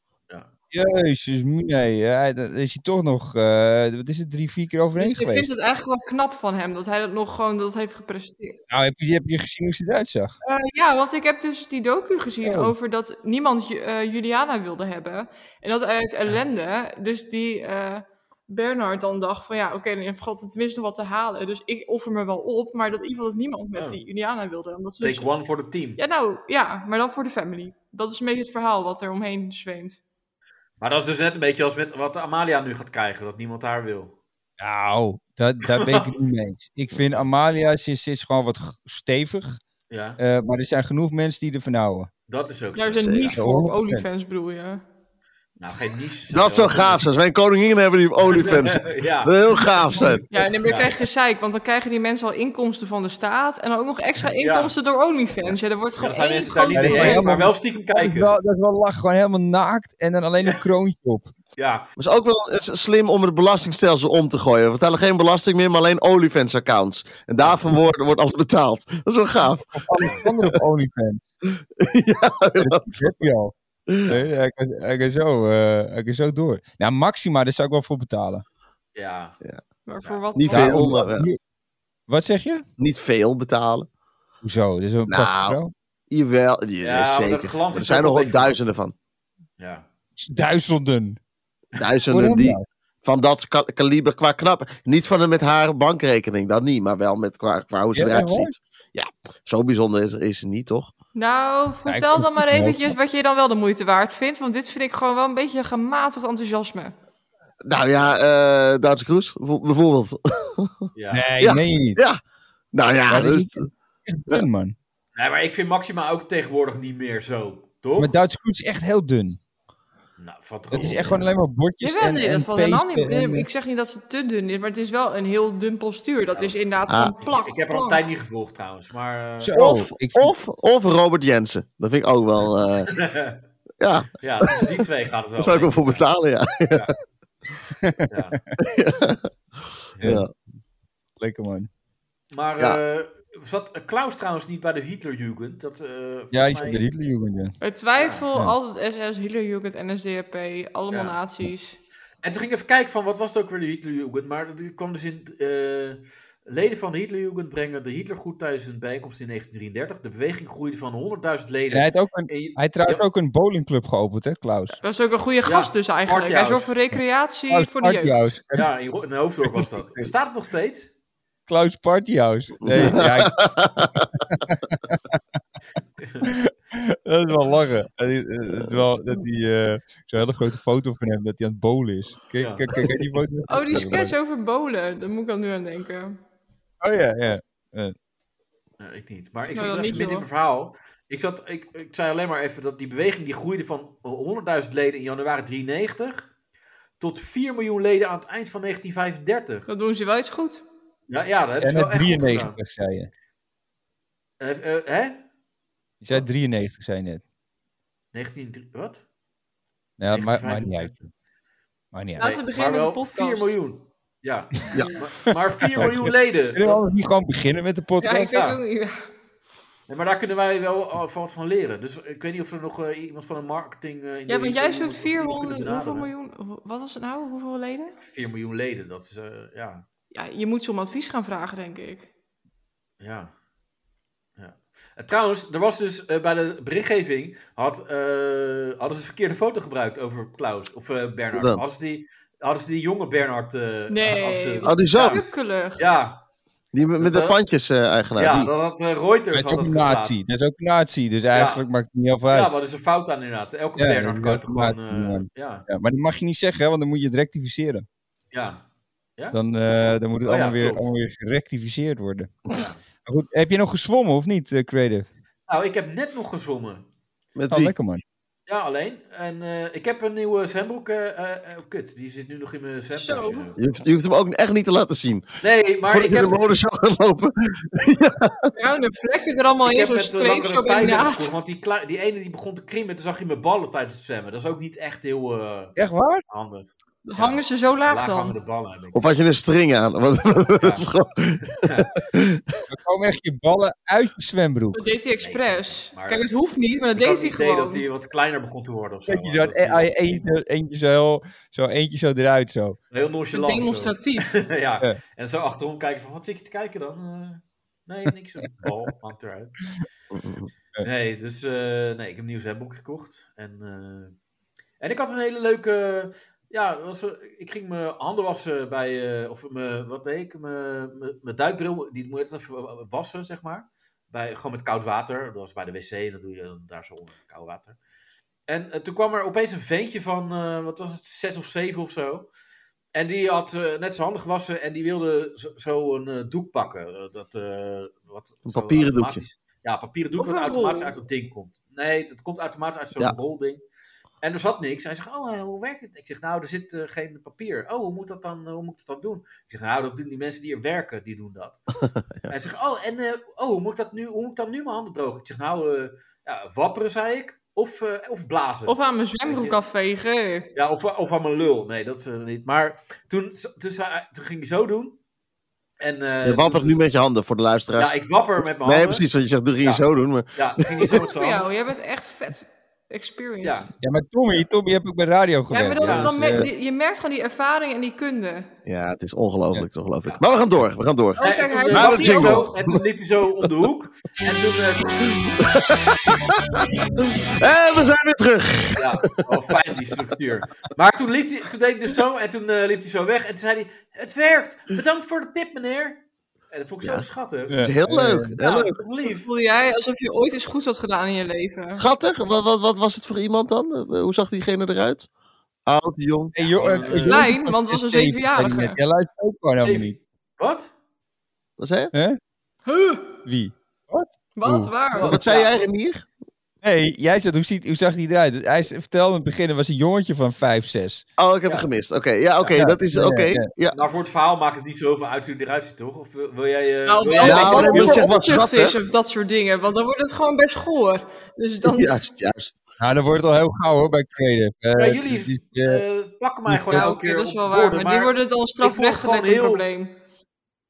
[SPEAKER 2] Jezus, nee, hij, dan is hij toch nog, eh, wat is het, drie, vier keer overheen
[SPEAKER 4] Dus ik vind
[SPEAKER 2] geweest?
[SPEAKER 4] het eigenlijk wel knap van hem dat hij dat nog gewoon dat heeft gepresteerd.
[SPEAKER 2] Nou, heb je, heb je gezien hoe ze eruit zag?
[SPEAKER 4] Eh, ja, want ik heb dus die docu gezien
[SPEAKER 2] Oh.
[SPEAKER 4] over dat niemand Ju- eh, Juliana wilde hebben. En dat uit ellende. Dus die eh, Bernard dan dacht van ja, oké, dan valt er tenminste nog wat te halen. Dus ik offer me wel op, maar dat iemand dat niemand met
[SPEAKER 3] Oh.
[SPEAKER 4] die Juliana wilde. Omdat ze dus-
[SPEAKER 3] Take one voor het team.
[SPEAKER 4] Ja, nou ja, maar dan voor de family. Dat is een beetje het verhaal wat er omheen zweemt.
[SPEAKER 3] Maar dat is dus net een beetje als met wat Amalia nu gaat krijgen: dat niemand haar wil.
[SPEAKER 2] Nou, dat, daar ben ik het niet mee eens. Ik vind Amalia, ze, ze is gewoon wat g- stevig.
[SPEAKER 3] Ja,
[SPEAKER 2] eh, maar er zijn genoeg mensen die ervan houden.
[SPEAKER 3] dat is ook
[SPEAKER 4] Daar
[SPEAKER 3] zo.
[SPEAKER 4] is een
[SPEAKER 5] zeker.
[SPEAKER 4] niche voor, op
[SPEAKER 2] 100%.
[SPEAKER 4] OnlyFans bedoel je.
[SPEAKER 3] Nou, geen niche.
[SPEAKER 5] Dat zou gaaf zijn. Mijn koningin hebben die op
[SPEAKER 3] (laughs)
[SPEAKER 5] OnlyFans. zit.
[SPEAKER 3] ja.
[SPEAKER 5] Dat zou heel gaaf zijn.
[SPEAKER 4] Ja, en dan
[SPEAKER 3] Ja.
[SPEAKER 4] krijg je gezeik, want dan krijgen die mensen al inkomsten van de staat. En dan ook nog extra inkomsten door OnlyFans. Ja, er wordt
[SPEAKER 3] Ja, dan zijn
[SPEAKER 4] gewoon één
[SPEAKER 3] mensen daar niet
[SPEAKER 4] grote-
[SPEAKER 3] mee eens, maar wel stiekem
[SPEAKER 2] Dat is
[SPEAKER 3] kijken.
[SPEAKER 2] wel, dat is wel lach, gewoon helemaal naakt en dan
[SPEAKER 5] (laughs)
[SPEAKER 2] alleen een kroontje op.
[SPEAKER 3] Ja,
[SPEAKER 5] Het is ook wel s- slim om het belastingstelsel om te gooien. We betalen geen belasting meer, maar alleen OnlyFans-accounts. En daarvan wordt, wordt alles betaald. Dat is wel gaaf.
[SPEAKER 2] Of alles andere op OnlyFans.
[SPEAKER 5] (laughs) Ja.
[SPEAKER 2] Dat heb je al. Nee, Hij kan, hij kan zo, eh, hij kan zo door. Nou, Maxima, daar zou ik wel voor betalen.
[SPEAKER 3] ja.
[SPEAKER 4] Maar voor wat
[SPEAKER 5] Niet
[SPEAKER 4] dan?
[SPEAKER 5] veel, maar, eh,
[SPEAKER 2] Wat zeg je?
[SPEAKER 5] niet veel betalen.
[SPEAKER 2] Hoezo? Dat is wel een
[SPEAKER 5] Nou.
[SPEAKER 2] prachtig vrouw.
[SPEAKER 5] Jawel, ja,
[SPEAKER 3] Ja, maar dat
[SPEAKER 5] zeker.
[SPEAKER 3] glans
[SPEAKER 5] Er
[SPEAKER 3] is
[SPEAKER 5] zijn
[SPEAKER 3] ook
[SPEAKER 5] nog wel
[SPEAKER 3] wel tegen-
[SPEAKER 5] duizenden
[SPEAKER 3] (laughs)
[SPEAKER 5] van.
[SPEAKER 3] ja.
[SPEAKER 2] Duizenden.
[SPEAKER 5] Duizenden
[SPEAKER 2] Waarom
[SPEAKER 5] die
[SPEAKER 2] nou?
[SPEAKER 5] van dat ka- kaliber qua knap. Niet van een met haar bankrekening, dat niet. Maar wel met qua, qua hoe ze
[SPEAKER 2] Ja,
[SPEAKER 5] eruit
[SPEAKER 2] hoor.
[SPEAKER 5] ziet. Ja, zo bijzonder is, is ze niet, toch?
[SPEAKER 4] Nou,
[SPEAKER 2] ik
[SPEAKER 4] vertel
[SPEAKER 2] vind
[SPEAKER 4] dan maar
[SPEAKER 2] het wel-
[SPEAKER 4] eventjes wat je dan wel de moeite waard vindt. Want dit vind ik gewoon wel een beetje een gematigd enthousiasme.
[SPEAKER 5] Nou ja, eh Duitse Kroes bijvo- bijvoorbeeld. (laughs)
[SPEAKER 3] ja. Nee.
[SPEAKER 2] Nee,
[SPEAKER 5] Ja.
[SPEAKER 2] meen je niet.
[SPEAKER 5] Ja, nou ja,
[SPEAKER 2] Maar dat
[SPEAKER 5] dus-
[SPEAKER 2] is Echt dun, man.
[SPEAKER 3] maar ik vind Maxima ook tegenwoordig niet meer zo, toch?
[SPEAKER 2] Maar Duitse Kroes is echt heel dun.
[SPEAKER 3] nou, valt toch
[SPEAKER 2] Het is
[SPEAKER 3] op.
[SPEAKER 2] echt gewoon alleen maar bordjes
[SPEAKER 4] Jawel,
[SPEAKER 2] en,
[SPEAKER 4] nee, dat
[SPEAKER 2] en
[SPEAKER 4] valt helemaal
[SPEAKER 2] peesten
[SPEAKER 4] niet. Nee,
[SPEAKER 2] en-
[SPEAKER 4] Ik zeg niet dat ze te dun is, maar het is wel een heel dun postuur. Dat is inderdaad
[SPEAKER 5] Ah.
[SPEAKER 4] gewoon plak.
[SPEAKER 3] Ik heb haar
[SPEAKER 4] plank.
[SPEAKER 3] altijd niet gevolgd trouwens, maar... eh,
[SPEAKER 2] Zo, Oh,
[SPEAKER 5] Of,
[SPEAKER 2] ik vind-
[SPEAKER 5] of, of Robert Jensen. Dat vind ik ook wel. eh,
[SPEAKER 3] (laughs)
[SPEAKER 5] ja,
[SPEAKER 2] (laughs)
[SPEAKER 3] ja, tussen die twee gaat het wel.
[SPEAKER 5] daar zou ik wel voor betalen, ja.
[SPEAKER 3] Ja. Ja.
[SPEAKER 5] ja.
[SPEAKER 2] Lekker man.
[SPEAKER 3] Maar
[SPEAKER 5] Ja.
[SPEAKER 3] eh, zat Klaus trouwens niet bij de Hitlerjugend? Dat, eh, volgens
[SPEAKER 2] Ja, je
[SPEAKER 3] mij-
[SPEAKER 2] zit bij Hitlerjugend, ja.
[SPEAKER 4] Bij twijfel
[SPEAKER 2] Ja.
[SPEAKER 4] altijd SS, Hitlerjugend, NSDAP, allemaal
[SPEAKER 3] Ja.
[SPEAKER 4] nazi's.
[SPEAKER 3] En toen ging ik even kijken van wat was het ook weer de Hitlerjugend, maar die kwam dus in... eh, Leden van de Hitlerjugend brengen de Hitler goed tijdens hun bijeenkomst in 1933. De beweging groeide van 100.000 leden.
[SPEAKER 2] hij, heeft ook een,
[SPEAKER 3] En je-
[SPEAKER 2] hij heeft trouwens
[SPEAKER 3] Ja.
[SPEAKER 2] ook een bowlingclub geopend, hè, Klaus?
[SPEAKER 4] Dat is ook een goede gast dus eigenlijk. Hij
[SPEAKER 3] Artjaus.
[SPEAKER 4] zorgt voor recreatie
[SPEAKER 2] Klaus
[SPEAKER 4] voor de jeugd.
[SPEAKER 2] Partijhuis.
[SPEAKER 3] ja, in Ho- in Hoofddorp was
[SPEAKER 2] (laughs)
[SPEAKER 3] dat. Bestaat het nog steeds?
[SPEAKER 2] Klaus Partyhouse. (laughs) Nee, ja, ik- dat is wel lachen. Dat is, dat is wel dat die eh, zo'n hele grote foto van hem dat hij aan het bowlen is. Kijk,
[SPEAKER 3] Ja.
[SPEAKER 2] kijk, kijk die foto.
[SPEAKER 4] Oh, die sketch over bolen. Daar moet ik dan nu aan denken.
[SPEAKER 2] Oh ja, ja.
[SPEAKER 3] Nee, ik niet. Maar ik
[SPEAKER 4] Nou,
[SPEAKER 3] zat
[SPEAKER 4] dan
[SPEAKER 3] even
[SPEAKER 4] niet,
[SPEAKER 3] midden in
[SPEAKER 4] joh.
[SPEAKER 3] mijn verhaal. Ik, zat, ik, ik zei alleen maar even dat die beweging die groeide van 100.000 leden in januari 93 tot 4 miljoen leden aan het eind van 1935.
[SPEAKER 4] Dat doen ze wel iets goed.
[SPEAKER 3] Ja, ja dat hebben
[SPEAKER 2] En
[SPEAKER 3] ze wel
[SPEAKER 2] het
[SPEAKER 3] echt goed gedaan.
[SPEAKER 2] 93 zei je.
[SPEAKER 3] Eh, eh, hè?
[SPEAKER 2] Je zei 93 zei je net.
[SPEAKER 3] 19... Wat?
[SPEAKER 2] Ja, maar,
[SPEAKER 3] 1995.
[SPEAKER 2] maar niet uit. Maar niet uit.
[SPEAKER 4] Laten we beginnen
[SPEAKER 3] maar
[SPEAKER 4] met de
[SPEAKER 3] wel
[SPEAKER 4] podcast.
[SPEAKER 3] 4 miljoen. Ja.
[SPEAKER 5] Ja.
[SPEAKER 3] Maar, maar 4 miljoen leden.
[SPEAKER 2] Kunnen we anders niet gewoon beginnen met de
[SPEAKER 4] Ja, ik
[SPEAKER 2] podcast?
[SPEAKER 4] weet ook niet.
[SPEAKER 3] Nee, maar daar kunnen wij wel al wat van leren. Dus ik weet niet of er nog eh, iemand van de marketing... eh, in de
[SPEAKER 4] Ja, want
[SPEAKER 3] regio
[SPEAKER 4] jij
[SPEAKER 3] nog-
[SPEAKER 4] zoekt
[SPEAKER 3] of die nog kunnen
[SPEAKER 4] 400, hoeveel
[SPEAKER 3] benaderen.
[SPEAKER 4] miljoen, hoe- wat was het nou? Hoeveel leden?
[SPEAKER 3] 4 miljoen leden, dat is... eh, ja.
[SPEAKER 4] Ja, je moet ze om advies gaan vragen, denk ik.
[SPEAKER 3] Ja. ja. En trouwens, er was dus eh, bij de berichtgeving had, eh, hadden ze een verkeerde foto gebruikt over Klaus of eh Bernard.
[SPEAKER 5] Dan.
[SPEAKER 3] Hadden ze, die, hadden ze die jonge Bernard. eh,
[SPEAKER 4] Nee.
[SPEAKER 3] hadden ze-
[SPEAKER 5] Oh, die zo.
[SPEAKER 4] Kukkelig.
[SPEAKER 3] ja,
[SPEAKER 5] Die met, met de
[SPEAKER 3] Eh,
[SPEAKER 5] pandjes-eigenaar.
[SPEAKER 3] ja,
[SPEAKER 5] die.
[SPEAKER 3] dat had eh,
[SPEAKER 2] Nou, Hij
[SPEAKER 3] Reuters
[SPEAKER 2] is
[SPEAKER 3] had
[SPEAKER 2] ook
[SPEAKER 3] dat
[SPEAKER 2] een
[SPEAKER 3] geplaatst.
[SPEAKER 2] nazi. Dat is ook een nazi, dus eigenlijk maakt het niet heel veel uit.
[SPEAKER 3] Ja,
[SPEAKER 2] Ja,
[SPEAKER 3] wat is een fout aan inderdaad. Elke
[SPEAKER 2] Ja,
[SPEAKER 3] Bernard
[SPEAKER 2] dat
[SPEAKER 3] kan
[SPEAKER 2] is
[SPEAKER 3] toch gewoon...
[SPEAKER 2] inderdaad,
[SPEAKER 3] eh, ja,
[SPEAKER 2] maar dat mag je niet zeggen, hè, want dan moet je het rectificeren.
[SPEAKER 3] ja.
[SPEAKER 2] Dan, eh, dan moet het
[SPEAKER 3] Oh ja,
[SPEAKER 2] allemaal, weer,
[SPEAKER 3] klopt.
[SPEAKER 2] allemaal weer gerectificeerd worden. Maar goed, heb je nog gezwommen of niet, eh, Creative?
[SPEAKER 3] Nou, ik heb net nog gezwommen.
[SPEAKER 5] Met
[SPEAKER 2] Oh,
[SPEAKER 5] wie?
[SPEAKER 2] lekker man.
[SPEAKER 3] Ja, alleen. En eh, ik heb een nieuwe zwembroek. eh, eh, eh, kut, die zit nu nog in mijn zwembroekje.
[SPEAKER 5] Je hoeft, je hoeft hem ook echt niet te laten zien.
[SPEAKER 3] Nee, maar
[SPEAKER 5] Voordat
[SPEAKER 3] ik
[SPEAKER 5] je
[SPEAKER 3] heb,
[SPEAKER 5] de (laughs) modeshow gaat lopen.
[SPEAKER 4] Bruine vlekken er allemaal
[SPEAKER 3] Ik
[SPEAKER 4] in,
[SPEAKER 3] heb
[SPEAKER 4] zo'n
[SPEAKER 3] met de
[SPEAKER 4] streep zo
[SPEAKER 3] langere pijlen
[SPEAKER 4] naast.
[SPEAKER 3] gevoerd, want die, klei- die ene die begon te krimmen, toen zag je mijn ballen tijdens het zwemmen. Dat is ook niet echt heel eh,
[SPEAKER 2] Echt waar?
[SPEAKER 3] handig.
[SPEAKER 4] Hangen ze zo laag
[SPEAKER 3] hangende
[SPEAKER 4] dan?
[SPEAKER 3] ballen heb ik.
[SPEAKER 5] Of had je een string aan? (laughs) Want, dat is gewoon-
[SPEAKER 2] Er komen echt je ballen uit je zwembroek.
[SPEAKER 4] Dat deed hij expres.
[SPEAKER 3] Nee, maar-
[SPEAKER 4] Kijk, het hoeft niet, maar dat
[SPEAKER 3] Ik had
[SPEAKER 4] deed
[SPEAKER 3] het
[SPEAKER 4] hij
[SPEAKER 3] idee dat
[SPEAKER 4] gewoon.
[SPEAKER 3] hij wat kleiner begon te worden of zo.
[SPEAKER 2] Kijk, je zo,
[SPEAKER 3] Dat hij-
[SPEAKER 2] eh, je eentje, eentje zo, heel- zo, eentje zo eruit zo.
[SPEAKER 3] heel nonchalant. zo.
[SPEAKER 4] Demonstratief.
[SPEAKER 3] (laughs) ja.
[SPEAKER 2] Ja.
[SPEAKER 3] En zo achterom kijken van, wat zit je te kijken dan? Eh, nee, niks. Een bal hangt eruit. Nee, dus eh, nee, ik heb een nieuw zwembroek gekocht. En, eh, en ik had een hele leuke... Ja, het was, eh, ik ging mijn handen wassen bij... eh, of mijn, wat deed ik? Mijn, mijn- mijn duikbril, die moet je even wassen, zeg maar. Bij, gewoon met koud water. Dat was bij de wc en dat doe je dan daar zo onder, koud water. En eh, toen kwam er opeens een ventje van, eh, wat was het, zes of zeven of zo. En die had eh, net zijn handen gewassen en die wilde zo, zo een eh, doek pakken. Eh, dat, eh, wat,
[SPEAKER 5] Een
[SPEAKER 3] zo
[SPEAKER 5] papieren doekje.
[SPEAKER 3] automatisch- Ja, papieren doek
[SPEAKER 4] Of
[SPEAKER 3] wat
[SPEAKER 4] een
[SPEAKER 3] automatisch
[SPEAKER 4] rol.
[SPEAKER 3] uit dat ding komt. Nee, dat komt automatisch uit zo'n
[SPEAKER 5] Ja.
[SPEAKER 3] rolding. En er zat niks. Hij zegt, oh, eh, hoe werkt het? Ik zeg, nou, er zit eh, geen papier. Oh, hoe moet, dat dan, hoe moet ik dat dan doen? Ik zeg, nou, dat doen die mensen die er werken, die doen
[SPEAKER 5] (laughs)
[SPEAKER 3] dat. Hij zegt, oh, en eh, oh, hoe, moet ik dat nu, hoe moet ik dan nu mijn handen drogen? Ik zeg, nou, eh, ja, wapperen, zei ik. Of, eh, of blazen. (laughs)
[SPEAKER 4] Of aan mijn zwembroek afvegen.
[SPEAKER 3] Ja, of, of aan mijn lul. Nee, dat is eh, niet. Maar toen, toen, zei- toen ging hij zo doen. En, eh,
[SPEAKER 5] je wappert
[SPEAKER 3] toen-
[SPEAKER 5] nu met je handen voor de luisteraars.
[SPEAKER 3] Ja, ik wapper met mijn
[SPEAKER 5] nee,
[SPEAKER 3] handen.
[SPEAKER 5] precies. Want je zegt, doe ging je
[SPEAKER 3] Ja.
[SPEAKER 5] zo doen. Maar
[SPEAKER 3] Ja, toen ging hij zo
[SPEAKER 4] (laughs)
[SPEAKER 3] met
[SPEAKER 4] Voor
[SPEAKER 3] zijn handen.
[SPEAKER 4] jou, jij bent echt vet
[SPEAKER 3] Ja.
[SPEAKER 4] experienced.
[SPEAKER 2] Ja, maar Tommy, Tommy heb ik bij radio
[SPEAKER 4] Ja, maar
[SPEAKER 2] gewerkt.
[SPEAKER 4] dan,
[SPEAKER 2] hè,
[SPEAKER 3] Ja,
[SPEAKER 4] dan
[SPEAKER 2] dus,
[SPEAKER 4] mer-
[SPEAKER 2] eh,
[SPEAKER 4] die- je merkt gewoon die ervaring en die kunde.
[SPEAKER 5] ja, het is ongelooflijk, toch geloof
[SPEAKER 3] Ja.
[SPEAKER 5] ik. Maar we gaan door, we gaan door.
[SPEAKER 4] Oh, kijk,
[SPEAKER 3] En toen,
[SPEAKER 4] hij
[SPEAKER 3] eh,
[SPEAKER 5] Na de
[SPEAKER 3] wapte hij
[SPEAKER 5] jingle.
[SPEAKER 3] zo, En toen liep hij zo om de hoek. En toen... eh,
[SPEAKER 5] En we zijn weer terug.
[SPEAKER 3] ja, wel fijn die structuur. Maar toen, liep hij, toen deed ik dus zo. En toen eh, liep hij zo weg. En toen zei hij... Het werkt! Bedankt voor de tip, meneer! En dat vond ik
[SPEAKER 5] Ja.
[SPEAKER 3] zo schattig.
[SPEAKER 2] Ja.
[SPEAKER 5] Het is heel
[SPEAKER 2] Eh,
[SPEAKER 5] leuk.
[SPEAKER 3] Ja,
[SPEAKER 5] Heel
[SPEAKER 3] dat
[SPEAKER 5] leuk.
[SPEAKER 3] is toch lief.
[SPEAKER 4] Voel jij alsof je ooit iets goeds had gedaan in je leven?
[SPEAKER 5] Schattig, wat, wat, wat was het voor iemand dan? Eh, Hoe zag diegene eruit? Oud, jong.
[SPEAKER 2] eh, jo- eh,
[SPEAKER 3] gewoon, eh,
[SPEAKER 2] Jozef
[SPEAKER 4] Klein,
[SPEAKER 2] van
[SPEAKER 4] want het was een
[SPEAKER 2] SC,
[SPEAKER 4] zevenjarige.
[SPEAKER 2] zei je net. Jij luistert ook gewoon helemaal niet.
[SPEAKER 3] Wat?
[SPEAKER 5] Wat zei je?
[SPEAKER 4] Huh,
[SPEAKER 2] Wie?
[SPEAKER 4] wat,
[SPEAKER 2] Oeh.
[SPEAKER 4] waar?
[SPEAKER 5] Wat zei jij hier?
[SPEAKER 2] Nee, jij zegt, hoe, ziet, hoe zag hij eruit? Hij is- vertelde in het begin, er was een jongetje van 5, 6.
[SPEAKER 5] Oh, ik
[SPEAKER 3] Ja.
[SPEAKER 5] heb hem gemist. Oké, ja, oké,
[SPEAKER 2] Ja.
[SPEAKER 5] dat is
[SPEAKER 2] Ja,
[SPEAKER 5] oké.
[SPEAKER 2] ja,
[SPEAKER 5] ja.
[SPEAKER 2] ja.
[SPEAKER 3] Nou, voor het verhaal maakt het niet zoveel uit hoe hij eruit ziet, toch? Of wil wil jij... eh
[SPEAKER 4] Nou,
[SPEAKER 3] wil
[SPEAKER 4] wel,
[SPEAKER 3] jij
[SPEAKER 5] Nou,
[SPEAKER 4] wat
[SPEAKER 5] dat
[SPEAKER 4] voor
[SPEAKER 5] is echt wel
[SPEAKER 4] opzicht
[SPEAKER 5] schattig.
[SPEAKER 4] is of dat soort dingen. Want dan wordt het gewoon best goor. Dus dan...
[SPEAKER 5] (laughs) Juist, juist.
[SPEAKER 2] Nou, dan wordt het al heel gauw hoor, bij Creative. Eh,
[SPEAKER 3] Ja, jullie
[SPEAKER 2] dus, eh,
[SPEAKER 3] eh pakken mij
[SPEAKER 2] die-
[SPEAKER 3] gewoon
[SPEAKER 4] Ja,
[SPEAKER 3] elke
[SPEAKER 4] oké,
[SPEAKER 3] keer
[SPEAKER 4] dat is
[SPEAKER 3] op
[SPEAKER 4] wel
[SPEAKER 3] de
[SPEAKER 4] waar.
[SPEAKER 3] woorden,
[SPEAKER 4] maar, die worden dan strafrechtelijk een
[SPEAKER 3] heel-
[SPEAKER 4] probleem.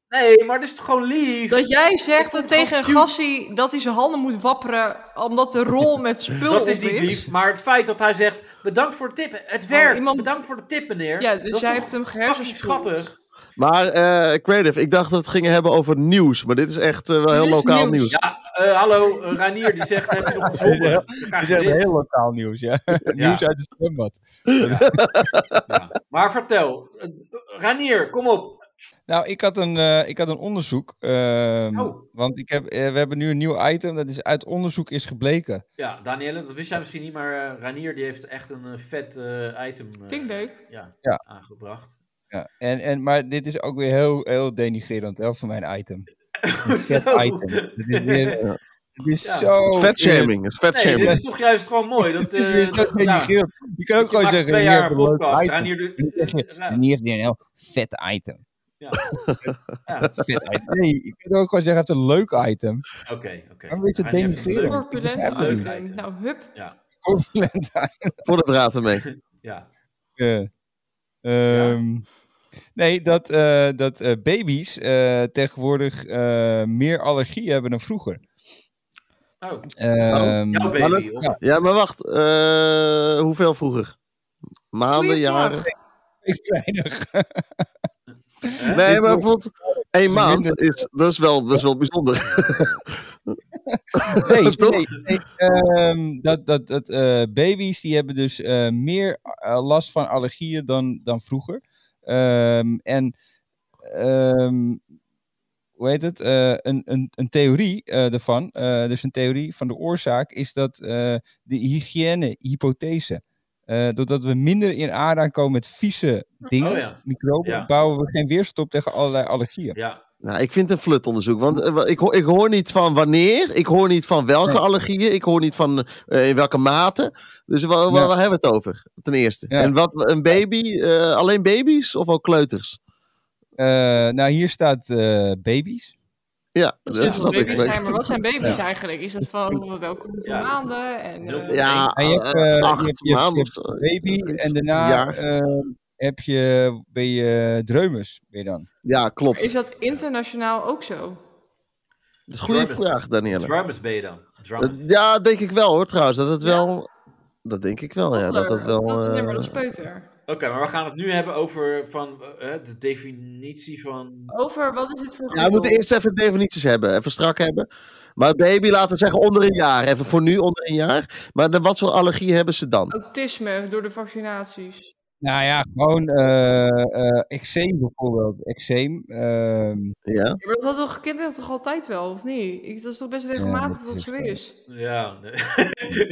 [SPEAKER 3] Nee, maar dat is toch gewoon lief?
[SPEAKER 4] Dat jij zegt
[SPEAKER 3] Ik vond
[SPEAKER 4] dat
[SPEAKER 3] het
[SPEAKER 4] tegen een
[SPEAKER 3] gewoon
[SPEAKER 4] gassie dat hij zijn handen moet wapperen omdat de
[SPEAKER 5] (laughs)
[SPEAKER 4] rol met spul
[SPEAKER 3] Dat
[SPEAKER 4] op
[SPEAKER 3] is niet lief, maar het feit dat hij zegt... Bedankt voor de tip, het
[SPEAKER 4] Oh,
[SPEAKER 3] werkt,
[SPEAKER 4] iemand-
[SPEAKER 3] bedankt voor de tip, meneer.
[SPEAKER 4] Ja, dus
[SPEAKER 3] dat is
[SPEAKER 4] jij
[SPEAKER 3] toch
[SPEAKER 4] hebt hem
[SPEAKER 3] fucking
[SPEAKER 4] gehersenspoeld.
[SPEAKER 3] schattig.
[SPEAKER 5] Maar eh, Creative, ik dacht dat we het gingen hebben over nieuws. Maar dit is echt eh, wel heel
[SPEAKER 4] Dit is
[SPEAKER 5] lokaal
[SPEAKER 4] nieuws.
[SPEAKER 5] nieuws.
[SPEAKER 3] Ja, eh, hallo, eh, Reinier die zegt, heb je nog
[SPEAKER 2] (laughs)
[SPEAKER 3] gezongen?
[SPEAKER 2] Ja.
[SPEAKER 3] Ik
[SPEAKER 2] Het
[SPEAKER 3] krijg
[SPEAKER 2] is echt
[SPEAKER 3] dit.
[SPEAKER 2] heel lokaal nieuws, ja. (laughs) Nieuws uit het zwembad.
[SPEAKER 3] Ja. Maar vertel, eh, Reinier, kom op.
[SPEAKER 2] Nou, ik had een, eh, ik had een onderzoek. ehm,
[SPEAKER 3] Oh.
[SPEAKER 2] Want ik heb, eh, we hebben nu een nieuw item. Dat is uit onderzoek is gebleken.
[SPEAKER 3] Ja, Danielle, dat wist jij misschien niet, maar eh Reinier die heeft echt een eh, vet eh, item eh,
[SPEAKER 4] Klinkt leuk.
[SPEAKER 3] Ja,
[SPEAKER 2] Ja.
[SPEAKER 3] aangebracht.
[SPEAKER 2] Ja. En, en, maar dit is ook weer heel, heel denigrerend hè, voor mijn
[SPEAKER 3] (laughs)
[SPEAKER 2] item. Een vet
[SPEAKER 3] Zo.
[SPEAKER 2] item. Dit is, weer,
[SPEAKER 5] Ja.
[SPEAKER 2] dit is
[SPEAKER 3] Ja.
[SPEAKER 2] zo...
[SPEAKER 5] Vetshaming, het is
[SPEAKER 3] Nee,
[SPEAKER 5] vetshaming.
[SPEAKER 3] dit is toch juist gewoon
[SPEAKER 2] (laughs)
[SPEAKER 3] mooi. Dat,
[SPEAKER 2] Het is weer
[SPEAKER 3] eh,
[SPEAKER 2] zo
[SPEAKER 3] dat- ja.
[SPEAKER 2] denigrerend. Je kan ook
[SPEAKER 3] Je
[SPEAKER 2] gewoon
[SPEAKER 3] maakt
[SPEAKER 2] zeggen...
[SPEAKER 3] twee
[SPEAKER 2] hier
[SPEAKER 3] jaar
[SPEAKER 2] heb
[SPEAKER 3] een
[SPEAKER 2] je leuk
[SPEAKER 3] podcast.
[SPEAKER 2] item.
[SPEAKER 3] Reinier
[SPEAKER 2] Dan zeg je,
[SPEAKER 3] de, ja,
[SPEAKER 2] En hier heeft hij een heel vet item.
[SPEAKER 3] ja.
[SPEAKER 2] (laughs) Vet item. Nee, je kunt ook gewoon zeggen, het is een leuk item. (laughs)
[SPEAKER 3] Oké, oké.
[SPEAKER 2] Waarom weet je het
[SPEAKER 3] Reinier heeft
[SPEAKER 2] denigreren?
[SPEAKER 3] een leuk-
[SPEAKER 4] Corpulent
[SPEAKER 2] begrijp
[SPEAKER 3] het
[SPEAKER 4] item.
[SPEAKER 3] niet.
[SPEAKER 4] Nou, hup.
[SPEAKER 2] Corpulent
[SPEAKER 5] Voor de draad ermee.
[SPEAKER 3] Ja.
[SPEAKER 2] Eh, ehm, Nee, dat, eh, dat eh, baby's eh, tegenwoordig eh, meer allergie hebben dan vroeger.
[SPEAKER 3] Oh,
[SPEAKER 2] Ehm,
[SPEAKER 3] jouw baby. of-
[SPEAKER 2] ja.
[SPEAKER 5] Ja, maar wacht. eh, hoeveel vroeger? Maanden,
[SPEAKER 4] Goeie vraag.
[SPEAKER 5] jaren?
[SPEAKER 2] (laughs) ik weinig.
[SPEAKER 5] Nee,
[SPEAKER 2] Ik
[SPEAKER 5] maar
[SPEAKER 2] wil-
[SPEAKER 5] bijvoorbeeld één maand is, dat is wel, dat is wel bijzonder.
[SPEAKER 2] Nee,
[SPEAKER 5] Toch?
[SPEAKER 2] nee, nee, ehm, dat, dat, dat, eh, baby's die hebben dus eh, meer eh, last van allergieën dan, dan vroeger. Ehm, en ehm, hoe heet het? Eh, een, een, een theorie eh daarvan, eh, dus een theorie van de oorzaak, is dat eh, de hygiëne-hypothese. Eh, doordat we minder in aanraking komen met vieze dingen,
[SPEAKER 3] Oh ja.
[SPEAKER 2] microben,
[SPEAKER 3] Ja.
[SPEAKER 2] bouwen we geen weerstand op tegen allerlei allergieën.
[SPEAKER 3] Ja,
[SPEAKER 5] Nou, ik vind het een flutonderzoek. Want eh, wa- ik, hoor, ik hoor niet van wanneer, ik hoor niet van welke
[SPEAKER 2] Nee.
[SPEAKER 5] allergieën, ik hoor niet van eh, in welke mate. Dus wa- wa-
[SPEAKER 2] Ja.
[SPEAKER 5] waar hebben we het over? Ten eerste.
[SPEAKER 2] Ja.
[SPEAKER 5] En wat een baby, eh, alleen baby's of ook kleuters?
[SPEAKER 2] Eh, nou, hier staat eh, baby's.
[SPEAKER 5] Ja,
[SPEAKER 4] Dat
[SPEAKER 5] dat
[SPEAKER 4] is heel veel
[SPEAKER 5] snap ik.
[SPEAKER 4] baby's zijn, maar wat
[SPEAKER 5] (laughs)
[SPEAKER 4] zijn baby's eigenlijk? Is dat van welke hoeveel
[SPEAKER 3] Ja.
[SPEAKER 4] maanden? En,
[SPEAKER 3] Ja.
[SPEAKER 4] eh,
[SPEAKER 5] Ja,
[SPEAKER 2] En je hebt,
[SPEAKER 5] eh,
[SPEAKER 2] eh, je
[SPEAKER 5] acht
[SPEAKER 2] hebt- je hebt-
[SPEAKER 5] maanden
[SPEAKER 2] je
[SPEAKER 5] of zo.
[SPEAKER 2] baby en daarna
[SPEAKER 5] jaar.
[SPEAKER 2] eh, heb je, ben je eh, dreumes ben je dan.
[SPEAKER 5] Ja, klopt.
[SPEAKER 4] Is dat internationaal ook zo?
[SPEAKER 5] Dat is een goede
[SPEAKER 3] Drummers.
[SPEAKER 5] vraag, Danielle.
[SPEAKER 3] drummers ben je dan.
[SPEAKER 5] Dat-
[SPEAKER 3] Drummers.
[SPEAKER 5] ja, denk ik wel hoor trouwens. Dat het wel. Dat denk ik wel, ja. Dat dat wel.
[SPEAKER 4] Dat het
[SPEAKER 5] eh,
[SPEAKER 4] nummer, dat is peuter.
[SPEAKER 3] Oké, maar we gaan het nu hebben over van, eh, de definitie van...
[SPEAKER 4] Over, wat is het voor
[SPEAKER 5] ja, we moeten eerst even definities hebben. Even strak hebben. Maar baby, laten we zeggen onder een jaar. Even voor nu onder een jaar. Maar dan, wat voor allergie hebben ze dan?
[SPEAKER 4] Autisme door de vaccinaties.
[SPEAKER 2] Nou ja, gewoon eh eh eczeem bijvoorbeeld. Eczeem. ehm,
[SPEAKER 4] Ja,
[SPEAKER 5] Ja.
[SPEAKER 4] maar dat had toch kinderen toch altijd wel, of niet? Ik, dat is toch best regelmatig
[SPEAKER 2] dat
[SPEAKER 4] dat
[SPEAKER 2] is
[SPEAKER 4] het zo weer
[SPEAKER 2] wel.
[SPEAKER 4] is.
[SPEAKER 3] Ja, (laughs) nee.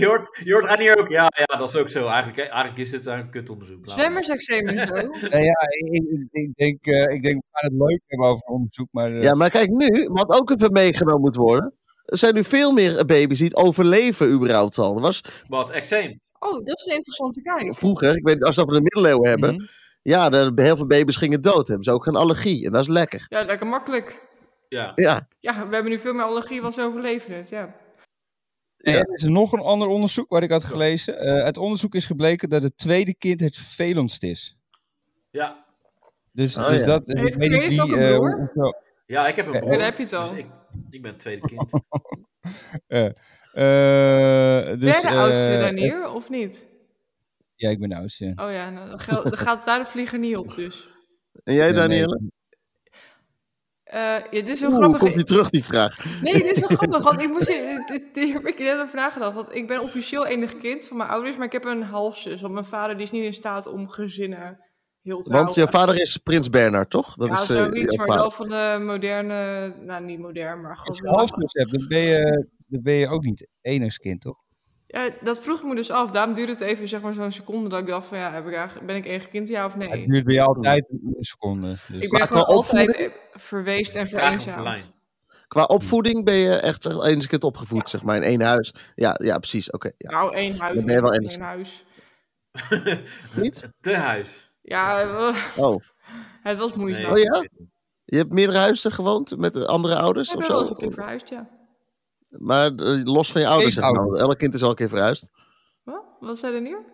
[SPEAKER 3] je hoort, je hoort Reinier ook. Ja, ja, dat is ook zo. Eigenlijk, hè. eigenlijk is dit een kutonderzoek. Laat maar.
[SPEAKER 4] Zwemmersexamen en zo.
[SPEAKER 2] nou ja, ik, ik- ik denk, eh, ik denk we gaan het leuk hebben over onderzoek, maar eh,
[SPEAKER 5] ja, maar kijk nu, wat ook even meegenomen moet worden. Er zijn nu veel meer baby's die het overleven überhaupt al. Er was
[SPEAKER 3] Wat, eczeem?
[SPEAKER 4] Oh, dat is een interessante kijk.
[SPEAKER 5] vroeger, ik weet niet, als we dat we de middeleeuwen hebben.
[SPEAKER 2] mhm.
[SPEAKER 5] Ja, dan, heel veel baby's gingen dood. Hebben ze ook geen allergie. En dat is lekker.
[SPEAKER 4] Ja, lekker makkelijk.
[SPEAKER 3] Ja.
[SPEAKER 5] Ja.
[SPEAKER 4] Ja, we hebben nu veel meer allergie, was overleven het, ja.
[SPEAKER 2] En
[SPEAKER 5] Ja.
[SPEAKER 2] er is nog een ander onderzoek waar ik had gelezen. Eh, uit onderzoek is gebleken dat het tweede kind het vervelendst is.
[SPEAKER 3] ja.
[SPEAKER 2] Dus,
[SPEAKER 5] Oh
[SPEAKER 2] dus
[SPEAKER 5] ja.
[SPEAKER 2] dat, ik
[SPEAKER 4] Heeft
[SPEAKER 2] weet niet
[SPEAKER 4] Grace ook
[SPEAKER 2] wie...
[SPEAKER 4] een
[SPEAKER 2] eh,
[SPEAKER 4] broer?
[SPEAKER 2] hoe- hoeveel-
[SPEAKER 3] Ja, ik heb een
[SPEAKER 2] Ja,
[SPEAKER 3] broer.
[SPEAKER 4] daar heb je het al.
[SPEAKER 3] Dus ik, ik ben het
[SPEAKER 4] (laughs)
[SPEAKER 3] tweede kind.
[SPEAKER 2] eh, dus,
[SPEAKER 4] ben jij de oudste
[SPEAKER 2] eh,
[SPEAKER 4] Ranier, of niet?
[SPEAKER 2] Ja, ik ben de oudste. ja.
[SPEAKER 4] Oh ja, nou, dan, gel- dan gaat daar de vlieger niet op dus.
[SPEAKER 5] En jij,
[SPEAKER 2] Ja, nee,
[SPEAKER 5] Danielle?
[SPEAKER 4] Eh, ja, dit is heel
[SPEAKER 5] Oeh,
[SPEAKER 4] grappig.
[SPEAKER 5] komt die terug, die vraag?
[SPEAKER 4] Nee, dit is wel grappig, want
[SPEAKER 5] (laughs)
[SPEAKER 4] ik moest, dit, dit- hier heb ik net over nagedacht. Want ik ben officieel enig kind van mijn ouders, maar ik heb een halfzus. Want mijn vader die is niet in staat om gezinnen heel te
[SPEAKER 5] Want
[SPEAKER 4] houden.
[SPEAKER 5] jouw vader is Prins Bernard, toch? Dat
[SPEAKER 4] ja,
[SPEAKER 5] is, eh,
[SPEAKER 4] zoiets, maar
[SPEAKER 5] jouw vader.
[SPEAKER 4] wel van de moderne... Nou, niet modern, maar
[SPEAKER 2] Als
[SPEAKER 4] gewoon...
[SPEAKER 2] je
[SPEAKER 4] wel-
[SPEAKER 2] halfzus hebt, dan ben je, dan ben je ook niet enigskind, toch?
[SPEAKER 4] Ja, dat vroeg ik me dus af. Daarom duurde het even zeg maar, zo'n seconde dat ik dacht van... Ja, heb ik eigenlijk, ben ik enig kind, ja of nee?
[SPEAKER 2] Het
[SPEAKER 5] dus.
[SPEAKER 2] duurt bij jou altijd een seconde. Dus.
[SPEAKER 4] Ik
[SPEAKER 5] Maar
[SPEAKER 4] ben gewoon
[SPEAKER 5] qua
[SPEAKER 4] altijd verweest en
[SPEAKER 3] Vraag op de
[SPEAKER 4] vereenzaamd.
[SPEAKER 3] lijn.
[SPEAKER 5] Qua opvoeding ben je echt zeg, eens kind opgevoed, zeg maar, in één huis. Ja, ja precies. Oké. ja.
[SPEAKER 4] Nou, één huis.
[SPEAKER 5] Dan ben je wel
[SPEAKER 4] één
[SPEAKER 5] enigszins.
[SPEAKER 4] huis.
[SPEAKER 5] Niet?
[SPEAKER 3] De huis.
[SPEAKER 4] Ja, (laughs)
[SPEAKER 5] Oh.
[SPEAKER 4] het was moeizaam.
[SPEAKER 5] Oh ja? Je hebt meerdere huizen gewoond met eh, andere ouders
[SPEAKER 4] Ik
[SPEAKER 5] of
[SPEAKER 4] ben wel eens
[SPEAKER 5] zo?
[SPEAKER 4] een keer verhuisd, ja.
[SPEAKER 5] Maar eh, los van je ouders, zeg maar.
[SPEAKER 2] Pleegouders.
[SPEAKER 5] Elk kind is al een keer verhuisd.
[SPEAKER 4] Wat? Wat zei er neer?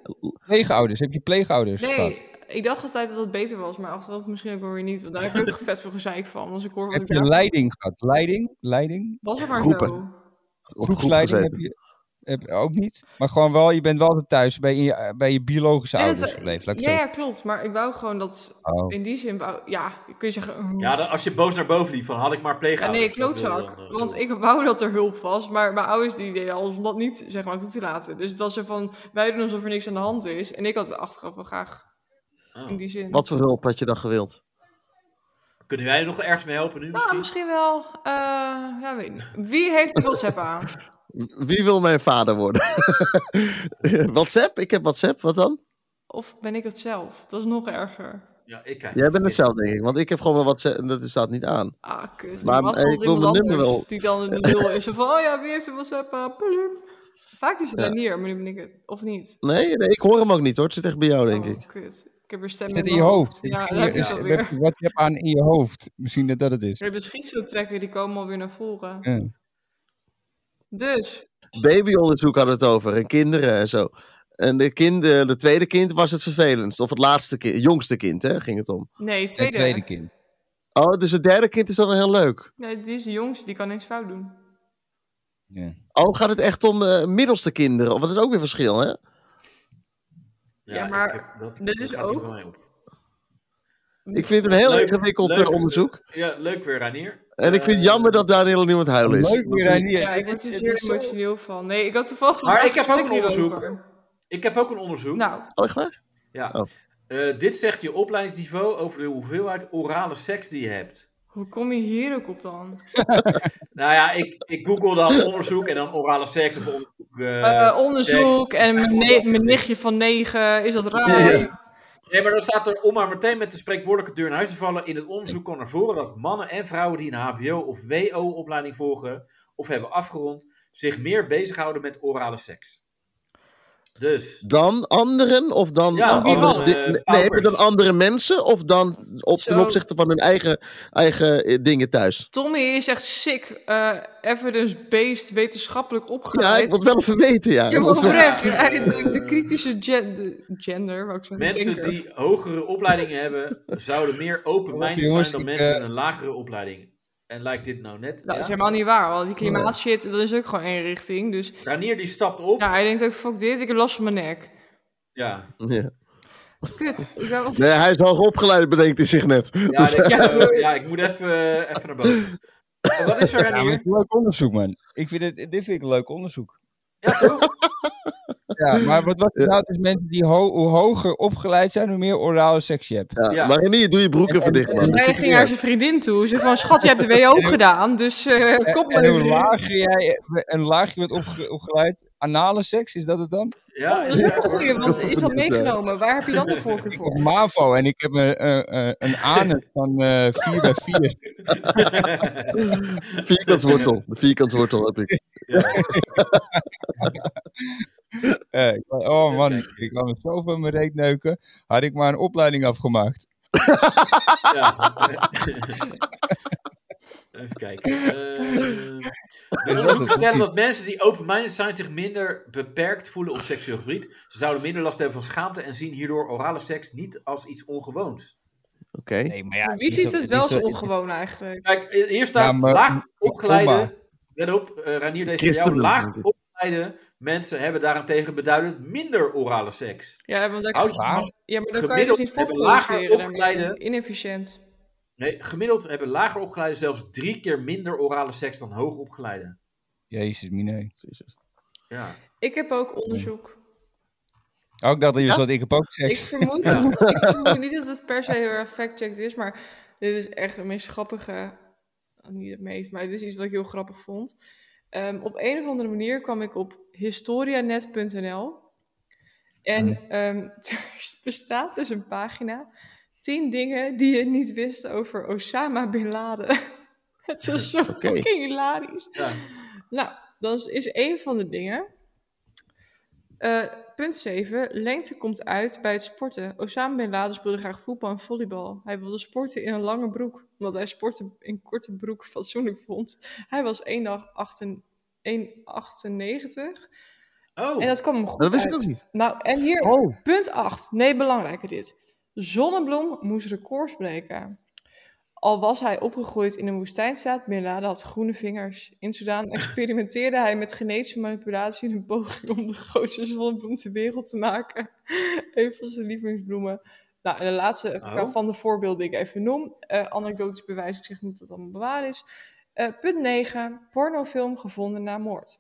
[SPEAKER 2] Pleegouders, heb je pleegouders gehad?
[SPEAKER 4] Nee, ik dacht altijd dat dat beter was, maar achteraf misschien ook wel weer niet. Want daar heb
[SPEAKER 2] (laughs)
[SPEAKER 4] ik ook vet veel gezeik van. Als ik hoor wat
[SPEAKER 2] Heb
[SPEAKER 4] ik
[SPEAKER 2] je
[SPEAKER 4] daar
[SPEAKER 2] leiding gehad? Leiding? Leiding?
[SPEAKER 4] was er maar
[SPEAKER 5] Groepen.
[SPEAKER 4] zo.
[SPEAKER 5] Op groep
[SPEAKER 2] Groepsleiding heb
[SPEAKER 5] gezeten.
[SPEAKER 2] je... Heb- Ook niet. Maar gewoon wel, je bent wel altijd thuis bij je, bij je biologische
[SPEAKER 4] Nee, dat-
[SPEAKER 2] ouders gebleven. Laat ik
[SPEAKER 4] Ja,
[SPEAKER 2] het zo
[SPEAKER 4] ja, klopt. Maar ik wou gewoon dat
[SPEAKER 2] zeggen. Oh.
[SPEAKER 4] in die zin... wou- ja, kun je zeggen... eh,
[SPEAKER 3] Ja, dan- als je boos naar boven liep, van had ik maar
[SPEAKER 4] Ja,
[SPEAKER 3] pleegouders.
[SPEAKER 4] nee,
[SPEAKER 3] dat wil je
[SPEAKER 4] klootzak.
[SPEAKER 3] dan, eh,
[SPEAKER 4] Want
[SPEAKER 3] zo.
[SPEAKER 4] ik wou dat er hulp was, maar mijn ouders die deden alles om dat niet zeg maar, toe te laten. Dus dat ze van, wij doen alsof er niks aan de hand is. En ik had achteraf wel graag
[SPEAKER 3] Ah.
[SPEAKER 4] in die zin.
[SPEAKER 5] Wat voor hulp had je dan gewild?
[SPEAKER 3] Kunnen wij er nog ergens mee helpen nu
[SPEAKER 4] Nou,
[SPEAKER 3] misschien?
[SPEAKER 4] misschien wel. eh, ja, weet niet. Wie heeft de WhatsApp aan?
[SPEAKER 5] Wie wil mijn vader worden? (laughs) WhatsApp? Ik heb WhatsApp, wat dan?
[SPEAKER 4] Of ben ik het zelf? Dat is nog erger.
[SPEAKER 3] Ja, ik kijk.
[SPEAKER 5] Jij bent het zelf, denk ik. Want ik heb gewoon mijn WhatsApp en dat staat niet aan.
[SPEAKER 4] Ah, kut. Maar,
[SPEAKER 5] Maar,
[SPEAKER 4] was
[SPEAKER 5] eh,
[SPEAKER 4] altijd
[SPEAKER 5] ik wil
[SPEAKER 4] iemand
[SPEAKER 5] mijn nummer
[SPEAKER 4] anders
[SPEAKER 5] wel.
[SPEAKER 4] die dan in de nul is. Zo van, oh ja, wie heeft de WhatsApp aan? Ploem. Vaak is het
[SPEAKER 5] Ja.
[SPEAKER 4] daar neer, maar nu ben ik het. Of niet?
[SPEAKER 5] Nee, nee, ik hoor hem ook niet hoor. Het zit echt bij jou, denk
[SPEAKER 4] Oh,
[SPEAKER 5] ik.
[SPEAKER 4] kut. Ik heb er stemmen
[SPEAKER 2] Zit in
[SPEAKER 4] mijn
[SPEAKER 2] je hoofd.
[SPEAKER 4] Ja,
[SPEAKER 2] Misschien
[SPEAKER 4] daar heb je
[SPEAKER 2] is-
[SPEAKER 4] ze
[SPEAKER 2] heb
[SPEAKER 4] alweer.
[SPEAKER 2] je WhatsApp aan in je hoofd. Misschien dat dat het is.
[SPEAKER 4] We hebben schietseltrekken, die komen alweer naar voren.
[SPEAKER 2] Ja.
[SPEAKER 4] Dus,
[SPEAKER 5] babyonderzoek hadden we het over. En kinderen en zo. En de, kind, eh, de tweede kind was het vervelendst. Of het laatste kind, jongste kind, hè, ging het om.
[SPEAKER 4] nee,
[SPEAKER 2] Het
[SPEAKER 4] tweede.
[SPEAKER 2] tweede kind.
[SPEAKER 5] Oh, dus het derde kind is dan wel heel leuk.
[SPEAKER 4] Nee, die is de jongste, die kan niks fout doen.
[SPEAKER 2] Ja.
[SPEAKER 5] Oh, gaat het echt om eh, middelste kinderen? Want dat is ook weer verschil, hè?
[SPEAKER 4] Ja,
[SPEAKER 3] ik
[SPEAKER 4] maar
[SPEAKER 3] heb- dat,
[SPEAKER 4] dit
[SPEAKER 3] dat
[SPEAKER 4] is
[SPEAKER 3] gaat niet
[SPEAKER 4] ook-
[SPEAKER 3] bij mij op.
[SPEAKER 5] Ik vind het een heel
[SPEAKER 3] Leuk,
[SPEAKER 5] ingewikkeld eh,
[SPEAKER 3] leuk.
[SPEAKER 5] onderzoek.
[SPEAKER 3] Ja, leuk weer, Ranier.
[SPEAKER 5] En ik vind het jammer dat Daniel er nu aan het huilen is.
[SPEAKER 2] Leuk weer aan
[SPEAKER 4] Ja,
[SPEAKER 2] hier.
[SPEAKER 4] ik word er zeer emotioneel van. Nee, ik had toevallig...
[SPEAKER 3] Maar
[SPEAKER 4] vandaag
[SPEAKER 3] ik heb ook
[SPEAKER 4] gesprek
[SPEAKER 3] een onderzoek.
[SPEAKER 4] hierover.
[SPEAKER 3] Ik heb ook een onderzoek.
[SPEAKER 4] Nou,
[SPEAKER 5] Oh, echt waar?
[SPEAKER 3] ja.
[SPEAKER 5] oh.
[SPEAKER 3] Eh, dit zegt je opleidingsniveau over de hoeveelheid orale seks die je hebt.
[SPEAKER 4] hoe kom je hier ook op dan?
[SPEAKER 3] Nou ja, ik, ik google dan onderzoek en dan orale seks of onderzoek. eh,
[SPEAKER 4] Eh, onderzoek en mijn, ne-
[SPEAKER 3] lastig.
[SPEAKER 4] mijn nichtje van negen, is dat raar?
[SPEAKER 3] Nee, maar dan staat er om maar meteen met de spreekwoordelijke deur in huis te vallen. In het onderzoek kwam naar voren dat mannen en vrouwen die een HBO of WO-opleiding volgen of hebben afgerond, zich meer bezighouden met orale seks. Dus
[SPEAKER 5] Dan anderen of dan...
[SPEAKER 3] Ja,
[SPEAKER 5] dan
[SPEAKER 4] die
[SPEAKER 5] andere-
[SPEAKER 4] man,
[SPEAKER 5] dit-
[SPEAKER 3] eh,
[SPEAKER 5] nee, maar
[SPEAKER 3] paupers.
[SPEAKER 5] dan andere mensen of dan op, ten
[SPEAKER 4] Zo.
[SPEAKER 5] opzichte van hun eigen, eigen eh, dingen thuis?
[SPEAKER 4] Tommy is echt sick, eh, evidence-based, wetenschappelijk opgeleid.
[SPEAKER 5] Ja, ik wil het wel even weten, ja.
[SPEAKER 4] Je
[SPEAKER 5] Dat
[SPEAKER 4] wordt
[SPEAKER 5] is wel-
[SPEAKER 4] oprecht.
[SPEAKER 3] Ja.
[SPEAKER 4] Ja, de, de kritische gen- de- gender, wou ik zeggen.
[SPEAKER 3] mensen
[SPEAKER 4] denker.
[SPEAKER 3] die hogere opleidingen hebben, zouden meer open-minded
[SPEAKER 2] Jongens,
[SPEAKER 3] zijn dan
[SPEAKER 2] ik,
[SPEAKER 3] mensen
[SPEAKER 2] eh,
[SPEAKER 3] met een lagere opleiding. En lijkt dit nou net?
[SPEAKER 4] Nou, dat is
[SPEAKER 3] ja?
[SPEAKER 4] helemaal niet waar, want die klimaatshit, dat is ook gewoon één richting. Dus
[SPEAKER 3] Ranier die stapt op.
[SPEAKER 4] nou, hij denkt ook, fuck dit, ik heb last van mijn nek.
[SPEAKER 3] Ja.
[SPEAKER 5] Ja.
[SPEAKER 4] Kut, ik ben wel-
[SPEAKER 5] Nee, hij is hoog opgeleid, bedenkt hij zich net.
[SPEAKER 3] Ja,
[SPEAKER 2] (laughs)
[SPEAKER 5] Dus-
[SPEAKER 3] denk ik, eh, ja, ik moet even, eh, even naar boven. Oh, wat is
[SPEAKER 2] Ja, maar
[SPEAKER 3] er,
[SPEAKER 2] het
[SPEAKER 3] Ranier?
[SPEAKER 2] is een leuk onderzoek, man. Ik vind het, dit vind ik een leuk onderzoek.
[SPEAKER 3] Ja, toch?
[SPEAKER 2] Ja, maar wat was het nou? Dus mensen die ho- hoe hoger opgeleid zijn, hoe meer orale seks je hebt.
[SPEAKER 5] Ja,
[SPEAKER 3] Ja.
[SPEAKER 5] Maar Renier, doe je broeken voor dicht, man. Dat
[SPEAKER 4] Hij
[SPEAKER 5] ziet er
[SPEAKER 4] ging
[SPEAKER 5] niet
[SPEAKER 4] naar
[SPEAKER 5] uit.
[SPEAKER 4] zijn vriendin toe. Ze van, schat, je hebt de
[SPEAKER 5] (laughs)
[SPEAKER 4] WO gedaan, dus eh, kom maar.
[SPEAKER 2] En hoe
[SPEAKER 4] weer.
[SPEAKER 2] lager jij een laagje wordt opge- opgeleid, anale seks, is dat het dan?
[SPEAKER 3] Ja,
[SPEAKER 4] Oh, Dat is ook
[SPEAKER 3] hoor.
[SPEAKER 4] een goeie, want ik had meegenomen. Waar heb je dan de voorkeur
[SPEAKER 2] Ik heb
[SPEAKER 4] voor?
[SPEAKER 2] MAVO en ik heb een, eh, eh, een anus van eh 4 bij 4.
[SPEAKER 5] Vierkantswortel. De vierkantswortel heb ik.
[SPEAKER 2] oh man, ik, ik kan me zo van mijn reet neuken. Had ik maar een opleiding afgemaakt.
[SPEAKER 4] (laughs)
[SPEAKER 3] Ja. Even kijken. Eh er is ook gesteld dat mensen die open-minded zijn zich minder beperkt voelen op seksueel gebied. Ze zouden minder last hebben van schaamte en zien hierdoor orale seks niet als iets ongewoons.
[SPEAKER 5] Oké.
[SPEAKER 2] Nee, maar ja,
[SPEAKER 4] Wie ziet het wel zo ongewoon eigenlijk?
[SPEAKER 3] Kijk, hier staat
[SPEAKER 2] Ja, maar-
[SPEAKER 3] laag
[SPEAKER 2] Komma.
[SPEAKER 3] opgeleide. Let op, eh, Ranier, deze voor jou.
[SPEAKER 5] Christenen,
[SPEAKER 3] Laag
[SPEAKER 5] denk ik.
[SPEAKER 3] opgeleide mensen hebben daarentegen beduidend minder orale seks.
[SPEAKER 4] Ja, want daar-
[SPEAKER 3] Houd je
[SPEAKER 2] Waar?
[SPEAKER 3] vast.
[SPEAKER 4] ja, maar dan kan je dus niet voor
[SPEAKER 3] Gemiddeld hebben lager
[SPEAKER 4] produceren daarmee.
[SPEAKER 3] opgeleide-
[SPEAKER 4] Inefficiënt.
[SPEAKER 3] Nee, gemiddeld hebben lager opgeleiden zelfs drie keer minder orale seks dan hoog opgeleiden.
[SPEAKER 2] Jezus, mine.
[SPEAKER 3] Ja.
[SPEAKER 4] Ik heb ook onderzoek.
[SPEAKER 2] Ook dat je
[SPEAKER 5] Ja?
[SPEAKER 2] zat, ik heb ook
[SPEAKER 4] Ik
[SPEAKER 2] seks.
[SPEAKER 4] vermoed,
[SPEAKER 3] Ja.
[SPEAKER 4] (laughs) ik vermoed niet dat het per se heel erg fact-checked is, maar dit is echt het meest grappige. Niet het meest, maar dit is iets wat ik heel grappig vond. Ehm, op een of andere manier kwam ik op historianet.nl. En ehm, (laughs) er bestaat dus een pagina. 10 dingen die je niet wist over Osama Bin Laden. (laughs) Het was zo fucking hilarisch. (laughs)
[SPEAKER 3] ja.
[SPEAKER 4] Nou, dan is- is één van de dingen. Eh, punt 7. Lengte komt uit bij het sporten. Osama Bin Laden speelde graag voetbal en volleybal. Hij wilde sporten in een lange broek, omdat hij sporten in korte broek fatsoenlijk vond. Hij was 1 dag 18 1,98.
[SPEAKER 3] Oh,
[SPEAKER 4] En dat kwam hem goed
[SPEAKER 5] Dat wist ik
[SPEAKER 4] uit.
[SPEAKER 5] ook niet.
[SPEAKER 4] Nou, en hier,
[SPEAKER 5] Oh.
[SPEAKER 4] punt 8. Nee, belangrijker dit. Zonnebloem moest records breken. Al was hij opgegroeid in een woestijnstaat, Bin Laden had groene vingers. In Soedan experimenteerde hij met genetische manipulatie in een poging om de grootste zonnebloem ter wereld te maken. (laughs) een van zijn lievelingsbloemen. Nou, en de laatste
[SPEAKER 3] Oh.
[SPEAKER 4] van de voorbeelden die ik even noem. eh, anekdotisch bewijs, ik zeg niet dat het allemaal bewaar is. Eh, punt 9. Pornofilm gevonden na moord.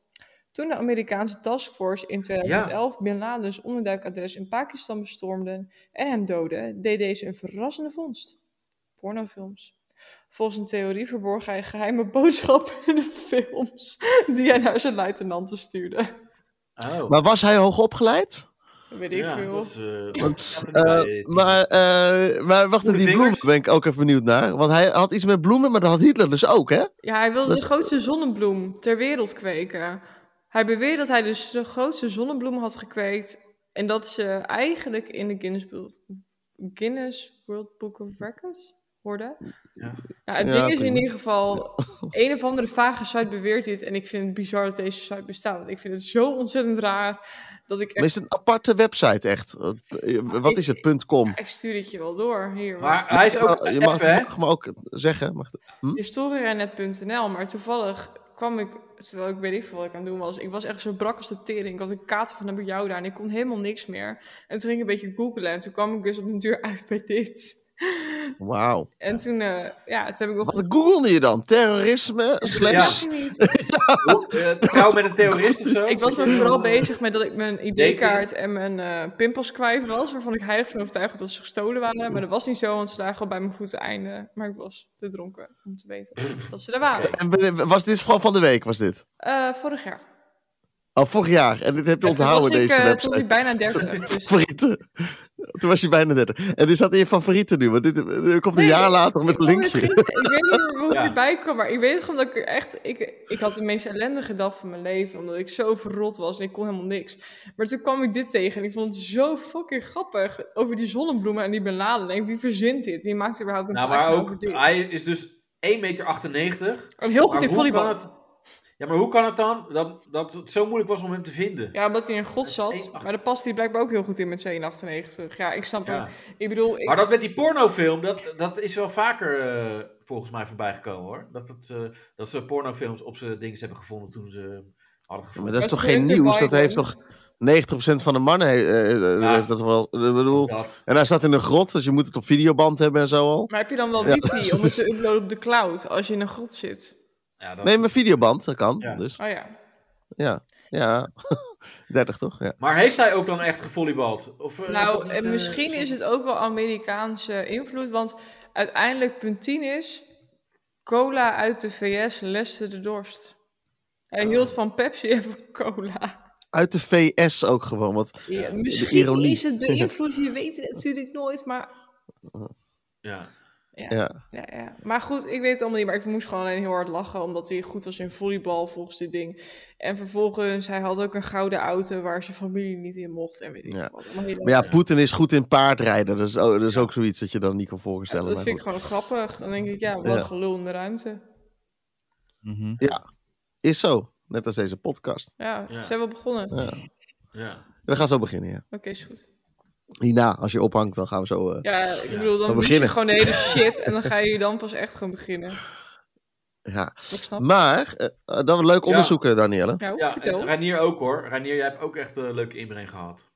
[SPEAKER 4] Toen de Amerikaanse taskforce in 2011 Bin Laden's onderduikadres in Pakistan bestormde en hem doodde, deed deze een verrassende vondst. Pornofilms. Volgens een theorie verborg hij geheime boodschappen in de films die hij naar zijn luitenanten stuurde.
[SPEAKER 3] Oh,
[SPEAKER 5] Maar was hij hoogopgeleid?
[SPEAKER 4] Dat weet ik
[SPEAKER 3] ja,
[SPEAKER 4] veel.
[SPEAKER 3] dat is, eh,
[SPEAKER 5] Want,
[SPEAKER 3] dat
[SPEAKER 5] eh,
[SPEAKER 3] weet ik.
[SPEAKER 5] Maar, eh, maar wacht,
[SPEAKER 3] Goede
[SPEAKER 5] die bloemen
[SPEAKER 3] vingers.
[SPEAKER 5] ben ik ook even benieuwd naar. Want hij had iets met bloemen, maar dat had Hitler dus ook, hè?
[SPEAKER 4] Ja, hij wilde
[SPEAKER 5] Dat is-
[SPEAKER 4] de grootste zonnebloem ter wereld kweken. Hij beweerde dat hij dus de grootste zonnebloem had gekweekt. En dat ze eigenlijk in de Guinness World, Guinness World Book of Records hoorde.
[SPEAKER 3] Ja.
[SPEAKER 4] Nou, het
[SPEAKER 5] Ja,
[SPEAKER 4] ding is in
[SPEAKER 5] prima.
[SPEAKER 4] ieder geval, (laughs) een of andere vage site beweert dit. En ik vind het bizar dat deze site bestaat. Want ik vind het zo ontzettend raar dat ik
[SPEAKER 5] Maar
[SPEAKER 4] echt...
[SPEAKER 5] is het een aparte website echt? Wat- eh, Wat is het? .com?
[SPEAKER 4] Ik stuur het je wel door, hier.
[SPEAKER 3] Maar eh, hij is ook
[SPEAKER 5] Oh, je
[SPEAKER 3] even,
[SPEAKER 5] mag,
[SPEAKER 3] hè?
[SPEAKER 5] mag me ook zeggen. Mag,
[SPEAKER 4] historierenet.nl, maar toevallig kwam ik, terwijl ik weet niet veel wat ik aan het doen was, ik was echt zo brak als de tering. Ik had een kater van naar jou daar en ik kon helemaal niks meer. En toen ging ik een beetje googlen en toen kwam ik dus op een duur uit bij dit.
[SPEAKER 5] wauw.
[SPEAKER 4] En toen, eh, ja, toen heb ik nog...
[SPEAKER 5] Wat googelde je dan? Terrorisme slash...
[SPEAKER 4] Ik weet niet.
[SPEAKER 3] Eh, trouw met een terrorist of zo?
[SPEAKER 4] (laughs) Ik was me vooral bezig met dat ik mijn ID-kaart en mijn eh pimpels kwijt was, waarvan ik heilig van overtuigd was dat ze gestolen waren. Maar dat was niet zo, want ze lagen al bij mijn voeten einde. Maar ik was te dronken om te weten dat ze er waren.
[SPEAKER 5] En ben- was dit gewoon van de week, was dit?
[SPEAKER 4] Eh, vorig jaar.
[SPEAKER 5] Al vorig jaar. En dit heb je
[SPEAKER 4] Ja, toen
[SPEAKER 5] onthouden,
[SPEAKER 4] was ik,
[SPEAKER 5] deze
[SPEAKER 4] eh,
[SPEAKER 5] website.
[SPEAKER 4] Toen was ik bijna
[SPEAKER 5] (laughs)
[SPEAKER 4] 30. Dus
[SPEAKER 5] favorieten. Toen was je bijna 30. En dit staat in je favorieten nu, want dit, dit komt een
[SPEAKER 4] Nee,
[SPEAKER 5] jaar later (laughs) met
[SPEAKER 4] ik
[SPEAKER 5] een linkje.
[SPEAKER 4] weet niet meer hoe ik
[SPEAKER 3] Ja.
[SPEAKER 4] erbij kwam, maar ik weet gewoon dat ik er echt... Ik, ik had de meest ellendige dag van mijn leven, omdat ik zo verrot was en ik kon helemaal niks. Maar toen kwam ik dit tegen en ik vond het zo fucking grappig over die zonnebloemen en die benladen. En wie verzint dit? Wie maakt überhaupt een
[SPEAKER 3] Nou, maar
[SPEAKER 4] pagina
[SPEAKER 3] ook,
[SPEAKER 4] over dit?
[SPEAKER 3] hij is dus 1,98 meter.
[SPEAKER 4] En heel goed
[SPEAKER 3] Maar
[SPEAKER 4] in
[SPEAKER 3] hoe kan
[SPEAKER 4] volleybal.
[SPEAKER 3] het, ja, maar hoe kan het dan dat, dat het zo moeilijk was om hem te vinden?
[SPEAKER 4] Ja, omdat hij in God zat.
[SPEAKER 3] 1,98.
[SPEAKER 4] Maar daar past hij blijkbaar ook heel goed in met 1,98. Ja, ik snap
[SPEAKER 3] Ja.
[SPEAKER 4] het. Ik bedoel, ik-
[SPEAKER 3] Maar dat met die pornofilm, dat, dat is wel vaker eh, volgens mij voorbij gekomen hoor. Dat, het, eh, dat ze pornofilms op zijn dingen hebben gevonden toen ze hem hadden
[SPEAKER 5] Ja, maar
[SPEAKER 3] gevonden.
[SPEAKER 5] dat is
[SPEAKER 4] Dat
[SPEAKER 5] toch
[SPEAKER 4] is
[SPEAKER 5] geen
[SPEAKER 4] Hunter
[SPEAKER 5] nieuws? Dat
[SPEAKER 4] Biden.
[SPEAKER 5] heeft toch 90% van de mannen he- eh, eh,
[SPEAKER 3] Ja.
[SPEAKER 5] heeft dat wel. Ik bedoel,
[SPEAKER 3] Dat.
[SPEAKER 5] en hij staat in een grot, dus je moet het op videoband hebben en zo al.
[SPEAKER 4] maar heb je dan wel
[SPEAKER 5] Ja.
[SPEAKER 4] wifi om het te uploaden op de cloud als je in een grot zit?
[SPEAKER 3] Ja, dat-
[SPEAKER 5] Nee, maar videoband, dat kan.
[SPEAKER 3] Ja.
[SPEAKER 5] Dus
[SPEAKER 4] Oh ja.
[SPEAKER 5] ja, ja. (laughs) 30 toch? Ja.
[SPEAKER 3] Maar heeft hij ook dan echt gevolleybald? Of, eh, is dat
[SPEAKER 4] Nou,
[SPEAKER 3] niet,
[SPEAKER 4] en
[SPEAKER 3] eh,
[SPEAKER 4] misschien is het ook wel Amerikaanse invloed, want uiteindelijk punt 10 is, cola uit de VS leste de dorst. Hij hield van Pepsi en van cola.
[SPEAKER 5] Uit de VS ook gewoon. Want
[SPEAKER 4] Ja,
[SPEAKER 5] de
[SPEAKER 4] misschien
[SPEAKER 5] ironie.
[SPEAKER 4] is het
[SPEAKER 5] (laughs)
[SPEAKER 4] de invloed, je weet het natuurlijk nooit, maar...
[SPEAKER 3] Ja.
[SPEAKER 5] ja.
[SPEAKER 4] Ja, ja. Maar goed, ik weet het allemaal niet, maar ik moest gewoon alleen heel hard lachen, omdat hij goed was in volleybal volgens dit ding. En vervolgens, hij had ook een gouden auto waar zijn familie niet in mocht en weet ik
[SPEAKER 5] Ja.
[SPEAKER 4] wat. Allemaal hele-
[SPEAKER 5] Maar ja, Poetin is goed in paardrijden. Dat is, ook, dat is ook zoiets dat je dan niet kan voorstellen.
[SPEAKER 4] dat
[SPEAKER 5] maar
[SPEAKER 4] vind ik
[SPEAKER 5] goed.
[SPEAKER 4] gewoon grappig. Dan denk ik, ja, wat
[SPEAKER 5] Ja.
[SPEAKER 4] gelul in de ruimte.
[SPEAKER 2] Mhm.
[SPEAKER 5] Is zo. Net als deze podcast.
[SPEAKER 4] Ja,
[SPEAKER 3] Ja.
[SPEAKER 4] zijn we begonnen. Oké,
[SPEAKER 5] Ja.
[SPEAKER 3] ja.
[SPEAKER 5] We gaan zo beginnen, ja.
[SPEAKER 4] is goed.
[SPEAKER 5] Hierna, als je ophangt, dan gaan we zo... eh,
[SPEAKER 4] Ja, ik bedoel, dan begin
[SPEAKER 5] We
[SPEAKER 4] je
[SPEAKER 5] beginnen.
[SPEAKER 4] gewoon de hele shit en dan ga
[SPEAKER 5] (laughs)
[SPEAKER 4] je dan pas echt gewoon beginnen.
[SPEAKER 5] ja.
[SPEAKER 4] Ik snap.
[SPEAKER 5] Maar, eh, eh, dat we leuk onderzoeken, Danielle.
[SPEAKER 4] Nou,
[SPEAKER 3] ja,
[SPEAKER 4] vertel.
[SPEAKER 3] en Ranier ook hoor. Ranier, jij hebt ook echt een leuke inbreng gehad.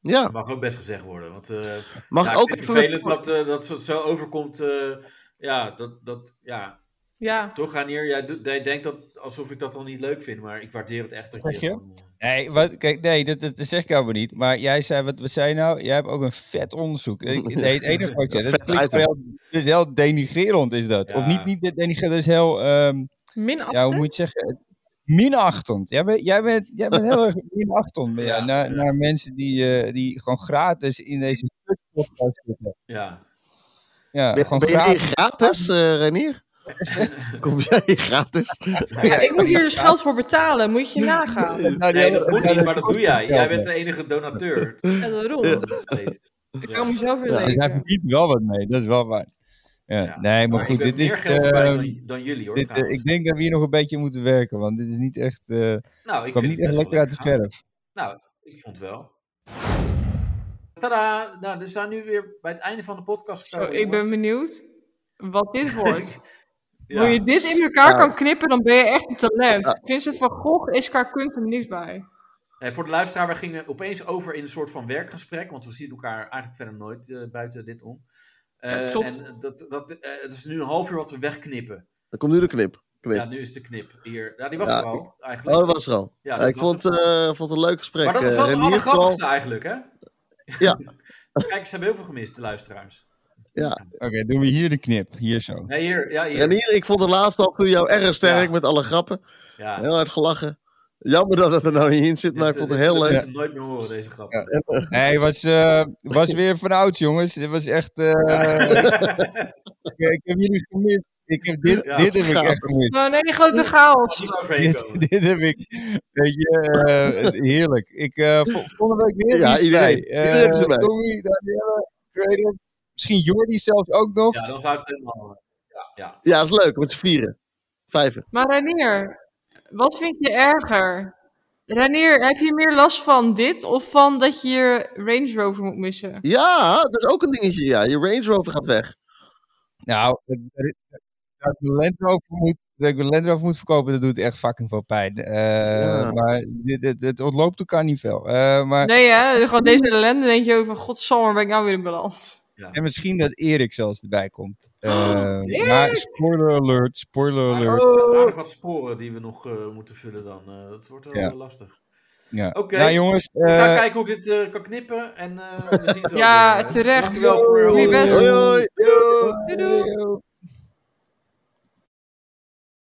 [SPEAKER 5] Ja,
[SPEAKER 3] Dat mag ook best gezegd worden. Want, eh,
[SPEAKER 5] mag
[SPEAKER 3] ja,
[SPEAKER 5] ik ook
[SPEAKER 3] vind het
[SPEAKER 5] even...
[SPEAKER 3] vervelend dat, eh, dat het zo overkomt. eh, ja, dat, dat, ja,
[SPEAKER 4] ja,
[SPEAKER 3] toch Ranier, jij, doet- jij denkt dat alsof ik dat dan niet leuk vind, maar ik waardeer het echt. Dat
[SPEAKER 2] Zeg je?
[SPEAKER 3] gewoon, eh,
[SPEAKER 2] Nee, wat, kijk, nee dat, dat, dat zeg ik allemaal niet. Maar jij zei, wat, wat zei je nou? Jij hebt ook een vet onderzoek. Ik- Nee, het
[SPEAKER 5] (laughs)
[SPEAKER 2] enige wat ik zei, dat
[SPEAKER 5] Vet
[SPEAKER 2] klinkt
[SPEAKER 5] item.
[SPEAKER 2] wel, dat is heel denigrerend is dat. Of niet,
[SPEAKER 3] Ja.
[SPEAKER 2] niet denigrerend, dat is heel, ehm,
[SPEAKER 4] minachtend.
[SPEAKER 2] ja, hoe moet je het zeggen? Minachtend. Jij bent, jij bent, jij bent heel erg minachtend ben jij,
[SPEAKER 3] Ja,
[SPEAKER 2] naar,
[SPEAKER 3] ja.
[SPEAKER 2] naar mensen die, eh, die gewoon gratis in deze podcast zitten.
[SPEAKER 3] ja.
[SPEAKER 2] Ja,
[SPEAKER 5] Ben,
[SPEAKER 2] gewoon
[SPEAKER 5] ben jij hier
[SPEAKER 2] gratis.
[SPEAKER 5] gratis, eh
[SPEAKER 3] (laughs)
[SPEAKER 5] Renier? Kom jij hier gratis?
[SPEAKER 4] Ja, ik moet hier dus geld voor betalen, moet je
[SPEAKER 2] Nou,
[SPEAKER 4] nagaan.
[SPEAKER 2] die
[SPEAKER 3] Nee,
[SPEAKER 2] hebben-
[SPEAKER 3] dat moet
[SPEAKER 2] die
[SPEAKER 3] niet, maar
[SPEAKER 2] hebben-
[SPEAKER 3] dat doe jij.
[SPEAKER 2] Ja,
[SPEAKER 3] Jij bent de enige
[SPEAKER 2] (laughs)
[SPEAKER 3] donateur.
[SPEAKER 4] Ja, daarom. Ik kan mezelf weer
[SPEAKER 5] Ja.
[SPEAKER 2] Dus hij
[SPEAKER 4] leven.
[SPEAKER 2] verdient wel wat mee, dat is wel waar. Ja,
[SPEAKER 3] Ja,
[SPEAKER 2] nee, maar,
[SPEAKER 3] Maar ik
[SPEAKER 2] goed,
[SPEAKER 3] ben
[SPEAKER 2] dit is...
[SPEAKER 3] meer geld kwijt
[SPEAKER 2] ehm,
[SPEAKER 3] dan, dan jullie hoor.
[SPEAKER 2] Dit, eh,
[SPEAKER 3] trouwens.
[SPEAKER 2] ik denk dat we hier nog een beetje moeten werken, want dit is niet echt. eh
[SPEAKER 3] nou, ik
[SPEAKER 2] kwam
[SPEAKER 3] vind
[SPEAKER 2] niet echt
[SPEAKER 3] het best
[SPEAKER 2] lekker
[SPEAKER 3] wel
[SPEAKER 2] uit de
[SPEAKER 3] gaan.
[SPEAKER 2] verf.
[SPEAKER 3] Nou, ik vond wel. Tada! Nou, we zijn nu weer bij het einde van de podcast.
[SPEAKER 4] Zo,
[SPEAKER 3] gekomen,
[SPEAKER 4] ik ben
[SPEAKER 3] jongens.
[SPEAKER 4] benieuwd. wat
[SPEAKER 5] (laughs)
[SPEAKER 4] dit wordt.
[SPEAKER 3] Ja.
[SPEAKER 4] Hoe je dit in elkaar
[SPEAKER 5] Ja.
[SPEAKER 4] kan knippen, dan ben je echt een talent.
[SPEAKER 5] Ja.
[SPEAKER 4] Vincent van Gogh is qua kunst er niks bij.
[SPEAKER 3] Eh, voor de luisteraar, we gingen opeens over in een soort van werkgesprek, want we zien elkaar eigenlijk verder nooit eh, buiten dit om. Eh,
[SPEAKER 4] Ja, klopt.
[SPEAKER 3] En dat, dat, eh, het is nu een half uur wat we wegknippen.
[SPEAKER 5] Dan komt nu de knip. knip.
[SPEAKER 3] Ja, nu is de knip hier. Ja, die was
[SPEAKER 5] Ja,
[SPEAKER 3] er al, eigenlijk.
[SPEAKER 5] oh, dat was er al.
[SPEAKER 3] Ja,
[SPEAKER 5] Ja,
[SPEAKER 3] dat
[SPEAKER 5] ik
[SPEAKER 3] was
[SPEAKER 5] vond,
[SPEAKER 3] het.
[SPEAKER 5] eh, vond het een leuk gesprek.
[SPEAKER 3] Maar dat was
[SPEAKER 5] eh,
[SPEAKER 3] wel het
[SPEAKER 5] Renier, vooral.
[SPEAKER 3] allergrappigste eigenlijk, hè?
[SPEAKER 5] Ja.
[SPEAKER 3] (laughs) Kijk, ze hebben heel veel gemist, de luisteraars.
[SPEAKER 5] Ja.
[SPEAKER 2] Oké, doen we hier de knip. Hier (laughs) zo.
[SPEAKER 3] Nee, hier. Ja, hier.
[SPEAKER 5] Renier, ik vond de laatste half uur jou erg sterk
[SPEAKER 3] Ja.
[SPEAKER 5] met alle grappen.
[SPEAKER 3] Ja. eh,
[SPEAKER 5] Heel hard gelachen. Jammer dat het er nou niet in zit, maar ik vond het heel leuk.
[SPEAKER 3] Ik nooit meer horen, deze grap.
[SPEAKER 2] Ja. Nee, was, eh, was weer van oud, jongens. Het was echt. eh, (laughs) ik, ik heb jullie gemist. Ik heb dit,
[SPEAKER 3] Ja.
[SPEAKER 2] dit heb ik
[SPEAKER 5] Ja.
[SPEAKER 2] echt gemist.
[SPEAKER 4] Nou, nee, grote chaos.
[SPEAKER 3] Niet overheen komen.
[SPEAKER 2] Dit, dit heb ik. Weet je, eh, heerlijk. Ik, eh, vol- volgende week weer.
[SPEAKER 5] Ja,
[SPEAKER 2] wie is
[SPEAKER 5] iedereen.
[SPEAKER 2] erbij? Eh,
[SPEAKER 5] Iedereen is erbij.
[SPEAKER 2] Tommy, Danielle, Credo. Misschien Jordi zelfs ook nog.
[SPEAKER 3] Ja, dan zou het helemaal... eh, Ja, ja.
[SPEAKER 5] Ja, dat is leuk, met z'n vieren. Vijven.
[SPEAKER 4] Maar Ranier, wat vind je erger? Ranier, heb je meer last van dit of van dat je je Range Rover moet missen?
[SPEAKER 5] Ja, dat is ook een dingetje. Ja, je Range Rover gaat weg.
[SPEAKER 2] Nou, dat dat ik de Land Rover moet, dat ik de Land Rover moet verkopen, dat doet echt fucking veel pijn. Eh,
[SPEAKER 5] Ja.
[SPEAKER 2] Maar dit, het, het ontloopt elkaar niet veel. Eh, maar,
[SPEAKER 4] Nee hè, gewoon deze ellende denk je over, godsamme, waar ben ik nou weer in beland?
[SPEAKER 2] En misschien dat Erik zelfs erbij komt. Eh,
[SPEAKER 3] Oh,
[SPEAKER 2] maar spoiler alert, spoiler
[SPEAKER 3] Maar
[SPEAKER 2] alert.
[SPEAKER 3] er zijn aardig wat sporen die we nog eh, moeten vullen dan. eh, dat wordt wel
[SPEAKER 2] Ja.
[SPEAKER 3] eh, lastig.
[SPEAKER 2] Ja.
[SPEAKER 3] Oké.
[SPEAKER 2] Nou jongens,
[SPEAKER 3] Ik ga
[SPEAKER 2] eh, kijken.
[SPEAKER 3] kijken hoe ik dit eh, kan knippen. En eh, we zien het wel
[SPEAKER 4] Ja,
[SPEAKER 3] weer, hè.
[SPEAKER 4] terecht.
[SPEAKER 3] Dankjewel voor
[SPEAKER 4] Doe je
[SPEAKER 3] al je
[SPEAKER 4] best.
[SPEAKER 5] Hoi, hoi.
[SPEAKER 4] Doei doei!